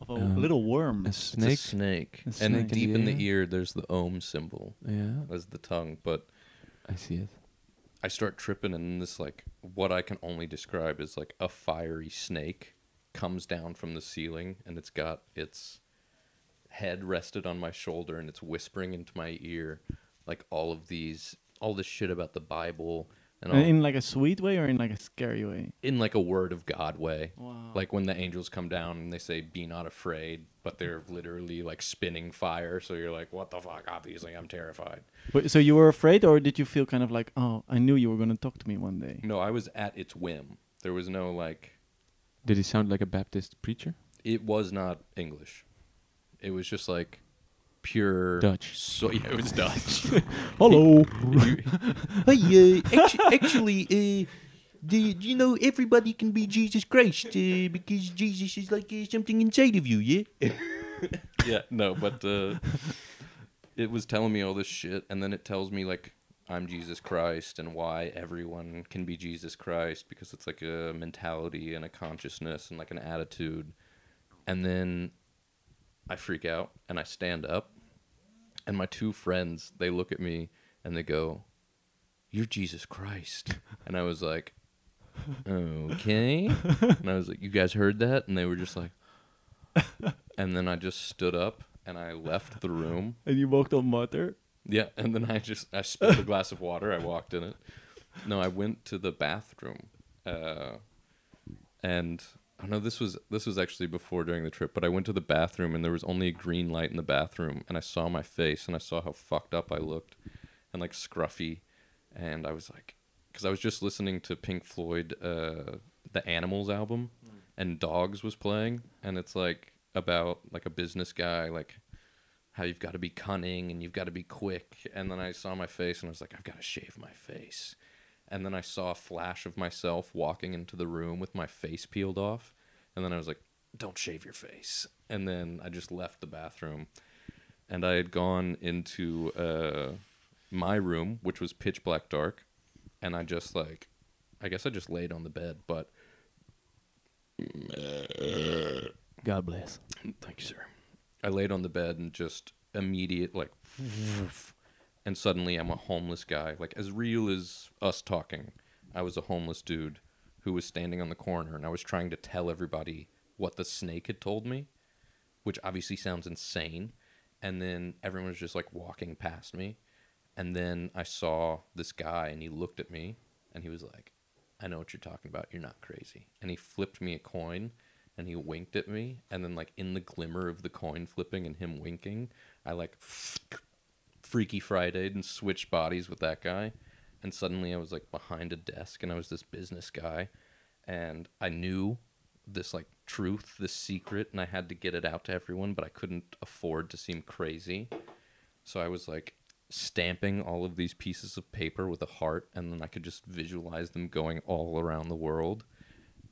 A: Of a little worm.
C: A
D: Um, It's a
C: snake.
D: snake.
C: A
D: and
C: snake in
D: deep
C: the
D: in the
C: ear?
D: ear, there's the ohm symbol
C: Yeah,
D: as the tongue. But
C: I see it.
D: I start tripping, and this like what I can only describe is like a fiery snake comes down from the ceiling, and it's got its head rested on my shoulder and it's whispering into my ear like all of these all this shit about the Bible and all,
A: in like a sweet way or in like a scary way?
D: in like a word of God way.
A: Wow.
D: Like when the angels come down and they say, "Be not afraid," but they're literally like spinning fire. So you're like, "What the fuck?" Obviously, I'm terrified.
A: Wait, so you were afraid, or did you feel kind of like, oh, I knew you were gonna talk to me one day?
D: No, I was at its whim. There was no like.
C: Did he sound like a Baptist preacher?
D: It was not English. It was just like pure
C: Dutch.
D: So yeah, it was Dutch.
A: Hello.
E: Hey, uh, actu- actually, uh, do, do you know everybody can be Jesus Christ uh, because Jesus is like uh, something inside of you, yeah?
D: yeah, no, but uh, it was telling me all this shit, and then it tells me like I'm Jesus Christ and why everyone can be Jesus Christ because it's like a mentality and a consciousness and like an attitude, and then I freak out and I stand up, and my two friends they look at me and they go, "You're Jesus Christ," and I was like. Okay. And I was like, You guys heard that? And they were just like, and then I just stood up and I left the room.
A: and you walked on water.
D: Yeah, and then I just I spilled a glass of water. I walked in it. No, I went to the bathroom, uh, and I know this was this was actually before during the trip, but I went to the bathroom and there was only a green light in the bathroom, and I saw my face and I saw how fucked up I looked, and like scruffy, and I was like, because I was just listening to Pink Floyd, uh, the Animals album, and Dogs was playing, and it's like about like a business guy like how you've got to be cunning and you've got to be quick. And then I saw my face and I was like, I've got to shave my face. And then I saw a flash of myself walking into the room with my face peeled off. And then I was like, don't shave your face. And then I just left the bathroom. And I had gone into uh, my room, which was pitch black dark. And I just like, I guess I just laid on the bed, but
F: God bless.
D: Thank you, sir. I laid on the bed and just immediate like, and suddenly I'm a homeless guy. Like as real as us talking, I was a homeless dude who was standing on the corner, and I was trying to tell everybody what the snake had told me, which obviously sounds insane. And then everyone was just like walking past me, and then I saw this guy, and he looked at me, and he was like, I know what you're talking about. You're not crazy. And he flipped me a coin and he winked at me. And then, like, in the glimmer of the coin flipping and him winking, I, like, Freaky Friday and switched bodies with that guy. And suddenly I was, like, behind a desk and I was this business guy. And I knew this, like, truth, this secret, and I had to get it out to everyone, but I couldn't afford to seem crazy. So I was like stamping all of these pieces of paper with a heart, and then I could just visualize them going all around the world.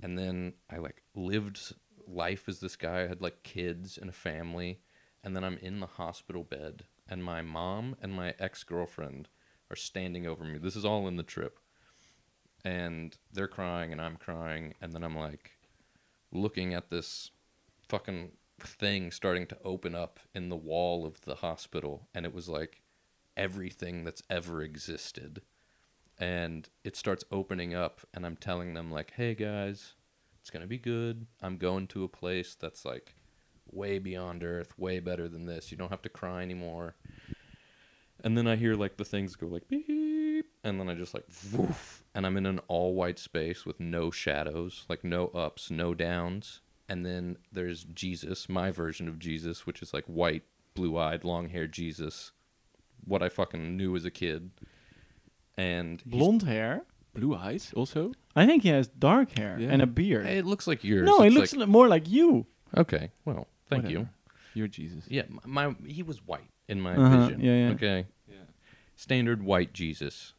D: And then I like lived life as this guy. I had like kids and a family. And then I'm in the hospital bed, and my mom and my ex girlfriend are standing over me. This is all in the trip. And they're crying, and I'm crying. And then I'm like looking at this fucking thing starting to open up in the wall of the hospital and it was like everything that's ever existed and it starts opening up and i'm telling them like hey guys it's going to be good i'm going to a place that's like way beyond earth way better than this you don't have to cry anymore and then I hear like the things go like beep, and then I just like woof, and I'm in an all white space with no shadows, like no ups, no downs. And then there's Jesus, my version of Jesus, which is like white, blue eyed, long haired Jesus, what I fucking knew as a kid. And he's-
A: Blonde hair.
C: Blue eyes also?
A: I think he has dark hair
C: Yeah.
A: and a beard.
D: it looks like yours.
A: no, it
D: It's
A: looks
D: like,
A: li- more like you.
D: okay. Well, thank you.
C: Whatever. You're Jesus.
D: Yeah, m- my he was white in my
A: Uh-huh,
D: vision.
A: yeah, yeah.
D: Okay. Yeah. Standard white Jesus,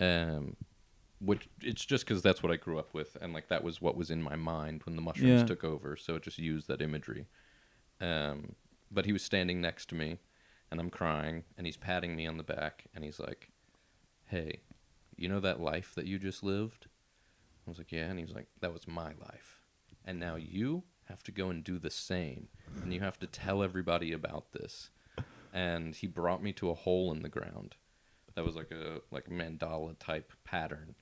D: um, which it's just because that's what I grew up with, and like that was what was in my mind when the mushrooms
A: Yeah.
D: took over. So it just used that imagery. Um, but he was standing next to me, and I'm crying, and he's patting me on the back, and he's like, "Hey, you know that life that you just lived?" I was like, "Yeah," and he was like, "That was my life." and now you have to go and do the same and you have to tell everybody about this and he brought me to a hole in the ground that was like a like mandala type pattern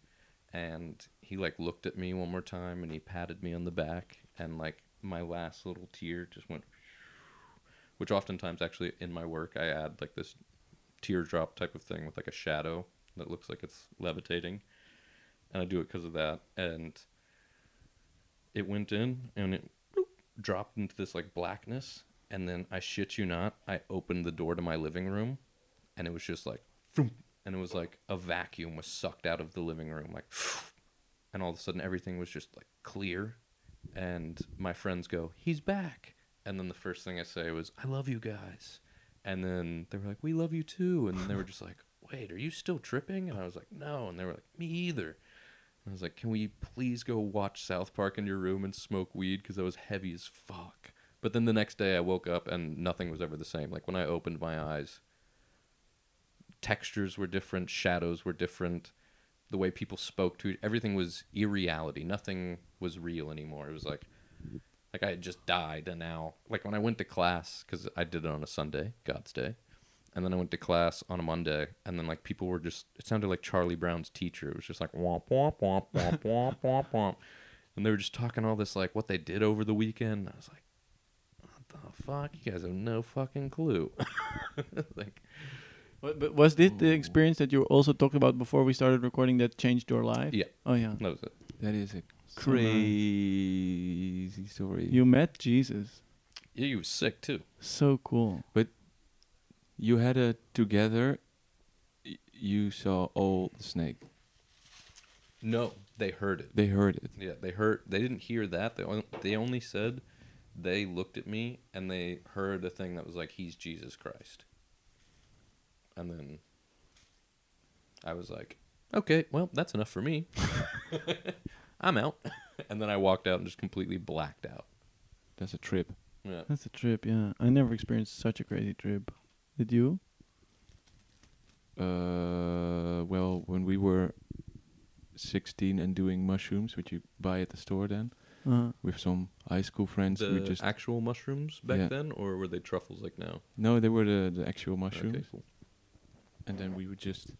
D: and he like looked at me one more time and he patted me on the back and like my last little tear just went which oftentimes actually in my work I add like this teardrop type of thing with like a shadow that looks like it's levitating, and I do it because of that. And it went in and it bloop, dropped into this like blackness, and then I shit you not, I opened the door to my living room, and it was just like, vroom, and it was like a vacuum was sucked out of the living room, like, and all of a sudden everything was just like clear and my friends go, "He's back." And then the first thing I say was, "I love you guys." And then they were like, "We love you too." And then they were just like, "Wait, are you still tripping?" And I was like, "No." And they were like, "Me either." And I was like, "Can we please go watch South Park in your room and smoke weed because I was heavy as fuck." But then the next day I woke up and nothing was ever the same. Like when I opened my eyes, textures were different, shadows were different, the way people spoke to e-, everything was irreality. Nothing was real anymore. It was like like I had just died and now like when I went to class cuz I did it on a Sunday, God's day. And then I went to class on a Monday and then like people were just it sounded like Charlie Brown's teacher. It was just like womp womp womp womp womp womp womp. And they were just talking all this like what they did over the weekend. And I was like what the fuck? You guys have no fucking clue. like
A: But, but was this the experience that you were also talking about before we started recording that changed your life?
D: Yeah.
A: Oh yeah.
D: that was it.
C: That is a
A: So, uh,
C: crazy story.
A: You met Jesus.
D: Yeah, you was sick too.
A: So cool.
C: you had a together. y- You saw all the snake.
D: No, they heard it.
C: They heard it.
D: Yeah, they heard. They didn't hear that. They only, they only said they looked at me and they heard a thing that was like, "He's Jesus Christ." And then I was like, "Okay, well, that's enough for me. I'm out." And then I walked out and just completely blacked out.
C: That's a trip.
D: Yeah.
A: That's a trip. Yeah. I never experienced such a crazy trip. Did you?
C: Uh, well, when we were 16 and doing mushrooms, which you buy at the store then,
A: Uh,
C: with some high school friends,
D: The
C: we just
D: actual mushrooms back
C: Yeah.
D: then, or were they truffles like now?
C: no, they were the, the actual
D: Okay,
C: mushrooms,
D: cool.
C: and then we would just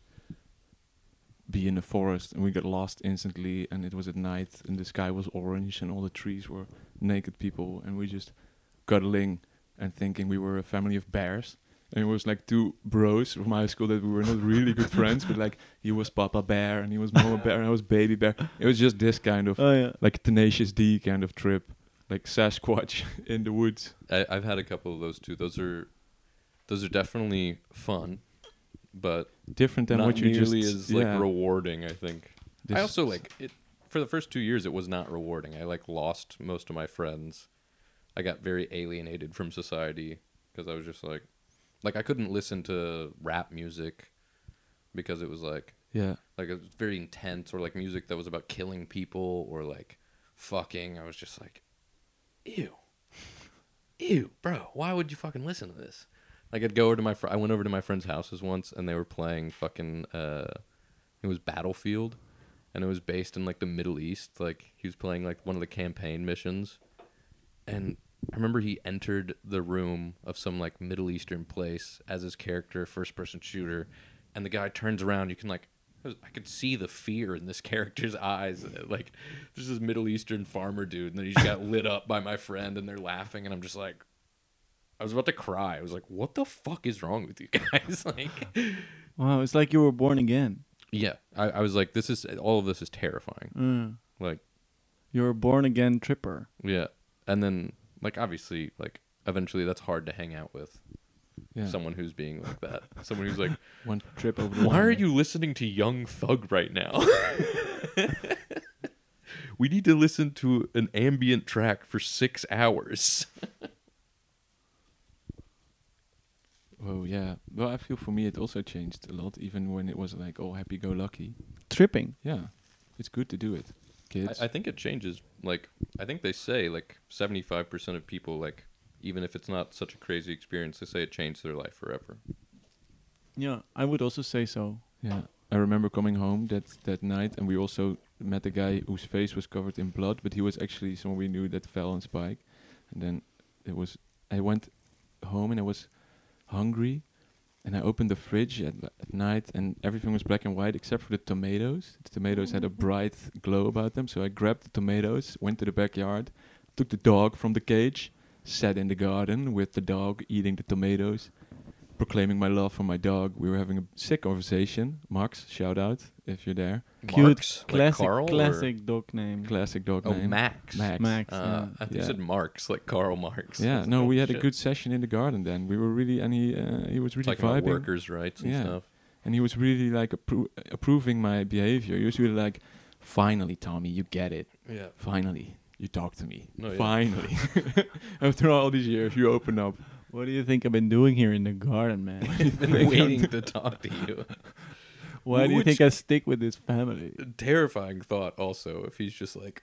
C: be in the forest, and we got lost instantly, and it was at night, and the sky was orange, and all the trees were naked people, and we just cuddling and thinking we were a family of bears. And it was like two bros from high school that we were not really good friends, but like he was Papa Bear and he was Mama Bear and I was Baby Bear. It was just this kind
D: Uh.
C: of
A: oh yeah.
C: like tenacious D kind of trip, like Sasquatch in the woods.
D: I, I've had a couple of those too. Those are, those are definitely fun, but
C: Different than
D: not
C: what you just
D: nearly as like
C: yeah,
D: rewarding. I think.
C: this-
D: I also like it for the first two years. It was not rewarding. I like lost most of my friends. I got very alienated from society because I was just like, like I couldn't listen to rap music because it was like
C: yeah.
D: like it was very intense or like music that was about killing people or like fucking. I was just like, ew, ew, bro. Why would you fucking listen to this? Like I'd go over to my fr- I went over to my friends' houses once and they were playing fucking uh, it was Battlefield, and it was based in like the Middle East. Like he was playing like one of the campaign missions, and I remember he entered the room of some like Middle Eastern place as his character, first person shooter, and the guy turns around. You can like, I could see the fear in this character's eyes. uh, Like, there's this Middle Eastern farmer dude, and then he just got lit up by my friend, and they're laughing, and I'm just like, I was about to cry. I was like, what the fuck is wrong with you guys? like,
A: Wow. It's like you were born again.
D: yeah, I, I was like, this is all of this is terrifying.
A: Mm.
D: Like,
A: You're a born again tripper.
D: yeah, and then like obviously like eventually that's hard to hang out with.
C: Yeah.
D: someone who's being like that. Someone who's like,
C: One trip over the
D: why are
C: wall.
D: you listening to Young Thug right now? we need to listen to an ambient track for six hours.
C: Oh yeah. Well, I feel for me it also changed a lot, even when it was like all happy go lucky.
A: Tripping.
C: Yeah, it's good to do it, kids.
D: I, I think it changes. Like, I think they say like 75% of people, like, even if it's not such a crazy experience, they say it changed their life forever.
A: Yeah. I would also say so.
C: Yeah, I remember coming home that that night, and we also met a guy whose face was covered in blood, but he was actually someone we knew that fell on spike. And then it was I went home and I was hungry, and I opened the fridge at, at night, and everything was black and white except for the tomatoes. The tomatoes had a bright glow about them, so I grabbed the tomatoes, went to the backyard, took the dog from the cage. sat in the garden with the dog eating the tomatoes, proclaiming my love for my dog. We were having a sick conversation. Max, shout out if you're there.
A: Cute,
D: Marks, like
A: classic,
D: Carl, or-
A: classic dog name.
C: Classic dog
E: Oh,
C: name.
E: Max.
C: Max.
A: Max.
D: Uh, I think you
C: Yeah.
D: said Marx, like Karl Marx.
C: Yeah, no,
D: Oh,
C: we had a
D: shit.
C: good session in the garden then. We were really, and he uh, he was really
D: talking about
C: vibing.
D: workers' rights and
C: Yeah.
D: stuff.
C: and he was really like appro- approving my behavior. He was really like, "Finally, Tommy, you get it.
D: Yeah.
C: Finally, you talk to me.
D: No, yeah.
C: Finally, after all these years, you open up."
A: What do you think I've been doing here in the garden, man?
D: Waiting to talk to you.
A: Why do you
D: Which-
A: think I stick with this family?
D: Terrifying thought, also, if he's just like,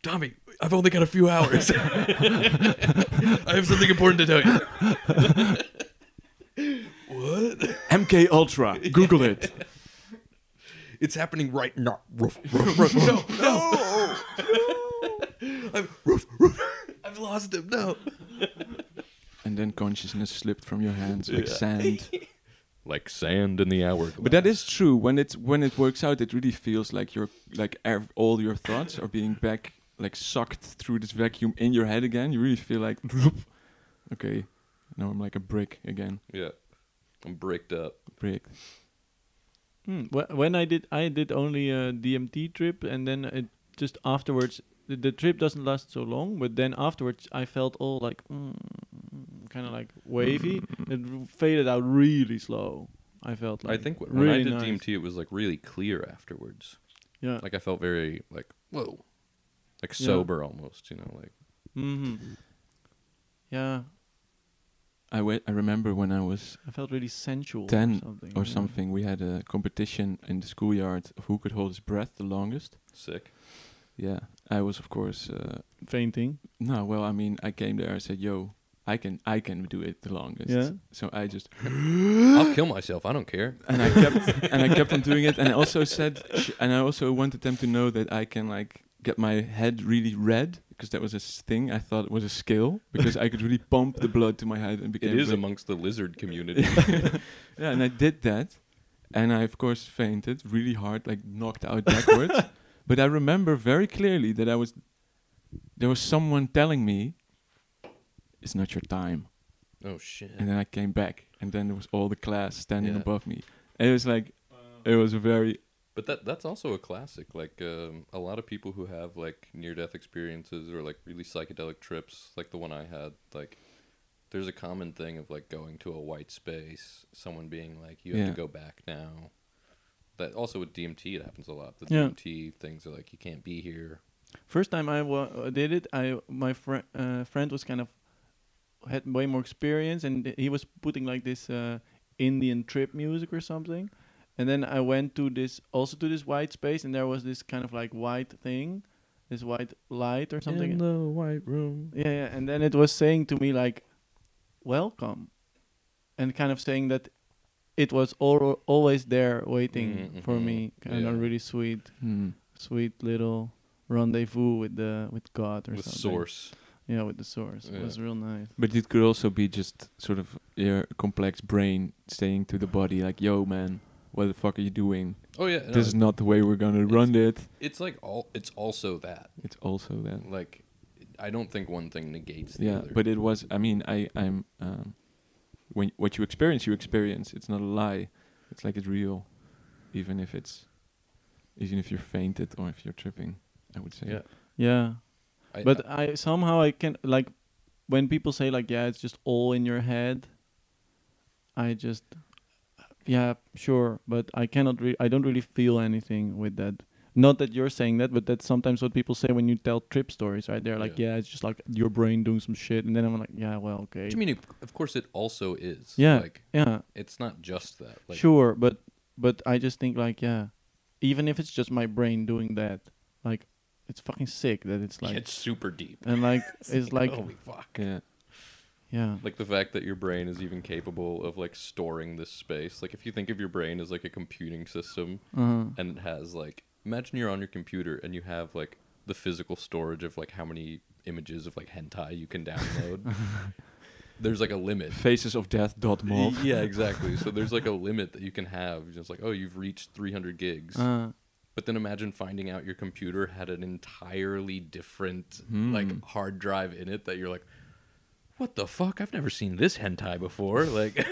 D: Tommy, I've only got a few hours. I have something important to tell you.
C: MK Ultra, Google it.
D: It's happening right now. Roof, roof, roof. no, no. I've, roof, roof. I've lost him. No.
C: And then consciousness slipped from your hands like sand.
D: Like sand in the hourglass.
C: But that is true. When it's when it works out, it really feels like your like ev- all your thoughts are being back like sucked through this vacuum in your head again. You really feel like, okay, now I'm like a brick again.
D: Yeah. I'm bricked up.
C: Brick.
A: Hmm. wh- When I did, I did only a DMT trip, and then it just afterwards, the, the trip doesn't last so long. But then afterwards, I felt all like mm, kind of like wavy. It r- faded out really slow. I felt.
D: Mm-hmm. I
A: Like
D: think when I
A: really
D: did
A: nice.
D: DMT, it was like really clear afterwards.
A: yeah.
D: Like I felt very like whoa, like sober almost. You know, like
A: hmm Yeah,
C: I wa- I remember when I was
A: I felt really sensual. or
C: Ten
A: something.
C: or
A: yeah.
C: something. We had a competition in the schoolyard of who could hold his breath the longest.
D: sick.
C: Yeah, I was of course. Uh,
A: Fainting.
C: no, well, I mean, I came there. I said, "Yo, I can, I can do it the longest."
A: Yeah.
C: So I just
D: I'll kill myself. I don't care.
C: and I kept and I kept on doing it. And I also said, sh- and I also wanted them to know that I can like get my head really red because that was a s- thing I thought was a skill because I could really pump the blood to my head and
D: It
C: became
D: is
C: red.
D: amongst the lizard community.
C: Yeah, and I did that, and I of course fainted really hard, like knocked out backwards. but I remember very clearly that I was there was someone telling me, "It's not your time."
D: oh shit!
C: And then I came back, and then there was all the class standing
D: Yeah.
C: above me. And it was like, it was a very
D: But that that's also a classic. Like um, a lot of people who have like near death experiences or like really psychedelic trips, like the one I had, like. There's a common thing of like going to a white space, someone being like, "You have
C: Yeah.
D: to go back now." That also with DMT, it happens a lot. The
A: Yeah.
D: DMT things are like, "You can't be here."
A: First time I wa- uh, did it, I my fri uh, friend was kind of had way more experience, and he was putting like this uh, Indian trip music or something. And then I went to this also to this white space, and there was this kind of like white thing, this white light or something.
D: the white room.
A: Yeah, yeah. And then it was saying to me like, "Welcome," and kind of saying that it was al- always there waiting
D: Mm,
A: for
D: mhm.
A: me. Kind of
D: Yeah.
A: really sweet
C: hmm,
A: sweet little rendezvous with the with God or
D: With
A: something.
D: source.
A: Yeah, with the source. It
D: Yeah.
A: was real nice.
C: but it could also be just sort of your complex brain saying to the body, like, "Yo, man, what the fuck are you doing?
D: Oh yeah, no,
C: this is not the way we're gonna run it."
D: it's like all. It's also that.
C: It's also that.
D: Like, I don't think one thing negates the
C: yeah
D: other.
C: but it was i mean i i'm um when what you experience you experience it's not a lie it's like it's real even if it's even if you're fainted or if you're tripping i would say
D: Yeah.
A: Yeah,
D: I,
A: but I somehow I can like when people say like yeah it's just all in your head. I just yeah sure, but I cannot. Re- I don't really feel anything with that. Not that you're saying that, but that's sometimes what people say when you tell trip stories, right? They're like, yeah,
D: Yeah.
A: it's just like your brain doing some shit, and then I'm like, yeah, well, okay,
D: I mean, it- of course, it also is.
A: yeah,
D: Like,
A: yeah.
D: it's not just that. Like,
A: sure, but but I just think like yeah, even if it's just my brain doing that, like it's fucking sick that it's like
G: it's super deep.
A: and like it's like
G: Holy fuck.
C: yeah
A: yeah
D: Like the fact that your brain is even capable of like storing this space. Like, if you think of your brain as like a computing system,
A: uh-huh.
D: and it has like, imagine you're on your computer and you have like the physical storage of like how many images of like hentai you can download. There's like a limit.
C: faces of death dot mov
D: Yeah, exactly. So there's like a limit that you can have. Just like, oh, you've reached 300 gigs.
A: uh,
D: But then imagine finding out your computer had an entirely different like hard drive in it that you're like,
E: what the fuck? I've never seen this hentai before. Like,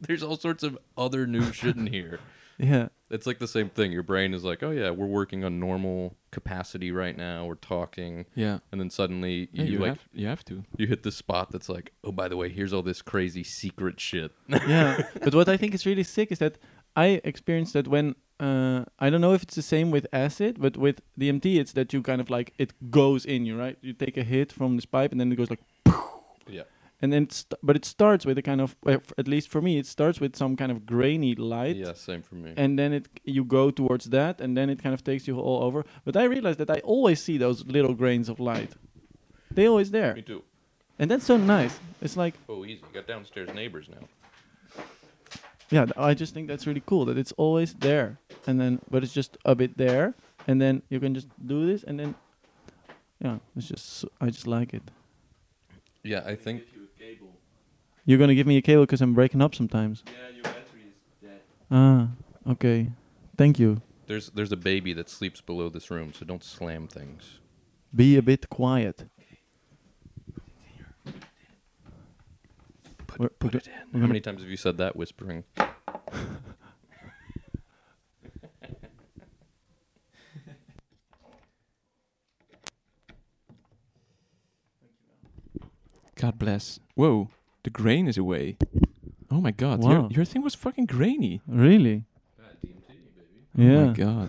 E: there's all sorts of other new shit in here.
A: Yeah.
D: It's like the same thing. Your brain is like, oh yeah, we're working on normal capacity right now. We're talking,
C: Yeah.
D: and then suddenly
C: Yeah,
D: you,
C: you,
D: like
C: have, you have to.
D: you hit this spot that's like, oh by the way, here's all this crazy secret shit.
A: yeah. But what I think is really sick is that I experienced that when uh, I don't know if it's the same with acid, but with DMT, it's that you kind of like it goes in you, right? You take a hit from this pipe, and then it goes like,
D: yeah,
A: and then it's, but it starts with a kind of, well, f- at least for me, it starts with some kind of grainy light,
D: yeah, same for me.
A: and then it you go towards that, and then it kind of takes you all over. But I realized that I always see those little grains of light; they always there,
D: me too.
A: and that's so nice. It's like
D: Oh, easy. You got downstairs neighbors now.
A: yeah th- i just think that's really cool that it's always there and then but it's just a bit there and then you can just do this and then yeah it's just s I i just like it
D: Yeah, I think.
A: you're gonna give me a cable because i'm breaking up sometimes ah okay thank you
D: There's there's a baby that sleeps below this room, so don't slam things.
A: be a bit quiet We're- we're go-
D: How many times have you said that whispering?
C: God bless. Whoa, the grain is away. Oh my god, your,
A: Wow.
C: your thing was fucking grainy.
A: really
C: Oh
A: yeah
C: my god.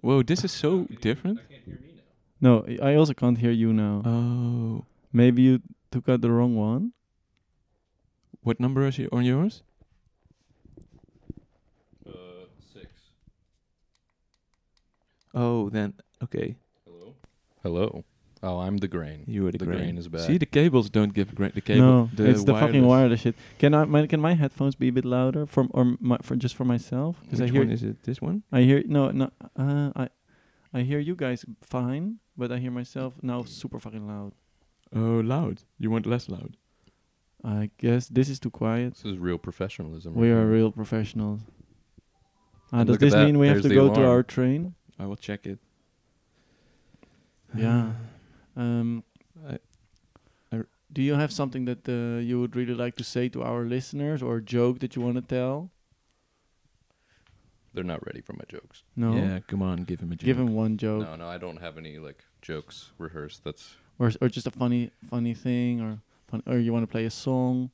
C: Whoa, this is so different.
A: no I- i also can't hear you now
C: Oh,
A: maybe you took out the wrong one
C: what number is it on yours?
D: Uh, six.
C: Oh, then okay,
D: Hello. Hello. Oh, I'm the grain.
C: you were the,
D: The grain is bad.
C: See, the cables don't give gra- the cable.
A: no
C: the
A: it's the fucking
C: wireless.
A: wireless shit can i my, can my headphones be a bit louder from or my, for just for myself because i
C: Which
A: hear
C: one is it? This one?
A: I hear no, no. Uh, I, I hear you guys fine, but I hear myself now super fucking loud.
C: Oh, loud. You want less loud?
A: I guess this is too quiet.
D: This is real professionalism.
A: We
D: right
A: are
D: here.
A: real professionals. Ah,
D: And
A: does
D: look at
A: this
D: that,
A: mean we have to
D: there's the
A: go to
D: alarm.
A: our train?
C: I will check it.
A: yeah. Um.
C: I-
A: do you have something that uh, you would really like to say to our listeners, or a joke that you want to tell?
D: They're not ready for my jokes.
A: No.
C: Yeah, come on, give him a joke.
A: Give him one joke,
D: No, no, I don't have any like jokes rehearsed. That's
A: or or just a funny funny thing, or fun, or you want to play a song?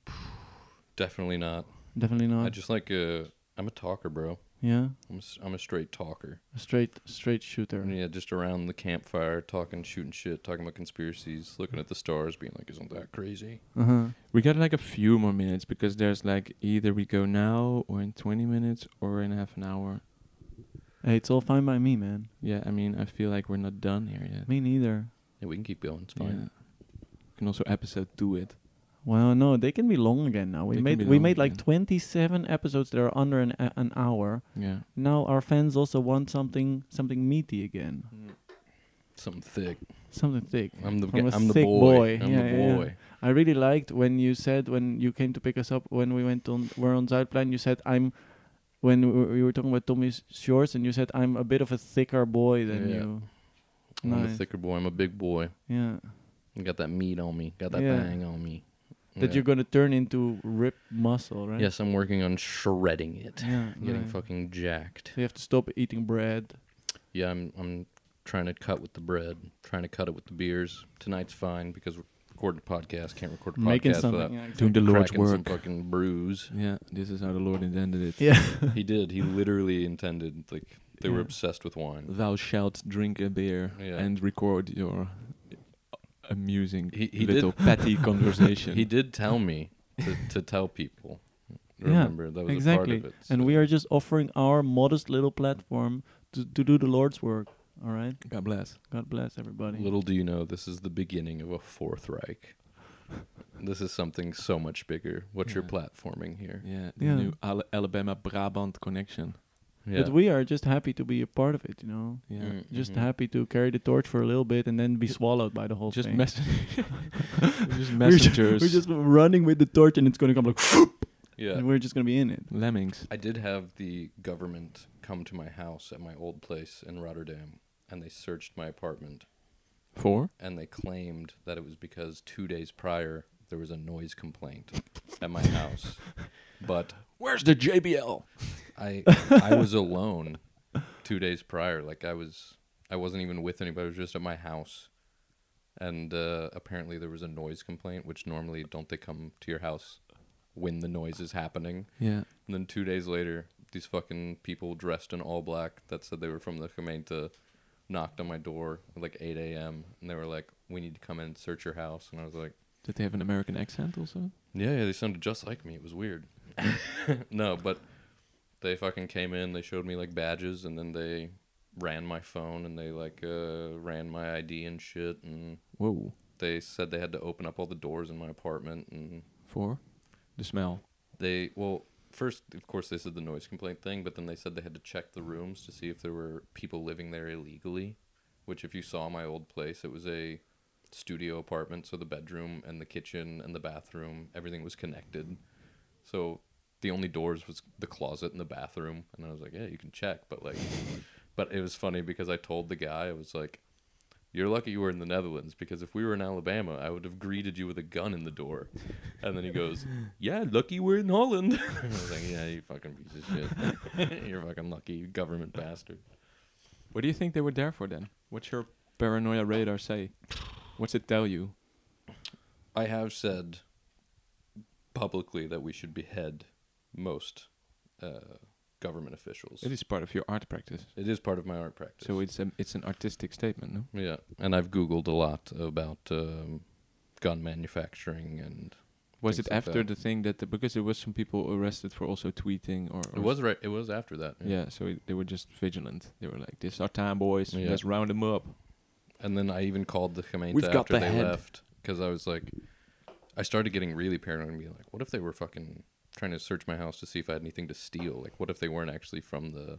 D: definitely not.
A: Definitely not.
D: I just like uh, I'm a talker, bro.
A: yeah,
D: I'm a, s- I'm a straight talker.
A: a straight straight shooter.
D: And yeah, just around the campfire, talking, shooting shit, talking about conspiracies, looking at the stars, being like, "Isn't that crazy?"
A: Uh huh.
C: We got like a few more minutes because there's like either we go now or in 20 minutes or in half an hour.
A: Hey, it's all fine by me, man.
C: Yeah, I mean, I feel like we're not done here yet.
A: Me neither.
D: Yeah, we can keep going. It's
C: Yeah.
D: fine.
C: We can also episode two it.
A: Well, no, they can be long again now. We
C: They can
A: made
C: be
A: we
C: long
A: made like
C: again.
A: 27 episodes that are under an a an hour.
C: Yeah.
A: Now our fans also want something something meaty again,
D: Something thick.
A: something thick.
D: Mm-hmm. I'm the
A: From
D: ga-
A: a
D: I'm the
A: thick
D: boy.
A: boy.
D: I'm
A: Yeah,
D: the
A: yeah, yeah.
D: boy.
A: I really liked when you said when you came to pick us up when we went on we're on Zuidplein. You said I'm when we were, we were talking about Tommy's shorts, and you said I'm a bit of a thicker boy than
D: Yeah.
A: you.
D: I'm a
A: Nice.
D: thicker boy. I'm a big boy.
A: Yeah,
D: I got that meat on me. Got that
A: Yeah.
D: thing on me.
A: that
D: Yeah.
A: you're gonna turn into ripped muscle, right?
D: Yes, I'm working on shredding it.
A: Yeah.
D: Getting
A: right.
D: fucking jacked.
A: So you have to stop eating bread.
D: Yeah, I'm I'm trying to cut with the bread, trying to cut it with the beers. Tonight's fine because we're recording a podcast, can't record a
A: making
D: podcast without
A: something. Yeah,
C: Doing the Lord's
D: cracking some
C: work.
D: fucking brews.
C: Yeah, this is how the Lord intended it.
D: he did. He literally intended like they were
A: Yeah.
D: obsessed with wine.
C: Thou shalt drink a beer
D: Yeah.
C: and record your amusing
D: He- he
C: little petty conversation.
D: He did tell me to, to tell people.
A: Yeah,
D: Remember that was
A: exactly.
D: a part of it.
A: And we are just offering our modest little platform to, to do the Lord's work. All right.
C: God bless.
A: God bless everybody.
D: little do you know this is the beginning of a fourth Reich. this is something so much bigger. What's your
C: Yeah.
D: platforming here?
C: Yeah, the
A: Yeah.
C: new Al- Alabama Brabant connection.
D: Yeah.
A: But we are just happy to be a part of it, you know.
C: Yeah.
D: Mm,
A: Just
D: mhm.
A: happy to carry the torch for a little bit and then be swallowed by the whole
C: Just,
A: thing.
C: mess- just
A: We're ju-
C: messengers.
A: We're just running with the torch and it's going to come like,
D: Yeah.
A: and we're just going to be in it.
C: lemmings.
D: I did have the government come to my house at my old place in Rotterdam and they searched my apartment
C: Four?
D: and they claimed that it was because 2 days prior there was a noise complaint at my house, but
F: Where's the JBL?
D: I I was alone two days prior. Like I was I wasn't even with anybody. I was just at my house, and uh, apparently there was a noise complaint. Which normally don't they come to your house when the noise is happening?
C: Yeah.
D: And then two days later, these fucking people dressed in all black that said they were from the Gemeente knocked on my door at like 8 a.m. and they were like, "We need to come in and search your house." And I was like.
C: Did they have an American accent also?
D: Yeah, yeah, they sounded just like me. It was weird. no, but they fucking came in. They showed me like badges, and then they ran my phone and they like uh, ran my ID and shit. And
C: Whoa.
D: they said they had to open up all the doors in my apartment. And
C: For the smell.
D: they, well, first of course they said the noise complaint thing, but then they said they had to check the rooms to see if there were people living there illegally. Which, if you saw my old place, it was a studio apartment, so the bedroom and the kitchen and the bathroom, everything was connected. So the only doors was the closet and the bathroom, and I was like, "Yeah, you can check," but like, but it was funny because I told the guy, I was like, "You're lucky you were in the Netherlands because if we were in Alabama, I would have greeted you with a gun in the door." And then he goes, "Yeah, lucky we're in Holland." I was like, "Yeah, you fucking piece of shit. You're fucking lucky, you government bastard."
C: What do you think they were there for then? What's your paranoia radar say? What's it tell you?
D: I have said publicly that we should behead most uh, government officials.
C: It is part of your art practice.
D: It is part of my art practice.
C: So it's a, it's an artistic statement, no?
D: Yeah, and I've Googled a lot about um, gun manufacturing, and
C: Was
D: Things
C: it
D: like
C: after
D: that.
C: the thing that the, because there was some people arrested for also tweeting or, or
D: it was right. It was after that.
C: yeah, so it, they were just vigilant. They were like, "This is our time, boys.
D: Yeah.
C: Let's round them up."
D: and then I even called the Gemeente
F: We've got
D: after
F: the
D: they
F: head.
D: left because I was like, I started getting really paranoid and being like, what if they were fucking trying to search my house to see if I had anything to steal? Like, what if they weren't actually from the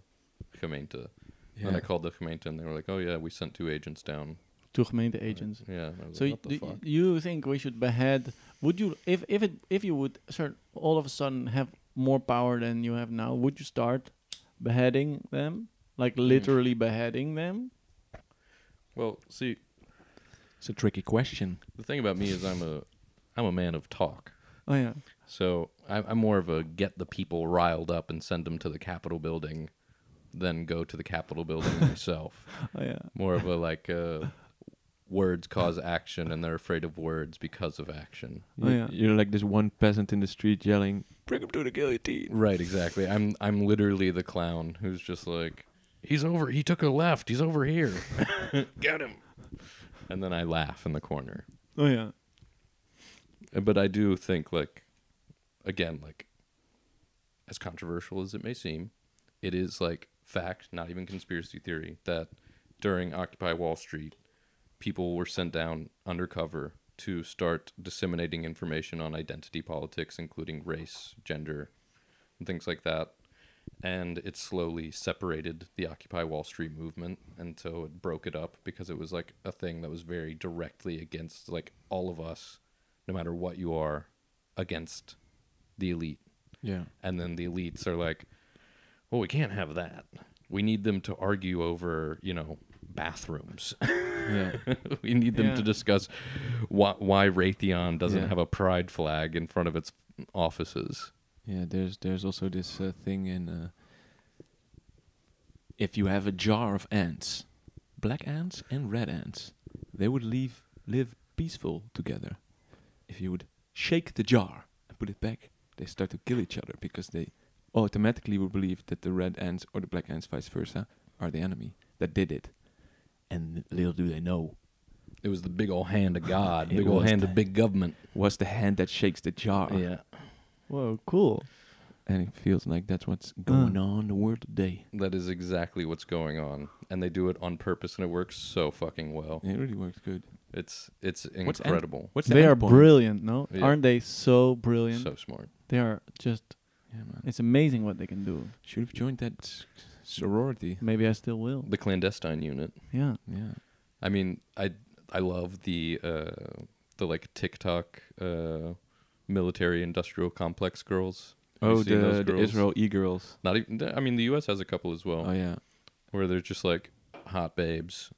D: Gemeente? And then
C: Yeah.
D: I called the Gemeente, and they were like, oh yeah, we sent two agents down.
A: to gemeente agents.
D: Yeah, and I was
A: So
D: like,
A: y do
D: what the fuck?
A: you think we should behead? Would you if if it if you would start all of a sudden have more power than you have now? Would you start beheading them, like
D: Hmm.
A: literally beheading them?
D: Well, see,
C: It's a tricky question.
D: the thing about me is I'm a, I'm a man of talk.
A: Oh yeah,
D: So I, I'm more of a get the people riled up and send them to the Capitol building, than go to the Capitol building myself.
A: oh yeah.
D: More of a like uh, words cause action, and they're afraid of words because of action.
A: Oh,
C: You-
A: yeah.
C: You're like this one peasant in the street yelling,
F: Bring him to the guillotine.
D: Right, exactly. I'm I'm literally the clown who's just like, he's over. He took a left. He's over here.
G: Get him.
D: And then I laugh in the corner.
A: Oh yeah.
D: Uh, But I do think like, again, like, as controversial as it may seem, it is like fact, not even conspiracy theory, that during Occupy Wall Street, people were sent down undercover to start disseminating information on identity politics, including race, gender, and things like that. And it slowly separated the Occupy Wall Street movement, and so it broke it up because it was like a thing that was very directly against like all of us, no matter what you are, against the elite
C: "Yeah,
D: and then the elites are like, "Well, we can't have that. We need them to argue over, you know, bathrooms.
C: yeah."
D: we need them to
A: Yeah.
D: discuss why, why Raytheon doesn't
C: Yeah.
D: have a pride flag in front of its offices."
C: Yeah, there's there's also this uh, thing in uh, if you have a jar of ants, black ants and red ants, they would leave live peaceful together. If you would shake the jar and put it back, they start to kill each other because they automatically will believe that the red ants or the black ants, vice versa, are the enemy that did it.
F: And little do they know.
D: It was the big old hand of God,
F: It
D: big old
F: was
D: hand
F: that.
D: of big government.
C: Was the hand that shakes the jar,
D: Yeah,
A: Whoa, cool.
C: and it feels like that's what's going
F: Going on the world today.
D: that is exactly what's going on, and they do it on purpose, and it works so fucking well.
C: on. It really works good.
D: It's it's
C: What's end-
D: incredible.
C: What's the
A: They
C: end
A: are
C: point?
A: brilliant, no?
D: Yeah.
A: Aren't they so brilliant?
D: So smart.
A: They are just.
C: Yeah, man.
A: It's amazing what they can do.
C: Should have joined that s- sorority.
A: Maybe I still will.
D: The clandestine unit.
A: Yeah.
C: Yeah.
D: I mean, I I love the uh, the like TikTok uh, military industrial complex girls. Have you
C: Oh,
D: seen those
C: the, the
D: girls?
C: Israel Oh, e girls.
D: Not even. I mean, the U.S. has a couple as well,
C: Oh yeah.
D: where they're just like hot babes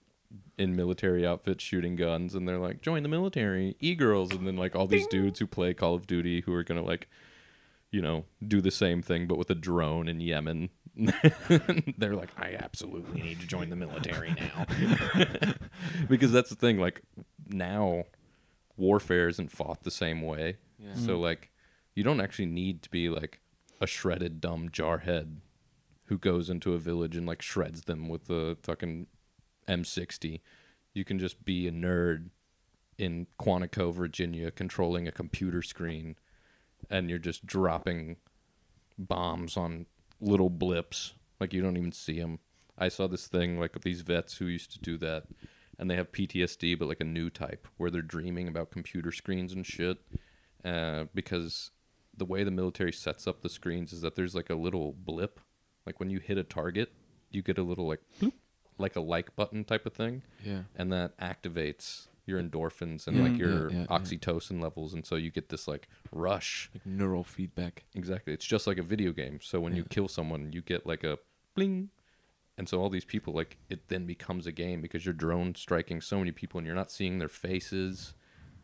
D: in military outfits shooting guns and they're like join the military e-girls and then like all these dudes who play call of duty who are gonna like you know do the same thing but with a drone in yemen they're like i absolutely need to join the military now because that's the thing like now warfare isn't fought the same way so like you don't actually need to be like a shredded dumb jarhead who goes into a village and like shreds them with the fucking M60. You can just be a nerd in Quantico, Virginia, controlling a computer screen, and you're just dropping bombs on little blips. Like you don't even see them. I saw this thing like these vets who used to do that, and they have PTSD, but like a new type where they're dreaming about computer screens and shit, uh, because the way the military sets up the screens is that there's like a little blip, like when you hit a target, you get a little like bloop, like a like button type of thing,
C: Yeah.
D: and that activates your endorphins and
C: Yeah,
D: like
C: yeah,
D: your
C: yeah, yeah.
D: oxytocin levels, and so you get this like rush.
C: Like neural feedback.
D: Exactly. It's just like a video game. So when you kill someone, you get like a bling. And so all these people, like, it then becomes a game because you're drone striking so many people and you're not seeing their faces.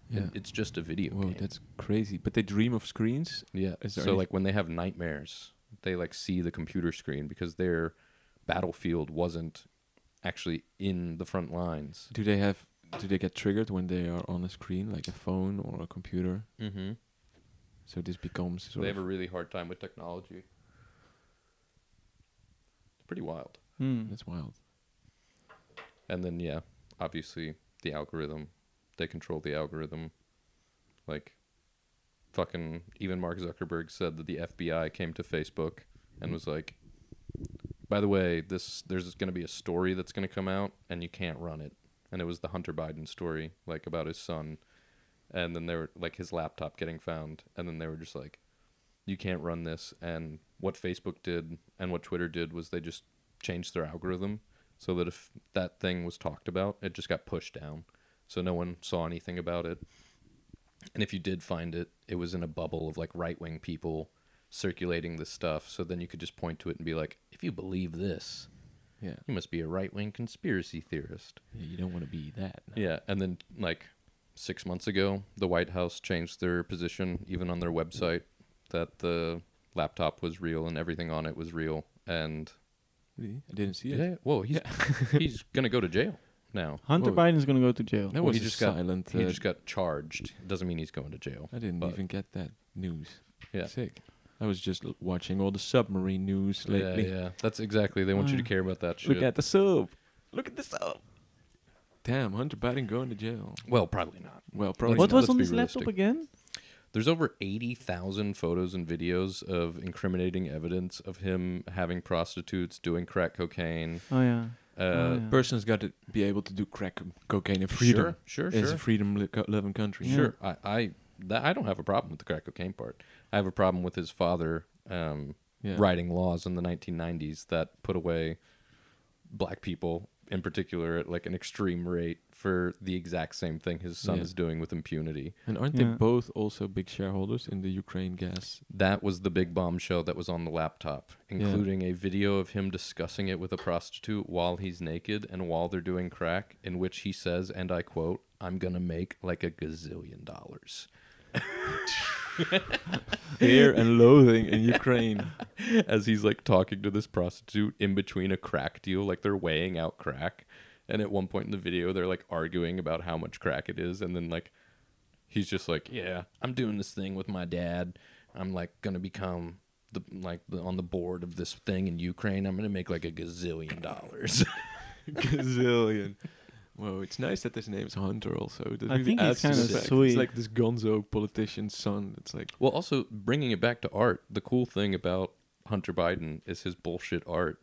C: Yeah.
D: It, it's just a video
C: Whoa,
D: game.
C: that's crazy. But they dream of screens.
D: yeah.
C: Is
D: So,
C: there any-
D: like, when they have nightmares, they, like, see the computer screen because their battlefield wasn't actually in the front lines.
C: Do they have? Do they get triggered when they are on a screen, like a phone or a computer?
D: Mm-hmm.
C: So this becomes sort
D: They
C: of
D: have a really hard time with technology. It's pretty wild.
A: Hmm.
C: that's wild.
D: And then yeah, obviously the algorithm. They control the algorithm. Like fucking even Mark Zuckerberg said that the FBI came to Facebook and was like by the way, this there's going to be a story that's going to come out and you can't run it. And it was the Hunter Biden story like about his son and then they were like his laptop getting found and then they were just like you can't run this and what facebook did and what twitter did was they just changed their algorithm so that if that thing was talked about it just got pushed down so no one saw anything about it and if you did find it it was in a bubble of like right-wing people circulating this stuff so then you could just point to it and be like if you believe this
C: Yeah.
D: you must be a right-wing conspiracy theorist
C: yeah you don't want to be that.
D: yeah, and then like six months ago, the White House changed their position, even on their website, that the laptop was real and everything on it was real. And
C: Really? I didn't see it.
D: yeah, whoa, he's he's gonna go to jail now.
A: Hunter
C: Whoa.
A: Biden's gonna go to jail.
C: That
D: Well,
C: was
D: he
C: a
D: just got-
C: silent.
D: He
C: uh,
D: just got charged. Doesn't mean he's going to jail.
C: I didn't
D: but-
C: even get that news.
D: Yeah.
C: Sick. I was just l- watching all the submarine news lately.
D: Yeah, yeah, that's exactly. They want you to care about that shit.
A: Look at the soap.
C: Damn, Hunter Biden going to jail.
D: well, probably not.
C: Well, probably.
A: What
D: not-
A: was
D: let's
A: on
D: be
A: this laptop
D: realistic.
A: again?
D: There's over 80,000 photos and videos of incriminating evidence of him having prostitutes, doing crack cocaine.
A: Oh yeah.
D: Uh,
A: Oh, yeah.
C: Person's got to be able to do crack and cocaine in freedom.
D: Sure, sure,
C: It's
D: sure.
C: a freedom li- co- loving country.
D: Sure, I, I that I don't have a problem with the crack cocaine part. I have a problem with his father um,
C: Yeah.
D: writing laws in the 1990s that put away black people, in particular, at like an extreme rate for the exact same thing his son
C: Yeah.
D: is doing with impunity.
C: And aren't they
A: Yeah.
C: both also big shareholders in the Ukraine gas?
D: That was the big bombshell that was on the laptop, including a video of him discussing it with a prostitute while he's naked and while they're doing crack, in which he says, and I quote, "I'm gonna make like a gazillion dollars."
C: Fear and loathing in Ukraine.
D: as he's like talking to this prostitute in between a crack deal, like they're weighing out crack. And at one point in the video, they're like arguing about how much crack it is. And then, like, he's just like, Yeah, I'm doing this thing with my dad. I'm like going to become the like the, on the board of this thing in Ukraine. I'm going to make like a gazillion dollars.
C: Gazillion. Whoa, it's nice that his name's Hunter also. That
A: I
C: really
A: think he's
C: adds to
A: kinda
C: the fact.
A: sweet.
C: It's like this gonzo politician's son. It's like,
D: well, also bringing it back to art, the cool thing about Hunter Biden is his bullshit art.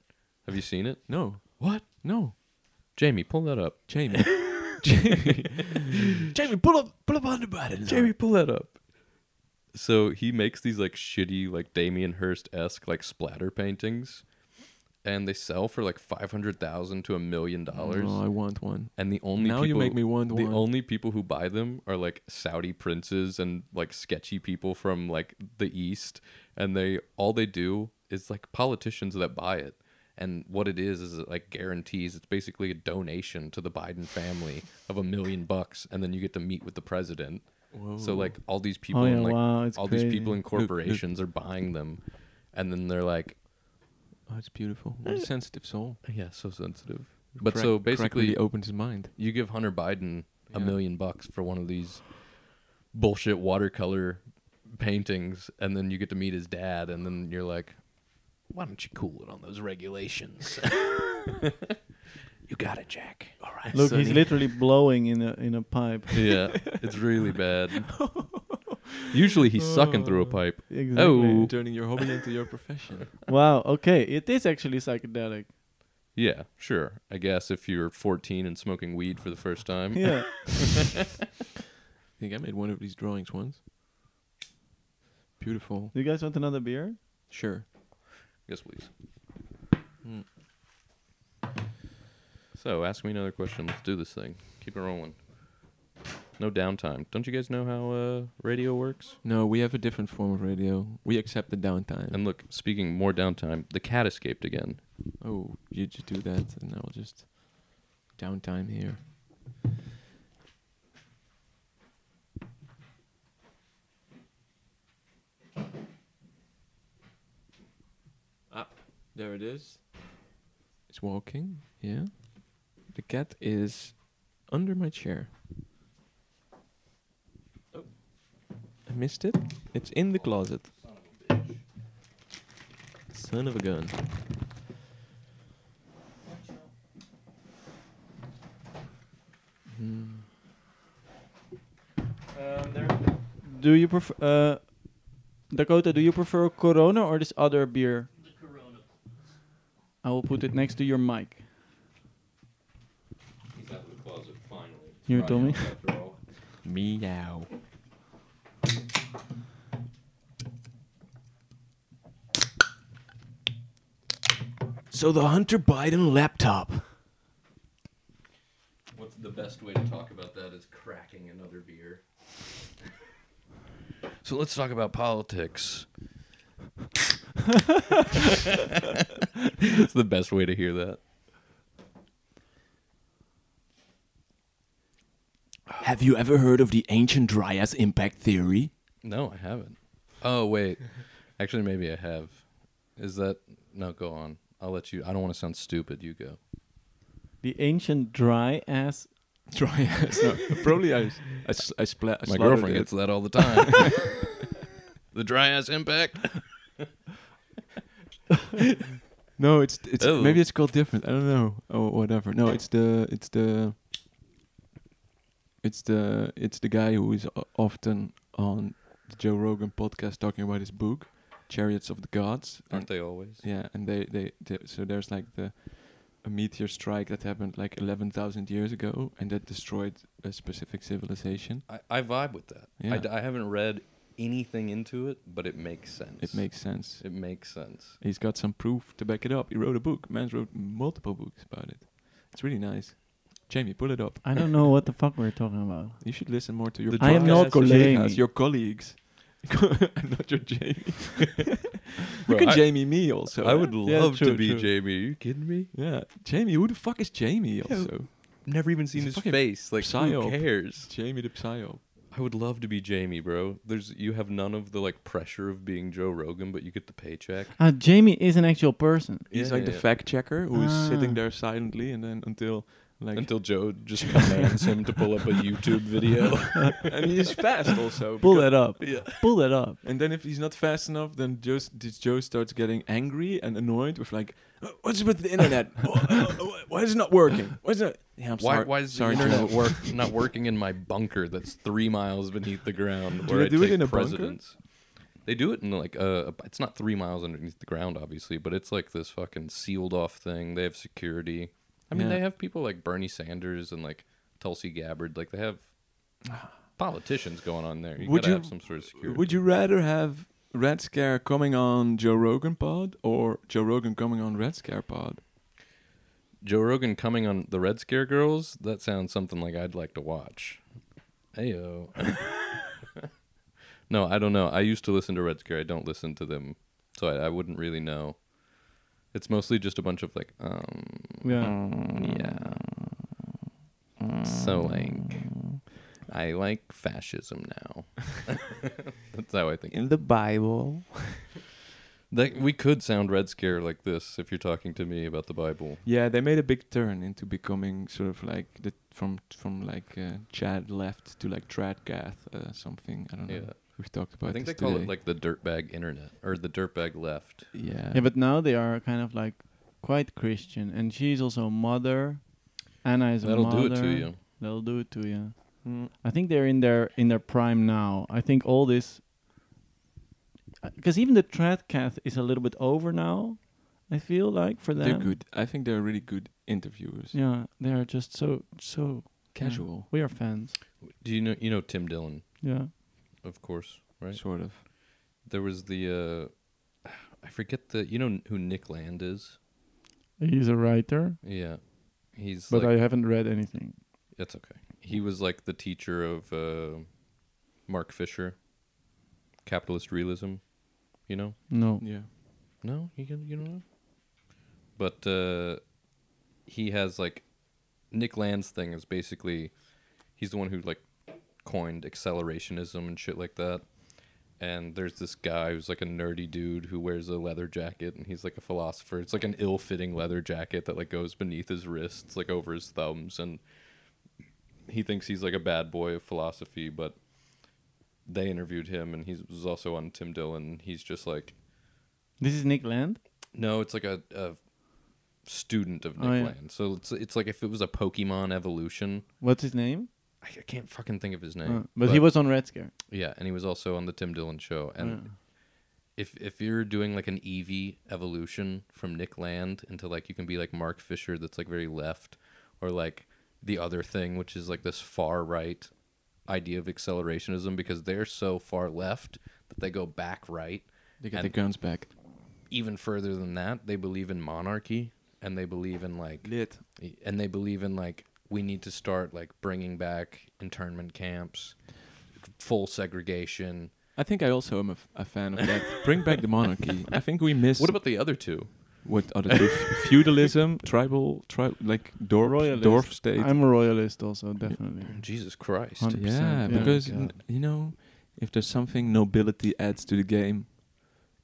D: Have you seen it?
C: no. What? No.
D: Jamie, pull that up.
C: Jamie. Jamie. Jamie, pull up, pull up Hunter Biden.
D: Jamie, pull that up. So he makes these like shitty, like Damien Hirst esque, like splatter paintings, and they sell for like five hundred thousand to a million dollars.
C: No, I want one.
D: And the only
C: Now
D: people,
C: you make me want
D: the
C: one.
D: only people who buy them are like Saudi princes and like sketchy people from like the east, and they all they do is like politicians that buy it, And what it is is it like guarantees it's basically a donation to the Biden family of a million bucks, and then you get to meet with the president. So like all these people,
A: Oh, yeah,
D: and, like
A: wow, it's
D: all these people
A: crazy.
D: in corporations are buying them, and then they're like,
C: Oh, it's beautiful. What
A: Eh.
C: a sensitive soul.
D: yeah, so sensitive. But
C: Crack-
D: so
C: crack
D: basically,
C: really opens his mind.
D: you give Hunter Biden a
C: Yeah.
D: million bucks for one of these bullshit watercolor paintings, and then you get to meet his dad, and then you're like,
F: Why don't you cool it on those regulations? you got it, Jack. All right.
A: Look, he's literally blowing in a in a pipe.
D: yeah, it's really bad. Usually he's sucking through a
F: Uh.
D: pipe.
A: Exactly.
D: Oh.
C: Turning your hobby into your profession.
A: Wow. Okay, it is actually psychedelic.
D: Yeah, sure. I guess if you're 14 and smoking weed for the first time.
A: Yeah.
C: I think I made one of these drawings once. Beautiful.
A: Do you guys want another beer?
C: Sure.
D: Yes, please.
F: Hmm.
D: So, ask me another question. Let's do this thing. Keep it rolling. No downtime. Don't you guys know how uh, radio works?
C: No, we have a different form of radio. We accept the downtime.
D: And look, speaking more downtime, the cat escaped again.
C: oh, you just do that, and I'll just downtime here. Up. There it is. It's walking. Yeah. The cat is under my chair. Oh. I missed it. It's in the closet. Son of a gun.
A: Do you prefer uh, Dakota? Do you prefer Corona or this other beer? The Corona. I will put it next to your mic.
D: He's out of the closet finally.
A: You told me.
C: Meow.
F: So the Hunter Biden laptop.
D: What's the best way to talk about that is cracking another beer. so let's talk about politics. It's the best way to hear that.
F: Have you ever heard of the ancient Dryas impact theory?
D: No, I haven't. Oh wait, actually maybe I have. Is that no? Go on. I'll let you. I don't want to sound stupid. You go.
A: The ancient dry ass.
C: Dry ass. No, probably I, s- I, s- I, spla- I
D: My
C: slaughtered
D: girlfriend
C: it.
D: gets that all the time. the dry ass impact.
C: No, it's it's
D: Oh.
C: maybe it's called different. I don't know. Oh, whatever. No, it's the it's the it's the it's the guy who is o- often on the Joe Rogan podcast talking about his book, Chariots of the Gods.
D: Aren't they always?
C: Yeah, and they, they, they so there's like the a meteor strike that happened like eleven thousand years ago, and that destroyed a specific civilization.
D: I, I vibe with that. I
C: Yeah.
D: d- I, haven't read anything into it, but it makes sense.
C: It makes sense.
D: it makes sense.
C: He's got some proof to back it up. He wrote a book. Man's wrote multiple books about it. It's really nice. Jamie, pull it up.
A: I don't know what the fuck we're talking about.
C: You should listen more to your.
A: I am not Jamie.
C: colleagues. Your colleagues. I'm not your Jamie. you
D: Bro,
C: can
D: I-
C: Jamie me also.
D: I would
A: Yeah,
D: love
A: true,
D: to be
A: true.
D: Jamie. Are you kidding me?
C: Yeah, Jamie. Who the fuck is Jamie also?
D: Never even seen
C: He's a
D: his
C: fucking
D: face. Like who
C: psyop.
D: cares?
C: Jamie the psyop.
D: I would love to be Jamie, bro. There's you have none of the like pressure of being Joe Rogan, but you get the paycheck.
A: Ah, Jamie is an actual person.
C: He's
D: Yeah,
C: like the
D: yeah.
C: fact checker who is
A: Ah.
C: sitting there silently and then until like
D: Until Joe just commands him to pull up a YouTube video.
C: and he's fast also.
A: Pull
C: because-
A: that up. Pull that up.
C: And then if he's not fast enough, then just this Joe starts getting angry and annoyed with like, "Uh, what's with the internet? Oh, oh, oh, why is it not working? Why is it? Yeah, I'm
D: why,
C: sorry.
D: why is
C: sorry,
D: the internet
C: Joe.
D: work not working in my bunker that's three miles beneath the ground
C: Do
D: where
C: they
D: I
C: do it
D: take
C: in a bunker?
D: presidents? They do it in like uh, it's not three miles underneath the ground, obviously, but it's like this fucking sealed off thing. They have security. I mean,
C: Yeah.
D: they have people like Bernie Sanders and like Tulsi Gabbard. Like they have politicians going on there. You
C: Would
D: gotta
C: you-
D: have some sort of security.
C: Would you rather have Red Scare coming on Joe Rogan pod or Joe Rogan coming on Red Scare pod?
D: Joe Rogan coming on the Red Scare Girls? That sounds something like I'd like to watch. Heyo. no, I don't know. I used to listen to Red Scare. I don't listen to them, so I, I wouldn't really know. It's mostly just a bunch of like, um,
A: Yeah.
D: yeah. So like, I like fascism now. That's how I think.
C: In the Bible.
D: That we could sound Red Scare like this if you're talking to me about the Bible.
C: Yeah, they made a big turn into becoming sort of like the from from like uh, Chad left to like Tradgath uh, something. I don't know.
D: Yeah.
C: We've talked about.
D: I think they
C: this
D: call
C: today.
D: it like the dirtbag internet or the dirtbag left.
C: Yeah.
A: Yeah, but now they are kind of like quite Christian, and she's also a mother. Anna is
D: That'll
A: a mother.
D: do it to you.
A: That'll do it to you.
C: Mm.
A: I think they're in their in their prime now. I think all this, because even the Tradcath is a little bit over now. I feel like for them,
C: they're good. I think they're really good interviewers.
A: Yeah, they are just so so
C: Casual,
A: We are fans.
D: Do you know you know Tim Dillon,
A: Yeah,
D: of course, right?
C: sort of.
D: There was the uh I forget the you know who Nick Land is?
A: he's a writer,
D: Yeah. He's
A: but
D: like
A: I haven't read anything.
D: that's okay. He was like the teacher of uh Mark Fisher. Capitalist realism, you know?
A: No.
C: Yeah.
D: No, you can you don't know. But uh, he has like Nick Land's thing is basically he's the one who like coined accelerationism and shit like that. And there's this guy who's like a nerdy dude who wears a leather jacket and he's like a philosopher. It's like an ill-fitting leather jacket that like goes beneath his wrists, like over his thumbs and he thinks he's like a bad boy of philosophy, but they interviewed him and he was also on Tim Dillon. He's just like
A: This is Nick Land.
D: no, it's like a, a student of Nick
A: Oh, yeah.
D: Land. So it's it's like if it was a Pokemon evolution.
A: What's his name?
D: I, I can't fucking think of his name.
A: Uh, but, he was on Red Scare.
D: yeah, and he was also on the Tim Dillon show. And if if you're doing like an Eevee evolution from Nick Land into like you can be like Mark Fisher, that's like very left, or like the other thing, which is like this far right idea of accelerationism because they're so far left that they go back right
C: They get
D: And-
C: their guns back.
D: even further than that, they believe in monarchy and they believe in like
C: Lit.
D: and they believe in like we need to start like bringing back internment camps, full segregation.
C: I think I also am a, f- a fan of that. Bring back the monarchy. I think we miss
D: What about the other two?
C: what other two? feudalism, tribal, tri- like dorf,
A: Royalist.
C: dorf state.
A: I'm a royalist, also definitely.
D: Jesus Christ.
A: Hun- 100%,
C: yeah,
A: yeah.
C: because
A: Yeah.
C: n- you know, if there's something nobility adds to the game,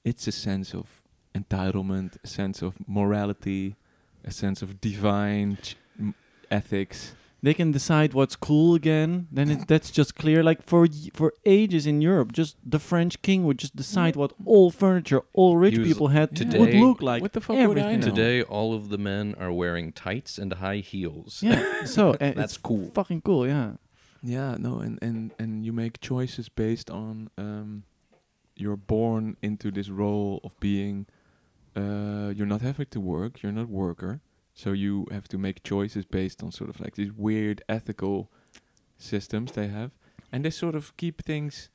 C: it's a sense of entitlement, a sense of morality, a sense of divine ch- m- ethics.
A: They can decide what's cool again. Then it, that's just clear. Like for y- for ages in Europe, just the French king would just decide what all furniture all rich
D: He was-
A: people had
D: today-
A: would look like.
C: what the fuck would I
A: everything.
C: know?
D: Today all of the men are wearing tights and high heels.
A: Yeah. So uh,
D: That's
A: it's
D: cool.
A: Fucking cool. Yeah.
C: Yeah, no, and and and you make choices based on um, you're born into this role of being. Uh, you're not having to work. You're not worker, so you have to make choices based on sort of like these weird ethical systems they have, and they sort of keep things.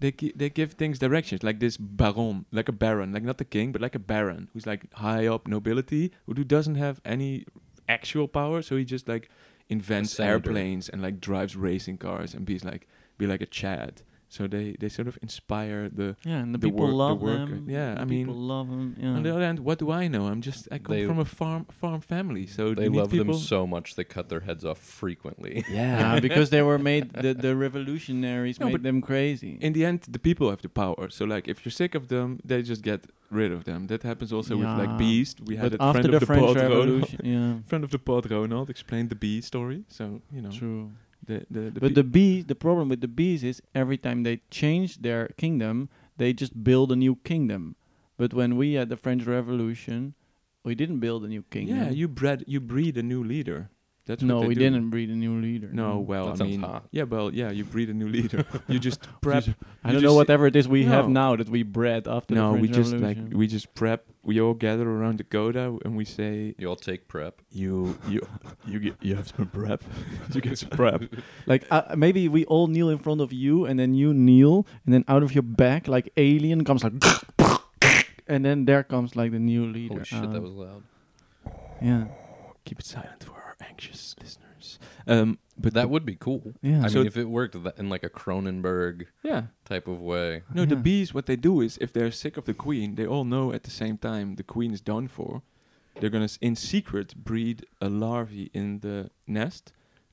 C: They gi- they give things directions like this baron, like a baron, like not the king, but like a baron who's like high up nobility, who do- doesn't have any actual power, so he just like invents
D: senator.
C: airplanes and like drives racing cars and be like be like a Chad. So they they sort of inspire the.
A: Yeah, and the,
C: The
A: people
C: work- the
A: love
C: work-
A: them.
C: yeah,
A: the
C: I mean-
A: people love
C: On
A: them.
C: the
A: Yeah.
C: other hand, what do I know? I'm just I come
D: Hmm. They-
C: from a farm farm family, so
D: They
C: you need
D: love
C: people.
D: them so much they cut their heads off frequently.
A: Yeah, because they were made the, the revolutionaries
C: No,
A: made
C: but
A: them crazy.
C: in the end, the people have the power. So like, if you're sick of them, they just get rid of them. That happens also with
A: Yeah.
C: like Beast. We had
A: but
C: a
A: after
C: friend
A: the
C: of the
A: French
C: pod
A: Revolution,
C: Ronald,
A: yeah,
C: friend of the pod Ronald explained the Bee story. So you know
A: true.
C: the the, the
A: but
C: bee-
A: the bees, the problem with the bees is every time they change their kingdom, they just build a new kingdom. But when we had the French Revolution, we didn't build a new kingdom.
C: yeah you bred you breed a new leader. That's
A: no,
C: what they
A: we
C: do.
A: didn't breed a new leader. Mm.
C: No, well,
D: That
C: I
D: sounds
C: mean,
D: hot.
C: yeah, well, yeah, you breed a new leader. you just prep.
A: I
C: you
A: don't know
C: just-
A: whatever it is we have
C: No.
A: now that we bred after
C: No,
A: the French
C: we just like
A: Revolution.
C: we just prep. We all gather around the Goda and we say,
D: You all take prep.
C: "You, you, you get, you have some prep. you get some prep."
A: Like uh, maybe we all kneel in front of you, and then you kneel, and then out of your back, like alien, comes like, and then there comes like the new leader.
D: Holy shit,
A: out.
D: that was loud.
A: yeah.
C: Keep it silent for our anxious listeners. course. Um, but
D: That would be cool.
A: Yeah.
D: I
C: So-
D: mean, if it worked tha- in like a Cronenberg
C: yeah.
D: type of way.
C: No, the
A: Yeah.
C: bees, what they do is if they're sick of the queen, they all know at the same time the queen is done for. They're going to, in secret, breed a larvae in the nest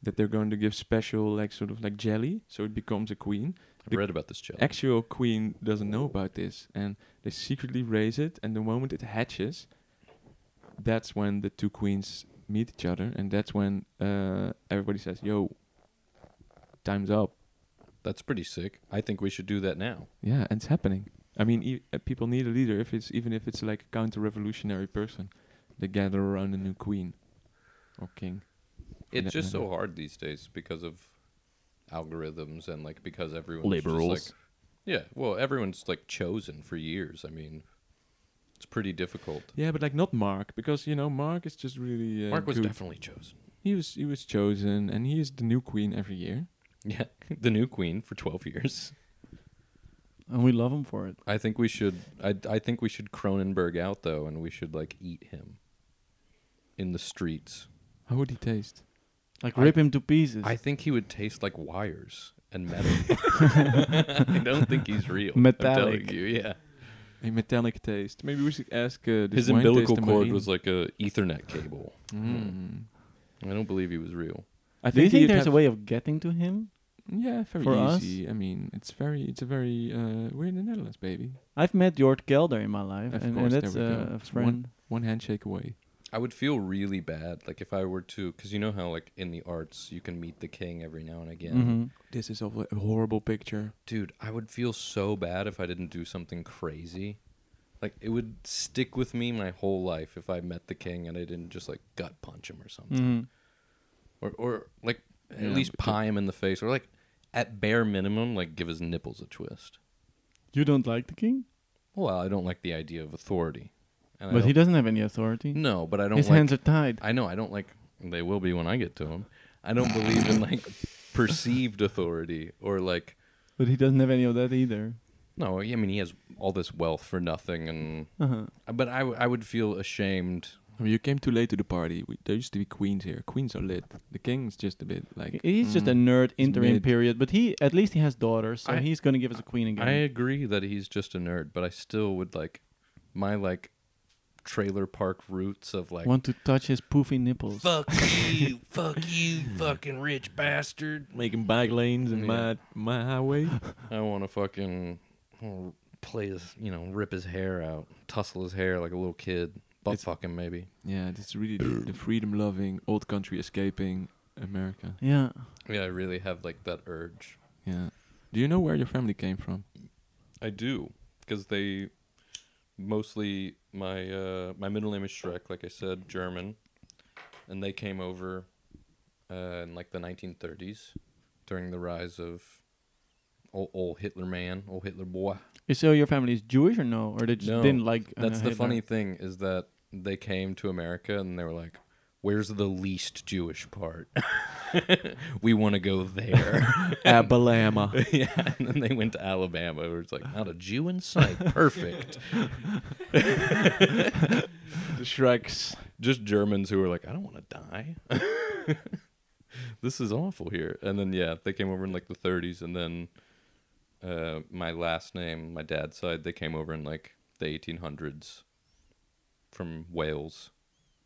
C: that they're going to give special, like, sort of like jelly, so it becomes a queen.
D: I've
C: The-
D: read about this jelly.
C: Actual queen doesn't know about this, and they secretly raise it, and the moment it hatches, that's when the two queens meet each other, and that's when uh, everybody says, yo, time's up.
D: That's pretty sick. I think we should do that now.
C: Yeah, and it's happening. I mean, e- uh, people need a leader if it's even if it's like a counter-revolutionary person. They gather around a new queen or king.
D: It's
C: Yeah.
D: just so hard these days because of algorithms and like because everyone's
F: Labor
D: just,
F: rules.
D: Like, yeah, well, everyone's like chosen for years. I mean, it's pretty difficult.
C: Yeah, but like not Mark because you know Mark is just really uh,
D: Mark was
C: good.
D: definitely chosen.
C: he was he was chosen and he is the new queen every year.
D: Yeah, the new queen for twelve years.
A: and we love him for it.
D: I think we should. I I think we should Cronenberg out though, and we should like eat him in the streets.
C: How would he taste?
A: Like
D: I-
A: rip him to pieces.
D: I think he would taste like wires and metal. I don't think he's real. I'm telling
A: Metallic.
D: you, yeah.
C: A metallic taste. Maybe we should ask uh, this
D: His
C: wine
D: umbilical
C: taster
D: cord
C: marine.
D: was like a Ethernet cable.
C: Mm.
D: I don't believe he was real.
C: I
A: Do you think
C: he'd
A: there's a
C: have-
A: way of getting to him?
C: Yeah, very
A: for us?
C: easy. I mean, it's very it's a very uh, we're in the Netherlands, baby.
A: I've met Jort Kelder in my life,
C: Of
A: and,
C: course,
A: and that's
C: there we go.
A: uh, a
C: It's
A: friend.
C: one- One handshake away.
D: I would feel really bad, like if I were to, because you know how like in the arts you can meet the king every now and again.
A: Mhm.
C: This is a horrible picture.
D: Dude, I would feel so bad if I didn't do something crazy. Like it would stick with me my whole life if I met the king and I didn't just like gut punch him or something,
A: Mhm.
D: or or like at
C: Yeah,
D: least
C: but the-
D: pie him in the face, or like at bare minimum like give his nipples a twist.
A: You don't like the king,
D: Well, I don't like the idea of authority, and I
A: but he
D: don't-
A: doesn't have any authority.
C: Mm,
D: no, but I don't.
A: His
D: like,
A: hands are tied.
D: I know. I don't like. They will be when I get to them. I don't believe in like perceived authority or like.
A: But he doesn't have any of that either.
D: No, I mean he has all this wealth for nothing, and
A: Uh-huh.
D: but I, w- I would feel ashamed.
C: I mean, you came too late to the party. We, there used to be queens here. Queens are lit. The king's just a bit like.
A: He's just a
C: mm.
A: nerd
C: He's
A: interim
C: mid.
A: period, but he at least he has daughters, so
D: I-
A: he's gonna give us a queen again.
D: I agree that he's just a nerd, but I still would like my like trailer park roots of like
A: Want to touch his poofy nipples?
E: Fuck you, fuck you, fucking rich bastard.
C: making bike lanes in
D: Yeah.
C: my my highway.
D: I want to fucking I wanna play his you know rip his hair out, tussle his hair like a little kid, butt
C: It's-
D: fucking maybe.
C: yeah, this is really the, the freedom-loving old country escaping America.
A: Yeah,
D: Yeah, I really have like that urge.
C: Yeah. Do you know where your family came from?
D: I do because they mostly my uh, my middle name is Shrek, like I said, German, and they came over uh, in like the 1930s during the rise of old, old Hitler man, old Hitler boy.
A: So your family is Jewish or no, or they just
D: No,
A: didn't like? uh,
D: That's the
A: Hitler?
D: funny thing is that they came to America and they were like, "Where's the least Jewish part? we want to go there."
C: Alabama.
D: yeah, and then they went to Alabama. Where it's like not a Jew in sight. Perfect.
C: Shrek's.
D: just Germans who were like, I don't want to die. this is awful here. And then yeah, they came over in like the 30s, and then uh, my last name, my dad's side, they came over in like the 1800s from Wales.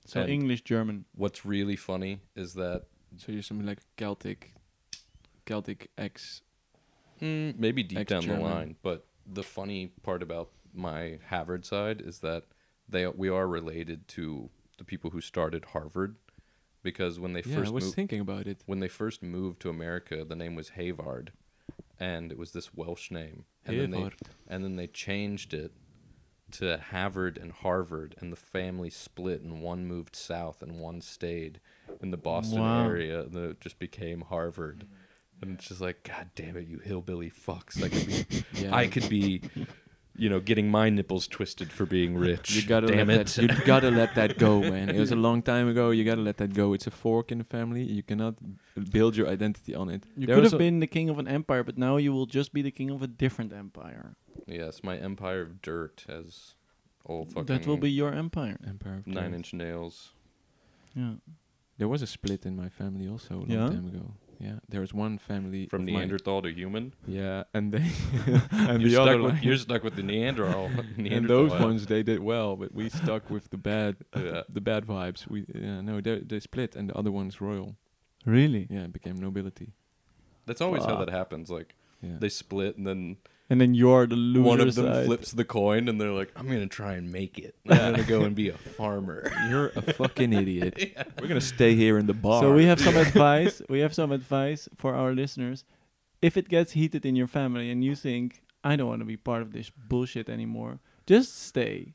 A: So
D: And-
A: English German.
D: What's really funny is that
C: So you're something like Celtic, Celtic ex.
D: mm, maybe deep down
C: Ex-German.
D: the line, but the funny part about my Harvard side is that they we are related to the people who started Harvard because when they
C: Yeah,
D: first
C: I was
D: moved,
C: thinking about it.
D: when they first moved to America, the name was Havard, and it was this Welsh name. And Then
C: Havard.
D: they, and then they changed it to Havard and Harvard, and the family split, and one moved south, and one stayed in the Boston
A: Wow.
D: area, and then it just became Harvard. And it's just like, God damn it, you hillbilly fucks! I could be,
C: Yeah.
D: I could be, you know, getting my nipples twisted for being rich.
C: You gotta
D: damn
C: let
D: it.
C: that. You gotta let that go, man. It was a long time ago. You gotta let that go. It's a fork in the family. You cannot build your identity on it.
A: You
C: There
A: could
C: was
A: have
C: a-
A: been the king of an empire, but now you will just be the king of a different empire.
D: Yes, my empire of dirt has old fucking
A: That will be your empire.
C: Empire of
D: nine
C: Kings.
D: inch nails.
A: Yeah.
C: There was a split in my family also a long
A: Yeah?
C: time ago. Yeah, there was one family
D: From
C: of mine-
D: Neanderthal to human,
C: Yeah, and they and the
D: you're, stuck
C: other
D: with,
C: one,
D: you're stuck with the Neanderthal.
C: and
D: Neanderthal
C: those ones they did well, but we stuck with the bad
D: Yeah.
C: the bad vibes. We yeah, no, they they split, and the other one's royal.
A: Really?
C: Yeah, it became nobility.
D: That's always how that happens. Like
C: Yeah,
D: they split, and then
A: And then you're the loser
D: one of them
A: side.
D: flips the coin, and they're like, "I'm gonna try and make it. I'm gonna go and be a farmer."
C: you're a fucking idiot. We're gonna stay here in the bar.
A: So we have some advice. We have some advice for our listeners. If it gets heated in your family and you think I don't want to be part of this bullshit anymore, just stay.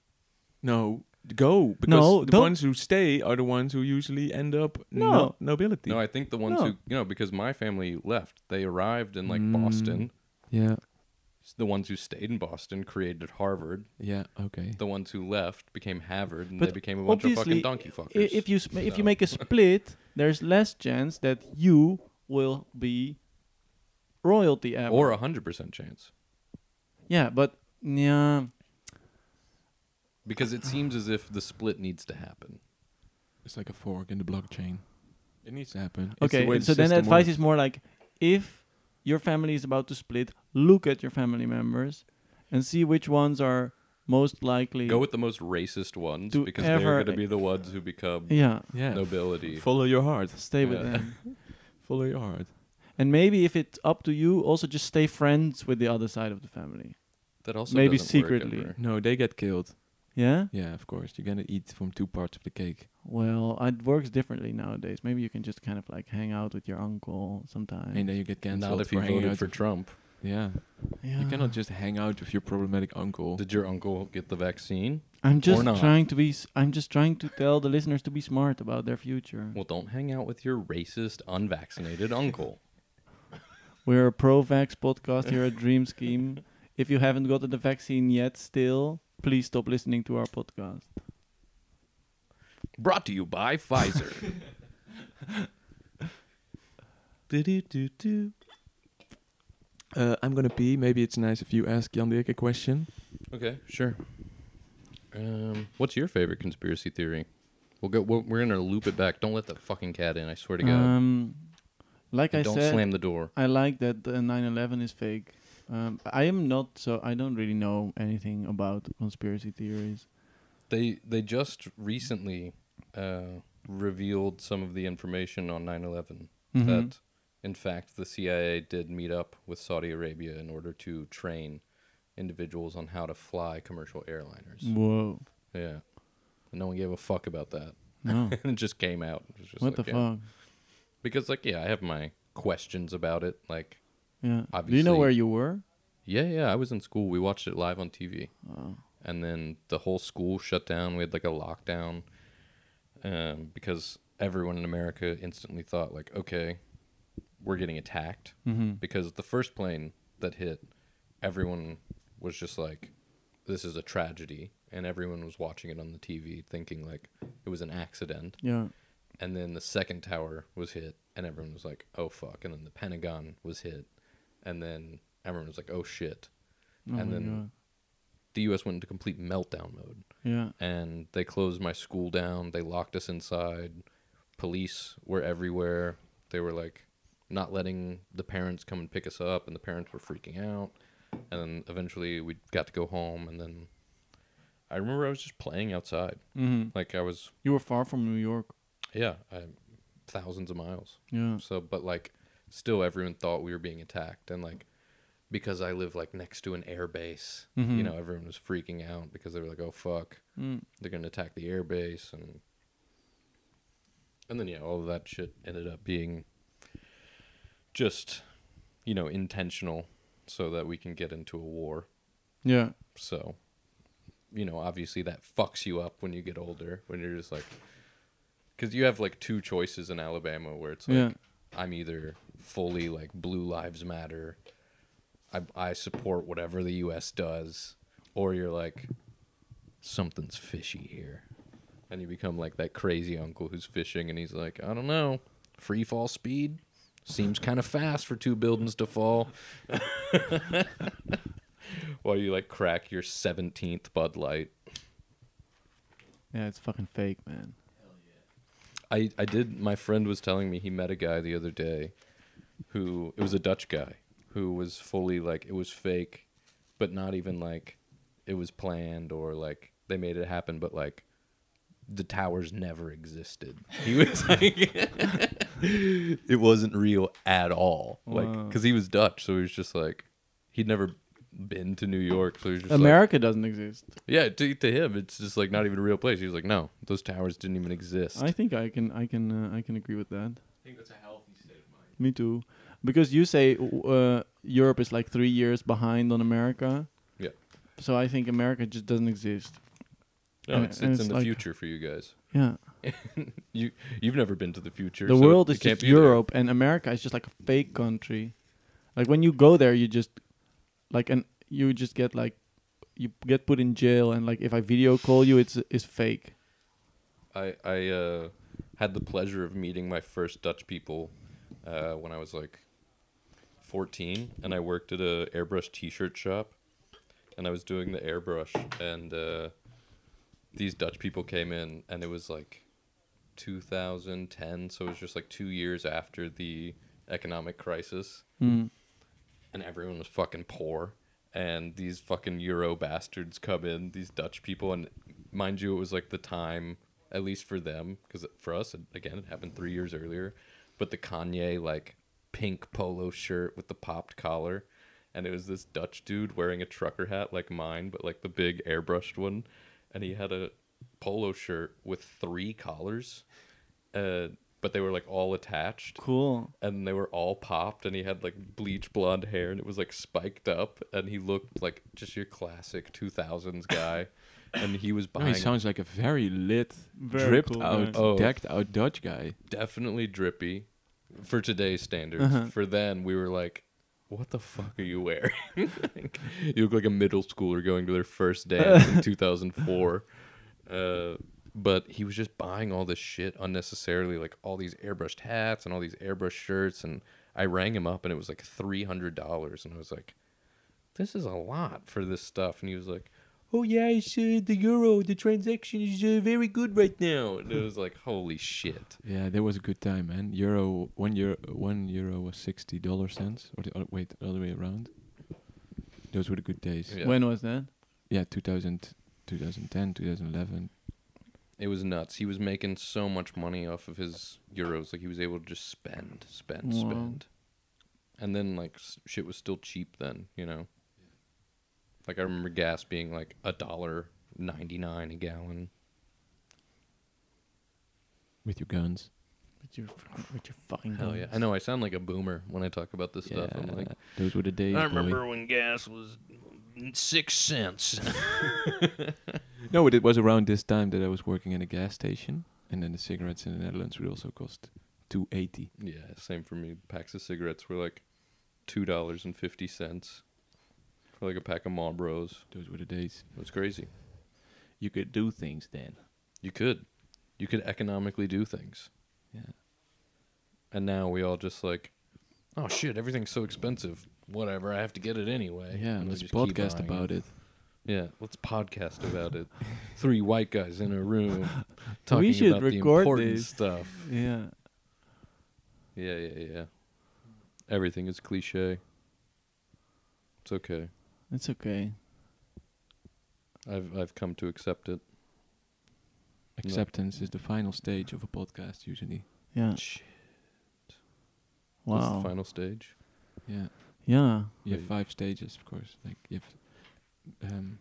C: no go because
A: No,
C: the
A: don't-
C: ones who stay are the ones who usually end up
A: No.
C: no nobility.
D: No, I think the ones
A: No.
D: who you know, because my family left, they arrived in like Boston.
C: yeah,
D: S- The ones who stayed in Boston created Harvard.
C: yeah, okay.
D: The ones who left became Harvard, and
A: But
D: they became a bunch of fucking
A: obviously,
D: donkey fuckers.
A: I- if you sm- if you
D: No.
A: make a split, there's less chance that you will be royalty ever.
D: or a hundred percent chance,
A: yeah, but yeah,
D: because it seems as if the split needs to happen.
C: It's like a fork in the blockchain. It needs to happen. It's the
A: okay.
C: way the
A: so then
C: system
A: advice
C: works.
A: is more like if your family is about to split, look at your family members and see which ones are most likely
D: Go with the most racist ones
A: Do
D: because
A: ever-
D: they're going to be the ones who become
A: yeah
C: yeah.
D: nobility.
C: Follow your heart.
A: stay with
D: Yeah.
A: them
C: Follow your heart.
A: and maybe if it's up to you also just stay friends with the other side of the family
D: That also
A: Maybe
D: doesn't work
A: secretly.
D: ever.
C: No, they get killed.
A: yeah
C: Yeah, of course. You're gonna eat from two parts of the cake.
A: well it works differently nowadays maybe you can just kind of like hang out with your uncle sometimes
C: And then you get cancelled.
D: Not if you
C: for hanging
D: voted
C: out
D: for
C: with-
D: Trump.
C: Yeah.
A: yeah.
C: You cannot just hang out with your problematic uncle.
D: Did your uncle get the vaccine?
A: i'm just
D: not.
A: trying to be s- i'm just trying to tell the listeners to be smart about their future
D: Well, don't hang out with your racist, unvaccinated uncle.
A: we're a pro-vax podcast here at dream scheme if you haven't gotten the vaccine yet still please stop listening to our podcast
G: Brought to you by Pfizer.
C: Uh, I'm gonna pee. Maybe it's nice if you ask Jan Dirk a question.
D: Okay, sure. Um, what's your favorite conspiracy theory? We'll go. We're, we're gonna loop it back. Don't let the fucking cat in. I swear to God.
A: um like
D: And
A: i
D: don't
A: said
D: slam the door.
A: I like that uh, 9/11 is fake. Um, I am not so I don't really know anything about conspiracy theories.
D: They they just recently uh, revealed some of the information on 9/11
A: Mhm.
D: that, in fact, the CIA did meet up with Saudi Arabia in order to train individuals on how to fly commercial airliners.
A: Mm. Whoa.
D: Yeah, and no one gave a fuck about that.
A: No.
D: and it just came out. It was just
A: what
D: like,
A: the
D: yeah.
A: fuck?
D: Because like yeah, I have my questions about it. Like
A: Yeah. Do you know
D: Obviously-
A: where you were?
D: yeah, yeah, I was in school. We watched it live on TV, and then the whole school shut down. We had like a lockdown um, because everyone in America instantly thought like, okay, we're getting attacked because the first plane that hit, everyone was just like, this is a tragedy, and everyone was watching it on the TV thinking like it was an accident.
A: Yeah.
D: and then the second tower was hit and everyone was like oh fuck and then the pentagon was hit and then everyone was like oh shit
A: Oh
D: and
A: my
D: then
A: God.
D: the us went into complete meltdown mode
A: Yeah.
D: and they closed my school down they locked us inside police were everywhere they were like not letting the parents come and pick us up and the parents were freaking out and then eventually we got to go home and then i remember i was just playing outside
A: Mhm.
D: like i was
A: You were far from New York.
D: yeah I, thousands of miles
A: Yeah.
D: so, but like, still, everyone thought we were being attacked, and like, because I live like next to an air base, you know, everyone was freaking out because they were like, "Oh fuck,
A: Mm.
D: they're gonna attack the air base," and and then yeah, all of that shit ended up being just, you know, intentional, so that we can get into a war.
A: Yeah.
D: So, you know, obviously that fucks you up when you get older, when you're just like, because you have like two choices in Alabama where it's like,
A: Yeah.
D: I'm either fully like Blue Lives Matter, I, I support whatever the U.S. does, or you're like, something's fishy here. And you become like that crazy uncle who's fishing and he's like, I don't know, free fall speed? Seems kind of fast for two buildings to fall. While you like crack your 17th Bud Light.
A: Yeah, it's fucking fake, man.
D: I, I did. My friend was telling me he met a guy the other day who, it was a Dutch guy who was fully like, it was fake, but not even like it was planned or like they made it happen, but like the towers never existed. He was like, it wasn't real at all. Like, because he was Dutch, so he was just like, he'd never been to New York, so he was just like,
A: America doesn't exist.
D: yeah, to, to him, it's just like not even a real place. He was like, no, those towers didn't even exist.
A: I think I can I can uh, I can agree with that. I think that's a healthy state of mind. Me too, because you say w- uh, Europe is like three years behind on America.
D: Yeah.
A: So I think America just doesn't exist.
D: No,
A: And-
D: it's,
A: and
D: it's
A: it's
D: in the
A: like-
D: future for you guys.
A: Yeah.
D: You you've never been to the future.
A: The
D: so
A: world
D: you
A: is
D: can't
A: just
D: be there.
A: Europe, and America is just like a fake country. Like when you go there, you just like and you just get like you get put in jail, and like if I video call you, it's it's fake.
D: I I uh, had the pleasure of meeting my first Dutch people uh, when I was like 14, and I worked at a airbrush T-shirt shop, and I was doing the airbrush, and uh, these Dutch people came in, and it was like 2010, so it was just like two years after the economic crisis, and everyone was fucking poor. And these fucking Euro bastards come in, these Dutch people, and mind you, it was like the time, at least for them, because for us, it- again, it happened three years earlier. But the Kanye like pink polo shirt with the popped collar, and it was this Dutch dude wearing a trucker hat like mine, but like the big airbrushed one, and he had a polo shirt with three collars, uh, but they were like all attached
A: Cool.
D: and they were all popped and he had like bleach blonde hair and it was like spiked up and he looked like just your classic 2000s guy and he was
C: No, Oh, he
D: buying
C: sounds like a very lit,
A: Very
C: dripped
A: cool
C: out,
A: guy.
D: Oh.
C: decked out Dutch guy.
D: definitely drippy for today's standards for then we were like what the fuck are you wearing Like, you look like a middle schooler going to their first dance in 2004 uh, but he was just buying all this shit unnecessarily like all these airbrushed hats and all these airbrushed shirts and i rang him up and it was like $300 and i was like this is a lot for this stuff. And he was like, oh, yeah, it's, uh, the euro, the transaction is uh, very good right now. And it was like, holy shit.
C: Yeah, that was a good time, man. Euro one euro one euro was sixty dollar cents, or the other, wait, the other way around. Those were the good days.
D: Yeah.
A: When was that?
C: Yeah, 2000, 2010, 2011.
D: It was nuts. He was making so much money off of his euros. Like, he was able to just spend, spend,
A: Wow.
D: spend. And then, like, s- shit was still cheap then, you know? Like, I remember gas being like a dollar ninety nine a gallon.
C: With your guns.
A: With your with your fucking
D: Hell yeah. I know I sound like a boomer when I talk about this stuff. I'm like,
C: those were the days.
F: I
C: boy.
F: remember when gas was six cents.
C: No, but it was around this time that I was working in a gas station, and then the cigarettes in the Netherlands would also cost two eighty.
D: yeah, same for me. Packs of cigarettes were like two dollars and fifty cents for like a pack of Marlboros.
C: Those were the days.
D: It was crazy.
H: You could do things then.
D: You could, you could economically do things,
C: Yeah.
D: and now we all just like, oh shit, everything's so expensive. Whatever, I have to get it anyway.
C: Yeah,
D: And we
C: let's
D: just keep
C: podcast
D: buying
C: about it.
D: Yeah, let's podcast about it. Three white guys in a room talking
A: We should
D: about the
A: record
D: important
A: this.
D: stuff.
A: Yeah.
D: Yeah, yeah, yeah. Everything is cliche. It's okay.
A: It's okay.
D: I've I've come to accept it.
C: Acceptance is the final stage of a podcast, usually.
A: Yeah.
D: Shit. That's the
A: Wow.
D: final stage.
C: Yeah.
A: Yeah.
C: You have
D: Right.
C: five stages, of course. Like you have um,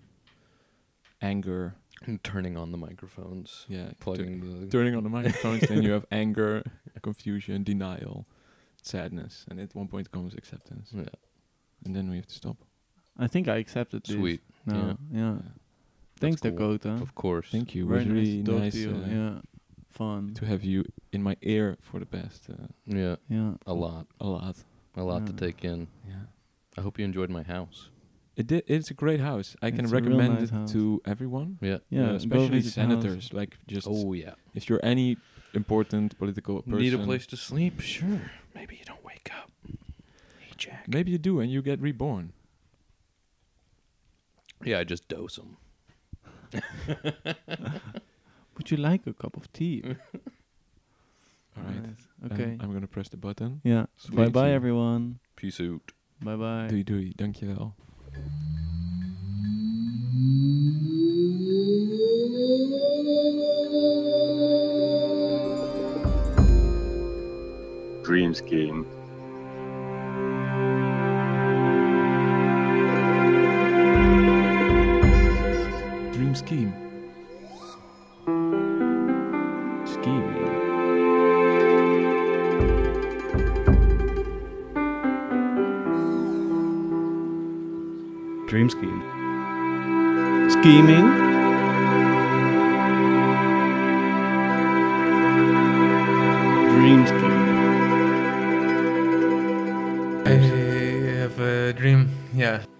C: anger.
D: And turning on the microphones.
C: Yeah.
D: Plugging
C: tu-
D: the
C: turning on the microphones, then you have anger, confusion, denial, sadness, and at one point comes acceptance,
D: yeah.
C: and then we have to stop.
A: I think I accepted this.
D: Sweet.
A: No. Yeah. Thanks,
D: cool.
A: Dakota.
D: Of course.
C: Thank you. It
A: Very
C: was really
A: nice to talk
C: nice,
A: to you.
C: uh,
A: yeah. Fun.
C: to have you in my ear for the past uh,
D: Yeah.
A: Yeah.
D: A lot.
C: a lot.
D: A lot to
A: Yeah.
D: take in.
C: Yeah.
D: I hope you enjoyed my house.
C: It did, it's a great house. I can
A: It's a real
C: recommend
A: nice
C: it
A: house.
C: to everyone.
D: Yeah.
A: Yeah.
C: uh,
A: go
C: especially
A: visit the house.
C: senators. Like just
D: Oh yeah.
C: if you're any important political person,
D: Need a place to sleep? Sure.
F: Maybe you don't wake up. Hey, Jack.
C: Maybe you do, and you get reborn.
D: Yeah, I just dose them.
A: Would you like a cup of tea?
C: All right.
A: Nice. Okay.
C: I'm gonna press the button.
A: yeah.
D: Sweet.
A: Bye bye, everyone.
D: Peace out.
A: Bye bye.
C: Doei doei, dankjewel.
B: Dream scheme.
C: Dream scheme. Scheming.
A: Dream scheme. Scheming. Dream scheme.
I: I have a dream. Yeah.